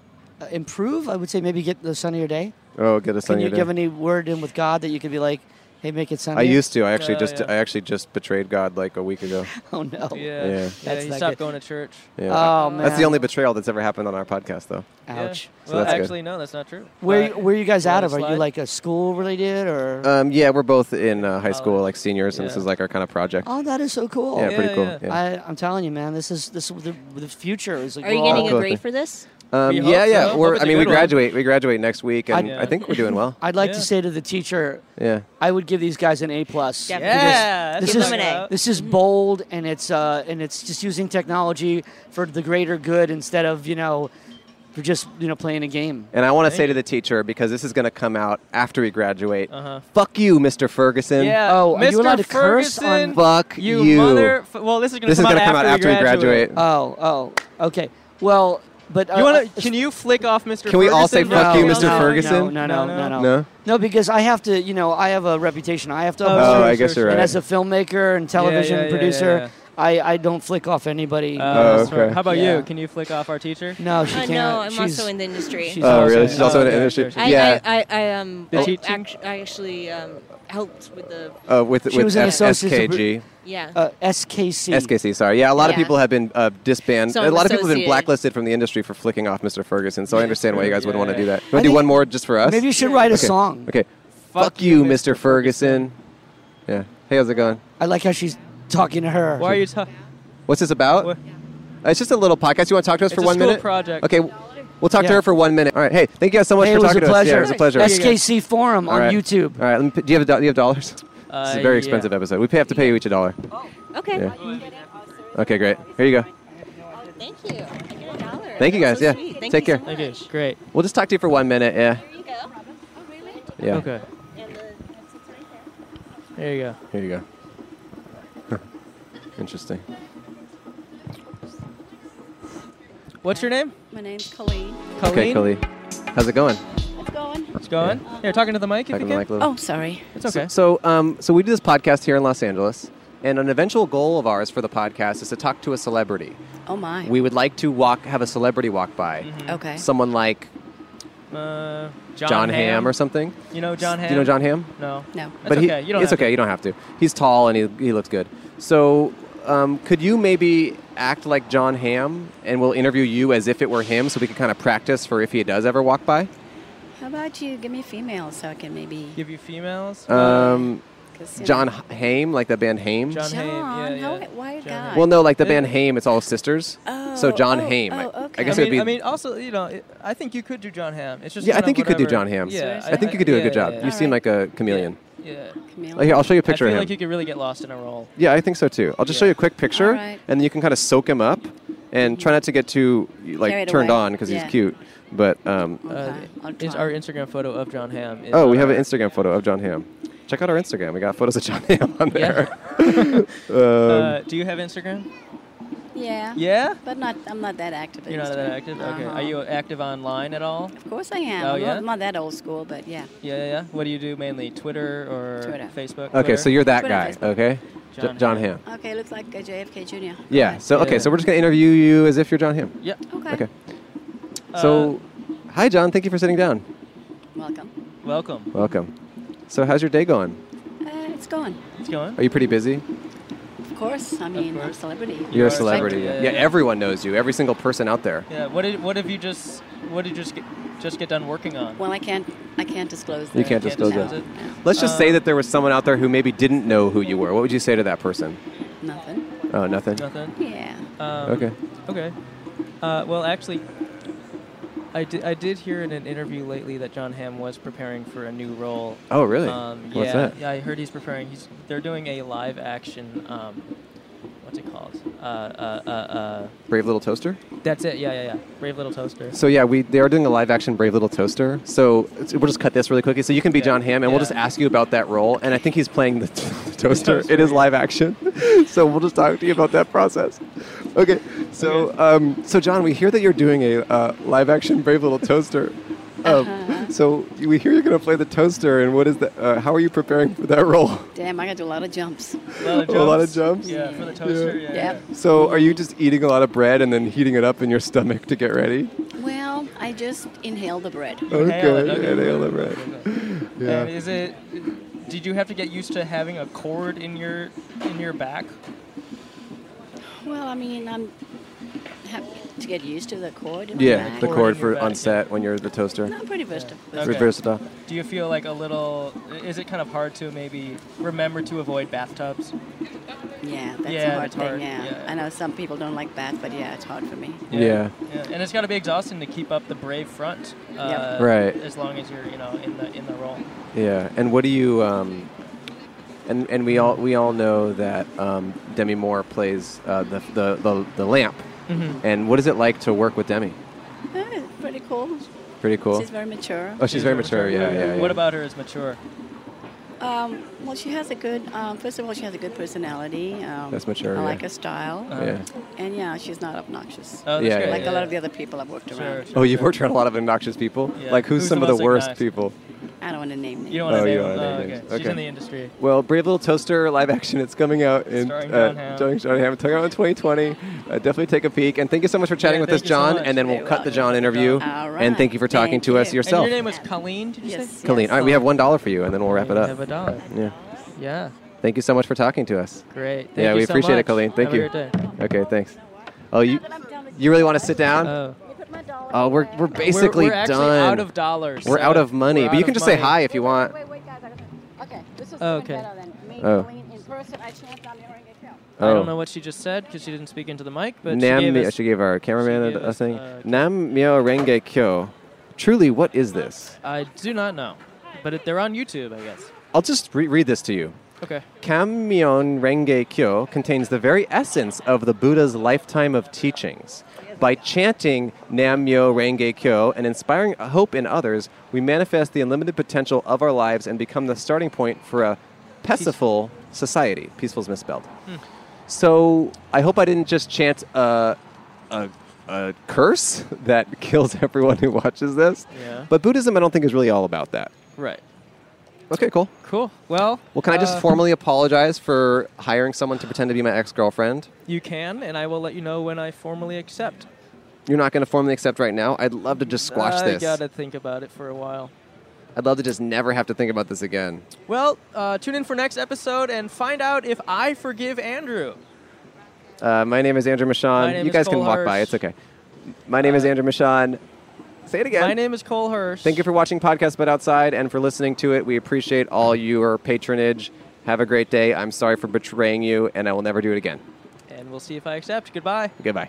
Speaker 12: improve. I would say maybe get the sunnier day.
Speaker 2: Oh, get us
Speaker 12: Can
Speaker 2: on
Speaker 12: you
Speaker 2: your
Speaker 12: give
Speaker 2: day.
Speaker 12: any word in with God that you could be like, "Hey, make it sunny"?
Speaker 2: I used to. I actually just I actually just betrayed God like a week ago.
Speaker 12: Oh no.
Speaker 1: Yeah.
Speaker 2: Yeah.
Speaker 1: Yeah, he
Speaker 12: not
Speaker 1: stopped
Speaker 12: good.
Speaker 1: going to church.
Speaker 2: Yeah.
Speaker 12: Oh man.
Speaker 2: That's the only betrayal that's ever happened on our podcast, though.
Speaker 1: Yeah.
Speaker 12: Ouch.
Speaker 2: So
Speaker 1: well,
Speaker 2: that's good.
Speaker 1: actually, no, that's not true.
Speaker 12: Where
Speaker 1: But-
Speaker 12: where are you guys
Speaker 1: We're on
Speaker 12: out
Speaker 1: a
Speaker 12: of? Are you
Speaker 1: slide.
Speaker 12: like a school related or?
Speaker 2: Um, yeah, we're both in uh, high school, like seniors, and this
Speaker 12: Yeah.
Speaker 2: is like our kind of project.
Speaker 12: Oh, that is so cool.
Speaker 2: Yeah, pretty Yeah, cool, yeah. yeah.
Speaker 12: I, I'm telling you, man, this is this the, the future is like.
Speaker 13: Are you
Speaker 12: all-
Speaker 13: getting
Speaker 2: cool
Speaker 13: a grade
Speaker 2: thing.
Speaker 13: for this?
Speaker 2: Um,
Speaker 12: We hope
Speaker 2: yeah, yeah.
Speaker 12: so. Hope
Speaker 2: We're,
Speaker 12: it's
Speaker 2: I
Speaker 12: a
Speaker 2: mean, we
Speaker 12: good one.
Speaker 2: graduate. We graduate next week, and
Speaker 12: I'd-
Speaker 2: I think we're doing well.
Speaker 12: I'd like to say to the teacher,
Speaker 2: Yeah.
Speaker 12: I would give these guys an A plus.
Speaker 13: Yeah, Mm-hmm.
Speaker 12: because
Speaker 13: give
Speaker 12: this
Speaker 13: them an A.
Speaker 12: is this is bold and it's uh, and it's just using technology for the greater good instead of you know, for just you know playing a game.
Speaker 2: And I want to say to the teacher because this is going to come out after we graduate.
Speaker 1: Uh-huh.
Speaker 2: Fuck you, Mr. Ferguson.
Speaker 1: Yeah.
Speaker 12: Oh, are
Speaker 1: Mr.
Speaker 12: you allowed to curse
Speaker 1: Ferguson,
Speaker 12: on?
Speaker 2: Fuck you.
Speaker 1: you mother. Well, this is gonna
Speaker 2: This is
Speaker 1: come,
Speaker 2: gonna
Speaker 1: out,
Speaker 2: come out after
Speaker 1: after
Speaker 2: we graduate.
Speaker 12: Oh, oh, okay. Well, but uh,
Speaker 1: you wanna?
Speaker 12: uh,
Speaker 1: Can you flick off Mr.
Speaker 2: Can we all say
Speaker 1: Ferguson?
Speaker 2: fuck
Speaker 12: No,
Speaker 2: you,
Speaker 12: no,
Speaker 2: Mr.
Speaker 12: no,
Speaker 2: Ferguson?
Speaker 12: No, no, no, no,
Speaker 2: No?
Speaker 12: No, because I have to, you know, I have a reputation. I have to.
Speaker 2: Oh,
Speaker 12: uphold.
Speaker 2: sure, I guess you're
Speaker 12: And
Speaker 2: right.
Speaker 12: as a filmmaker and television
Speaker 1: yeah, yeah,
Speaker 12: producer,
Speaker 1: yeah, yeah.
Speaker 12: I, I don't flick off anybody.
Speaker 1: Uh,
Speaker 2: Oh,
Speaker 1: sorry.
Speaker 2: okay.
Speaker 1: How about
Speaker 12: Yeah.
Speaker 1: you? Can you flick off our teacher?
Speaker 12: No, she
Speaker 13: Uh,
Speaker 12: can't.
Speaker 13: no, I'm
Speaker 12: She's-
Speaker 13: also in the industry.
Speaker 12: she's
Speaker 2: Oh,
Speaker 12: also
Speaker 2: really? She's also in the
Speaker 1: okay,
Speaker 2: industry.
Speaker 1: sure,
Speaker 13: I,
Speaker 2: Yeah.
Speaker 13: I, I, I um,
Speaker 1: The
Speaker 13: I,
Speaker 1: teaching?
Speaker 13: act- I actually um, helped with the.
Speaker 2: Uh, with
Speaker 12: She
Speaker 2: with
Speaker 12: was an
Speaker 2: S-
Speaker 12: associate
Speaker 2: SKG.
Speaker 13: Yeah.
Speaker 12: Uh, SKC.
Speaker 2: SKC, sorry. Yeah, a lot of
Speaker 13: Yeah.
Speaker 2: people have been uh, disbanded.
Speaker 13: So
Speaker 2: a
Speaker 13: I'm
Speaker 2: lot of people have been
Speaker 13: associated.
Speaker 2: blacklisted from the industry for flicking off Mr. Ferguson. So I understand why you guys wouldn't want to do that.
Speaker 12: I
Speaker 2: Want to do
Speaker 12: think-
Speaker 2: one more just for us?
Speaker 12: maybe you should write a
Speaker 2: Okay.
Speaker 12: song.
Speaker 2: Okay. Fuck, you, Mr. Ferguson. Yeah. Hey, how's it going?
Speaker 12: I like how she's talking to her.
Speaker 1: Why are you talking?
Speaker 2: What's this about? Uh, It's just a little podcast. You want to talk to us
Speaker 1: It's
Speaker 2: for
Speaker 1: a
Speaker 2: one
Speaker 1: school
Speaker 2: minute?
Speaker 1: project.
Speaker 2: Okay. w- We'll talk to
Speaker 1: Yeah.
Speaker 2: her for one minute. All right. Hey, thank you guys so much
Speaker 12: Hey,
Speaker 2: for
Speaker 12: it was
Speaker 2: talking
Speaker 12: a
Speaker 2: to us. Yeah, it was a
Speaker 12: pleasure.
Speaker 2: pleasure.
Speaker 12: SKC Forum
Speaker 2: All
Speaker 12: on
Speaker 2: right.
Speaker 12: YouTube.
Speaker 2: All right. let me p- Do you have do you have dollars? this is
Speaker 1: Uh,
Speaker 2: a very
Speaker 1: yeah.
Speaker 2: expensive episode. We pay, have to pay you each a dollar.
Speaker 13: Oh, Okay.
Speaker 2: Yeah. Okay, great. Here you go.
Speaker 13: Thank you. I get a dollar.
Speaker 2: Thank you guys.
Speaker 13: That's so
Speaker 2: yeah.
Speaker 13: sweet. Thank
Speaker 2: Take
Speaker 13: you
Speaker 2: care.
Speaker 13: so much.
Speaker 1: Great.
Speaker 2: We'll just talk to you for one minute. Yeah.
Speaker 13: There you go. Oh, really?
Speaker 2: Yeah.
Speaker 1: Okay. There you go.
Speaker 2: Here you go. Interesting.
Speaker 1: What's your name?
Speaker 14: My name's Colleen.
Speaker 2: Okay, Kali. How's it going?
Speaker 14: It's going.
Speaker 1: It's going. Here, talking to the mic if
Speaker 2: Talking
Speaker 1: you
Speaker 2: to the
Speaker 1: can.
Speaker 2: mic a little.
Speaker 14: Oh, sorry.
Speaker 1: It's okay.
Speaker 2: So, so, um, so we do this podcast here in Los Angeles. And an eventual goal of ours for the podcast is to talk to a celebrity.
Speaker 13: Oh my.
Speaker 2: We would like to walk, have a celebrity walk by.
Speaker 1: Mm-hmm.
Speaker 13: Okay.
Speaker 2: Someone like
Speaker 1: Uh,
Speaker 2: John, Hamm or something.
Speaker 1: You know John
Speaker 2: S-
Speaker 1: Hamm?
Speaker 2: Do you know John Hamm?
Speaker 1: No.
Speaker 13: No.
Speaker 1: That's
Speaker 2: but he,
Speaker 1: okay. You don't
Speaker 2: it's
Speaker 1: have
Speaker 2: okay.
Speaker 1: to.
Speaker 2: You don't have to. He's tall and he, he looks good. So, um, could you maybe act like John Hamm and we'll interview you as if it were him so we can kind of practice for if he does ever walk by?
Speaker 13: How about you give me female so I can maybe
Speaker 1: give you females?
Speaker 2: Um,
Speaker 13: 'Cause, you
Speaker 2: John
Speaker 13: know.
Speaker 2: H- Haim, like the band Haim.
Speaker 1: John Hamm, yeah,
Speaker 13: John, how-
Speaker 1: yeah.
Speaker 13: why a guy?
Speaker 2: Well, no, like the band Haim, it's all sisters.
Speaker 1: Oh,
Speaker 2: so John Haim. I- I guess
Speaker 1: I
Speaker 2: it would
Speaker 1: mean,
Speaker 2: be.
Speaker 1: I mean, also, you know, it, I think you could do John Hamm. It's just
Speaker 2: yeah, I
Speaker 1: kind of
Speaker 2: think you could do
Speaker 1: whatever-
Speaker 2: John Hamm.
Speaker 1: Yeah,
Speaker 2: I think you could do a good job. You seem like a chameleon.
Speaker 1: Yeah.
Speaker 2: Oh, here, I'll show you a picture
Speaker 1: I
Speaker 2: of
Speaker 1: feel
Speaker 2: him.
Speaker 1: like you could really get lost in a role.
Speaker 2: Yeah, I think so too. I'll just show you a quick picture,
Speaker 1: Alright.
Speaker 2: and then you can kind of soak him up, and try not to get too like
Speaker 1: Carried
Speaker 2: turned
Speaker 1: away.
Speaker 2: on because
Speaker 1: Yeah.
Speaker 2: he's cute. But um,
Speaker 1: Uh, is our Instagram photo of John Hamm. Is
Speaker 2: oh, we
Speaker 1: on
Speaker 2: have an
Speaker 1: our-
Speaker 2: Instagram photo of John Ham. Check out our Instagram. We got photos of John Ham on there.
Speaker 1: uh,
Speaker 2: um,
Speaker 1: do you have Instagram?
Speaker 13: Yeah.
Speaker 1: Yeah?
Speaker 13: But not. I'm not that active. Uh-huh.
Speaker 1: You're not that active. Okay. Are you active online at all?
Speaker 13: Of course I am.
Speaker 1: Oh
Speaker 13: I'm not-
Speaker 1: yeah.
Speaker 13: I'm not that old school, but yeah.
Speaker 1: Yeah, yeah, yeah. What do you do mainly? Twitter or
Speaker 13: Twitter.
Speaker 1: Facebook?
Speaker 2: okay,
Speaker 1: Twitter?
Speaker 2: so you're that
Speaker 13: Twitter
Speaker 2: guy,
Speaker 13: and Facebook.
Speaker 2: okay?
Speaker 1: John
Speaker 2: J- John Ham.
Speaker 13: Okay, looks like a JFK Jr.
Speaker 2: Yeah. So okay,
Speaker 1: Yeah.
Speaker 2: so we're just gonna interview you as if you're John Ham.
Speaker 1: Yeah. Uh,
Speaker 13: Okay.
Speaker 2: Okay. So, hi John. Thank you for sitting down.
Speaker 13: Welcome.
Speaker 1: Welcome.
Speaker 2: Welcome. So, how's your day going?
Speaker 13: Uh, it's going.
Speaker 1: It's going.
Speaker 2: Are you pretty busy?
Speaker 13: Of course. I mean, I'm a celebrity.
Speaker 2: You're a
Speaker 13: Like, uh,
Speaker 2: celebrity. Yeah, everyone knows you. Every single person out there.
Speaker 1: Yeah. What did What have you just What did you just get, just get done working on?
Speaker 13: Well, I can't. I can't disclose.
Speaker 2: You
Speaker 13: the-
Speaker 2: can't disclose that. Let's just say that there was someone out there who maybe didn't know who you were. What would you say to that person?
Speaker 13: Nothing.
Speaker 2: Oh, nothing.
Speaker 1: Nothing.
Speaker 13: Yeah.
Speaker 1: Um,
Speaker 2: Okay.
Speaker 1: Okay. Uh, well, actually, I did, I did hear in an interview lately that John Hamm was preparing for a new role.
Speaker 2: Oh, really?
Speaker 1: Um,
Speaker 2: What's
Speaker 1: yeah,
Speaker 2: that?
Speaker 1: Yeah, I heard he's preparing. He's they're doing a live action. Um, what's it called? Uh, uh, uh, uh,
Speaker 2: Brave Little Toaster.
Speaker 1: that's it. Yeah, yeah, yeah. Brave Little Toaster.
Speaker 2: So yeah, we they are doing a live action Brave Little Toaster. So it's- we'll just cut this really quickly. So you can be John Hamm, and we'll just ask you about that role. And I think he's playing the toaster. It is live action. so we'll just talk to you about that process. Okay. So um, so John, we hear that you're doing a uh, live action Brave Little Toaster. Um, So we hear you're going to play the toaster, and what is that? Uh, how are you preparing for that role?
Speaker 13: Damn, I gotta do a lot of jumps.
Speaker 2: A lot of jumps.
Speaker 1: Yeah, for the toaster. Yeah.
Speaker 13: Yep.
Speaker 2: So are you just eating a lot of bread and then heating it up in your stomach to get ready?
Speaker 13: Well, I just inhale the bread.
Speaker 1: Inhale it, okay.
Speaker 2: inhale the bread.
Speaker 1: And is it? Did you have to get used to having a cord in your in your back?
Speaker 13: Well, I mean, I'm happy to get used to the cord. in my
Speaker 2: Yeah,
Speaker 13: back.
Speaker 2: the cord for on set when you're the toaster.
Speaker 13: I'm pretty versatile.
Speaker 2: Pretty versatile.
Speaker 1: Do you feel like a little? Is it kind of hard to maybe remember to avoid bathtubs?
Speaker 13: Yeah, that's
Speaker 1: Yeah,
Speaker 13: a hard
Speaker 1: it's
Speaker 13: thing.
Speaker 1: hard,
Speaker 13: Yeah.
Speaker 1: yeah.
Speaker 13: I know some people don't like bath, but yeah, it's hard for me.
Speaker 2: Yeah.
Speaker 1: Yeah, and it's got to be exhausting to keep up the brave front. Uh,
Speaker 2: Right.
Speaker 1: As long as you're, you know, in the in the role.
Speaker 2: Yeah. And what do you? Um, and and we all we all know that um, Demi Moore plays uh, the, the the the lamp.
Speaker 13: Mhm.
Speaker 2: And what is it like to work with Demi?
Speaker 13: Yeah, it's pretty cool.
Speaker 2: Pretty cool.
Speaker 13: She's very mature.
Speaker 2: Oh, she's very mature. Yeah, yeah, yeah.
Speaker 1: What about her is mature? Oh,
Speaker 13: Um, well, she has a good. Um, first of all, she has a good personality. Um,
Speaker 2: That's mature,
Speaker 13: I
Speaker 2: yeah.
Speaker 13: like her style.
Speaker 14: Uh,
Speaker 2: Uh-huh. Yeah.
Speaker 13: And yeah, she's not obnoxious.
Speaker 2: Oh, that's Yeah, good,
Speaker 13: Like
Speaker 2: yeah,
Speaker 13: a lot
Speaker 2: yeah.
Speaker 13: of the other people I've worked around.
Speaker 2: Oh, you've worked with a lot of obnoxious people.
Speaker 13: Yeah.
Speaker 2: Like who's,
Speaker 13: Who's
Speaker 2: some
Speaker 13: the
Speaker 2: of the
Speaker 13: most
Speaker 2: worst
Speaker 13: obnoxious?
Speaker 2: people?
Speaker 13: I don't want to name names.
Speaker 1: You don't
Speaker 2: Oh,
Speaker 1: want to
Speaker 2: you
Speaker 1: name.
Speaker 2: don't
Speaker 1: them.
Speaker 2: wanna
Speaker 1: Oh,
Speaker 2: name
Speaker 1: okay.
Speaker 2: names.
Speaker 1: She's in
Speaker 2: Okay.
Speaker 1: the industry.
Speaker 2: Well, Brave Little Toaster live action. It's coming out in
Speaker 1: Starring John
Speaker 2: uh,
Speaker 1: Hamm.
Speaker 2: starring John Hamm. It's coming out in 2020. Uh, definitely take a peek. And thank you so much for chatting
Speaker 1: Yeah,
Speaker 2: with us,
Speaker 1: thank you so
Speaker 2: John.
Speaker 1: much.
Speaker 2: and then we'll
Speaker 1: You're
Speaker 2: cut the John interview. And thank you for talking to us yourself,
Speaker 1: And your name was Colleen. Did you say?
Speaker 2: Colleen. All right, we have one dollar for you, and then we'll wrap it up.
Speaker 1: have a dollar.
Speaker 2: Yeah.
Speaker 1: Yeah.
Speaker 2: Thank you so much for talking to us.
Speaker 1: Great. Thank
Speaker 2: yeah,
Speaker 1: you
Speaker 2: we
Speaker 1: so
Speaker 2: appreciate
Speaker 1: much.
Speaker 2: it, Colleen. Thank
Speaker 1: Have a
Speaker 2: you.
Speaker 1: great
Speaker 2: Okay, thanks. Oh, you you really want to sit down?
Speaker 1: Oh.
Speaker 2: Oh, we're we're basically
Speaker 1: we're actually
Speaker 2: done.
Speaker 1: out of dollars,
Speaker 2: We're
Speaker 1: so
Speaker 2: out of money,
Speaker 1: we're
Speaker 2: but you
Speaker 1: out
Speaker 2: can
Speaker 1: of
Speaker 2: just say
Speaker 1: money.
Speaker 2: hi if you want.
Speaker 14: Okay, this is
Speaker 1: Oh,
Speaker 14: even
Speaker 1: okay.
Speaker 14: better than me
Speaker 2: Oh.
Speaker 14: Colleen in person. I champed on hearing it count.
Speaker 1: I
Speaker 2: Oh.
Speaker 1: don't know what she just said because she didn't speak into the mic, but
Speaker 2: Nam
Speaker 1: she gave
Speaker 2: myo-
Speaker 1: us.
Speaker 2: she gave our cameraman
Speaker 1: gave
Speaker 2: a, a
Speaker 1: us,
Speaker 2: thing.
Speaker 1: uh,
Speaker 2: Nam myo renge kyo. Truly, what is this?
Speaker 1: I do not know, but it, they're on YouTube, I guess.
Speaker 2: I'll just re- read this to you.
Speaker 1: Okay.
Speaker 2: Kamyon Renge Kyo contains the very essence of the Buddha's lifetime of teachings. By chanting Nammyo Renge Kyo and inspiring hope in others, we manifest the unlimited potential of our lives and become the starting point for a peaceful society. Peaceful is misspelled.
Speaker 1: Hmm.
Speaker 2: So I hope I didn't just chant a, a, a curse that kills everyone who watches this.
Speaker 1: Yeah.
Speaker 2: But Buddhism, I don't think, is really all about that.
Speaker 1: Right.
Speaker 2: Okay, cool.
Speaker 1: Cool. Well.
Speaker 2: Well, can I just
Speaker 1: uh,
Speaker 2: formally apologize for hiring someone to pretend to be my ex girlfriend?
Speaker 1: You can, and I will let you know when I formally accept.
Speaker 2: You're not going to formally accept right now. I'd love to just squash
Speaker 1: I
Speaker 2: this.
Speaker 1: gotta think about it for a while.
Speaker 2: I'd love to just never have to think about this again.
Speaker 1: Well, uh, tune in for next episode and find out if I forgive Andrew.
Speaker 2: Uh, my name is Andrew
Speaker 1: My
Speaker 2: Michon.
Speaker 1: name
Speaker 2: You
Speaker 1: is
Speaker 2: guys can
Speaker 1: Cole
Speaker 2: walk by.
Speaker 1: Hirsch.
Speaker 2: It's okay. My name is Andrew Michon. Say it again.
Speaker 1: My name is Cole Hirsch.
Speaker 2: Thank you for watching Podcast But Outside and for listening to it. We appreciate all your patronage. Have a great day. I'm sorry for betraying you, and I will never do it again.
Speaker 1: And we'll see if I accept. Goodbye.
Speaker 2: Goodbye.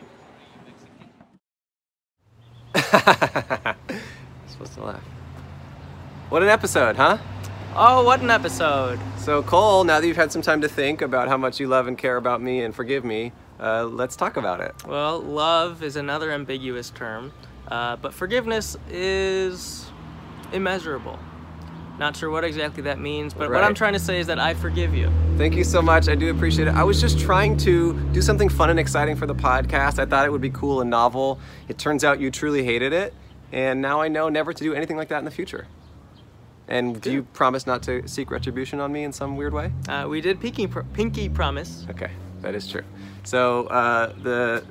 Speaker 2: supposed to laugh. What an episode, huh?
Speaker 1: Oh, what an episode.
Speaker 2: So, Cole, now that you've had some time to think about how much you love and care about me and forgive me, uh, let's talk about it.
Speaker 1: Well, love is another ambiguous term, uh, but forgiveness is immeasurable. Not sure what exactly that means, but what
Speaker 2: Right.
Speaker 1: I'm trying to say is that I forgive you.
Speaker 2: Thank you so much. I do appreciate it. I was just trying to do something fun and exciting for the podcast. I thought it would be cool and novel. It turns out you truly hated it, and now I know never to do anything like that in the future. And do you promise not to seek retribution on me in some weird way?
Speaker 1: Uh, we did pinky, pr- pinky promise.
Speaker 2: Okay, that is true. So uh, the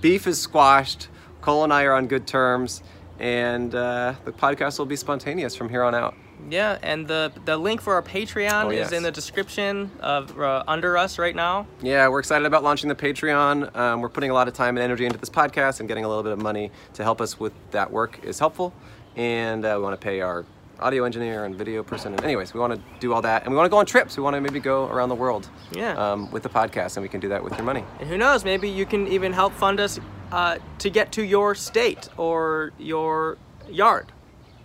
Speaker 2: beef is squashed. Cole and I are on good terms, and uh, the podcast will be spontaneous from here on out.
Speaker 1: Yeah, and the the link for our Patreon
Speaker 2: Oh, yes.
Speaker 1: is in the description of uh, under us right now.
Speaker 2: Yeah, we're excited about launching the Patreon. Um, we're putting a lot of time and energy into this podcast, and getting a little bit of money to help us with that work is helpful. And uh, we want to pay our audio engineer and video person. And anyways, we want to do all that, and we want to go on trips. We want to maybe go around the world
Speaker 1: Yeah.
Speaker 2: um, with the podcast, and we can do that with your money.
Speaker 1: And who knows, maybe you can even help fund us uh, to get to your state or your yard.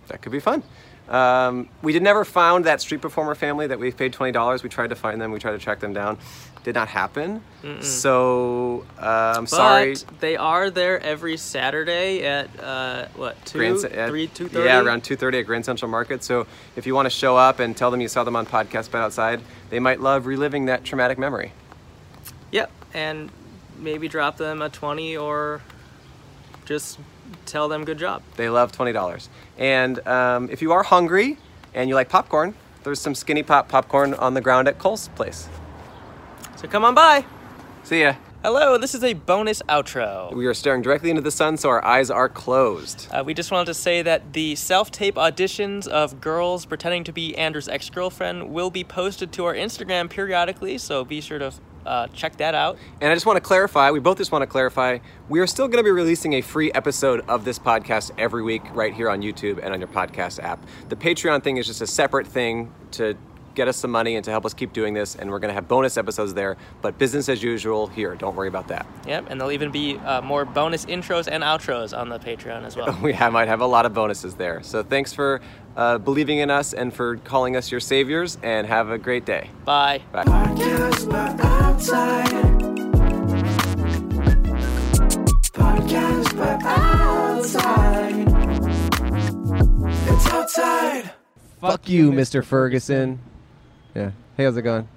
Speaker 2: That could be fun. Um, we did never found that street performer family that we paid twenty dollars. We tried to find them. We tried to track them down. Did not happen.
Speaker 1: Mm-mm.
Speaker 2: So uh, I'm sorry.
Speaker 1: But they are there every Saturday at uh, what two,
Speaker 2: Grand Ce- at-
Speaker 1: three, two thirty.
Speaker 2: Yeah, around two thirty at Grand Central Market. So if you want to show up and tell them you saw them on podcast but outside, they might love reliving that traumatic memory.
Speaker 1: Yep, and maybe drop them a twenty or just tell them good job.
Speaker 2: They love twenty dollars. And um, if you are hungry and you like popcorn, there's some Skinny Pop popcorn on the ground at Cole's place.
Speaker 1: So come on by.
Speaker 2: See ya.
Speaker 1: Hello, this is a bonus outro.
Speaker 2: We are staring directly into the sun, so our eyes are closed.
Speaker 1: Uh, we just wanted to say that the self tape auditions of girls pretending to be Andrew's ex girlfriend will be posted to our Instagram periodically, so be sure to uh, check that out.
Speaker 2: And I just want to clarify, we both just want to clarify, we are still going to be releasing a free episode of this podcast every week right here on YouTube and on your podcast app. The Patreon thing is just a separate thing to get us some money and to help us keep doing this. And we're going to have bonus episodes there, but business as usual here. Don't worry about that.
Speaker 1: Yep, and there'll even be uh, more bonus intros and outros on the Patreon as well.
Speaker 2: We ha- might have a lot of bonuses there. So thanks for uh, believing in us and for calling us your saviors, and have a great day.
Speaker 1: Bye.
Speaker 2: Bye.
Speaker 3: Podcast but outside. Podcast but outside. It's outside.
Speaker 2: Fuck you, Mr. Ferguson. Yeah. Hey, how's it going?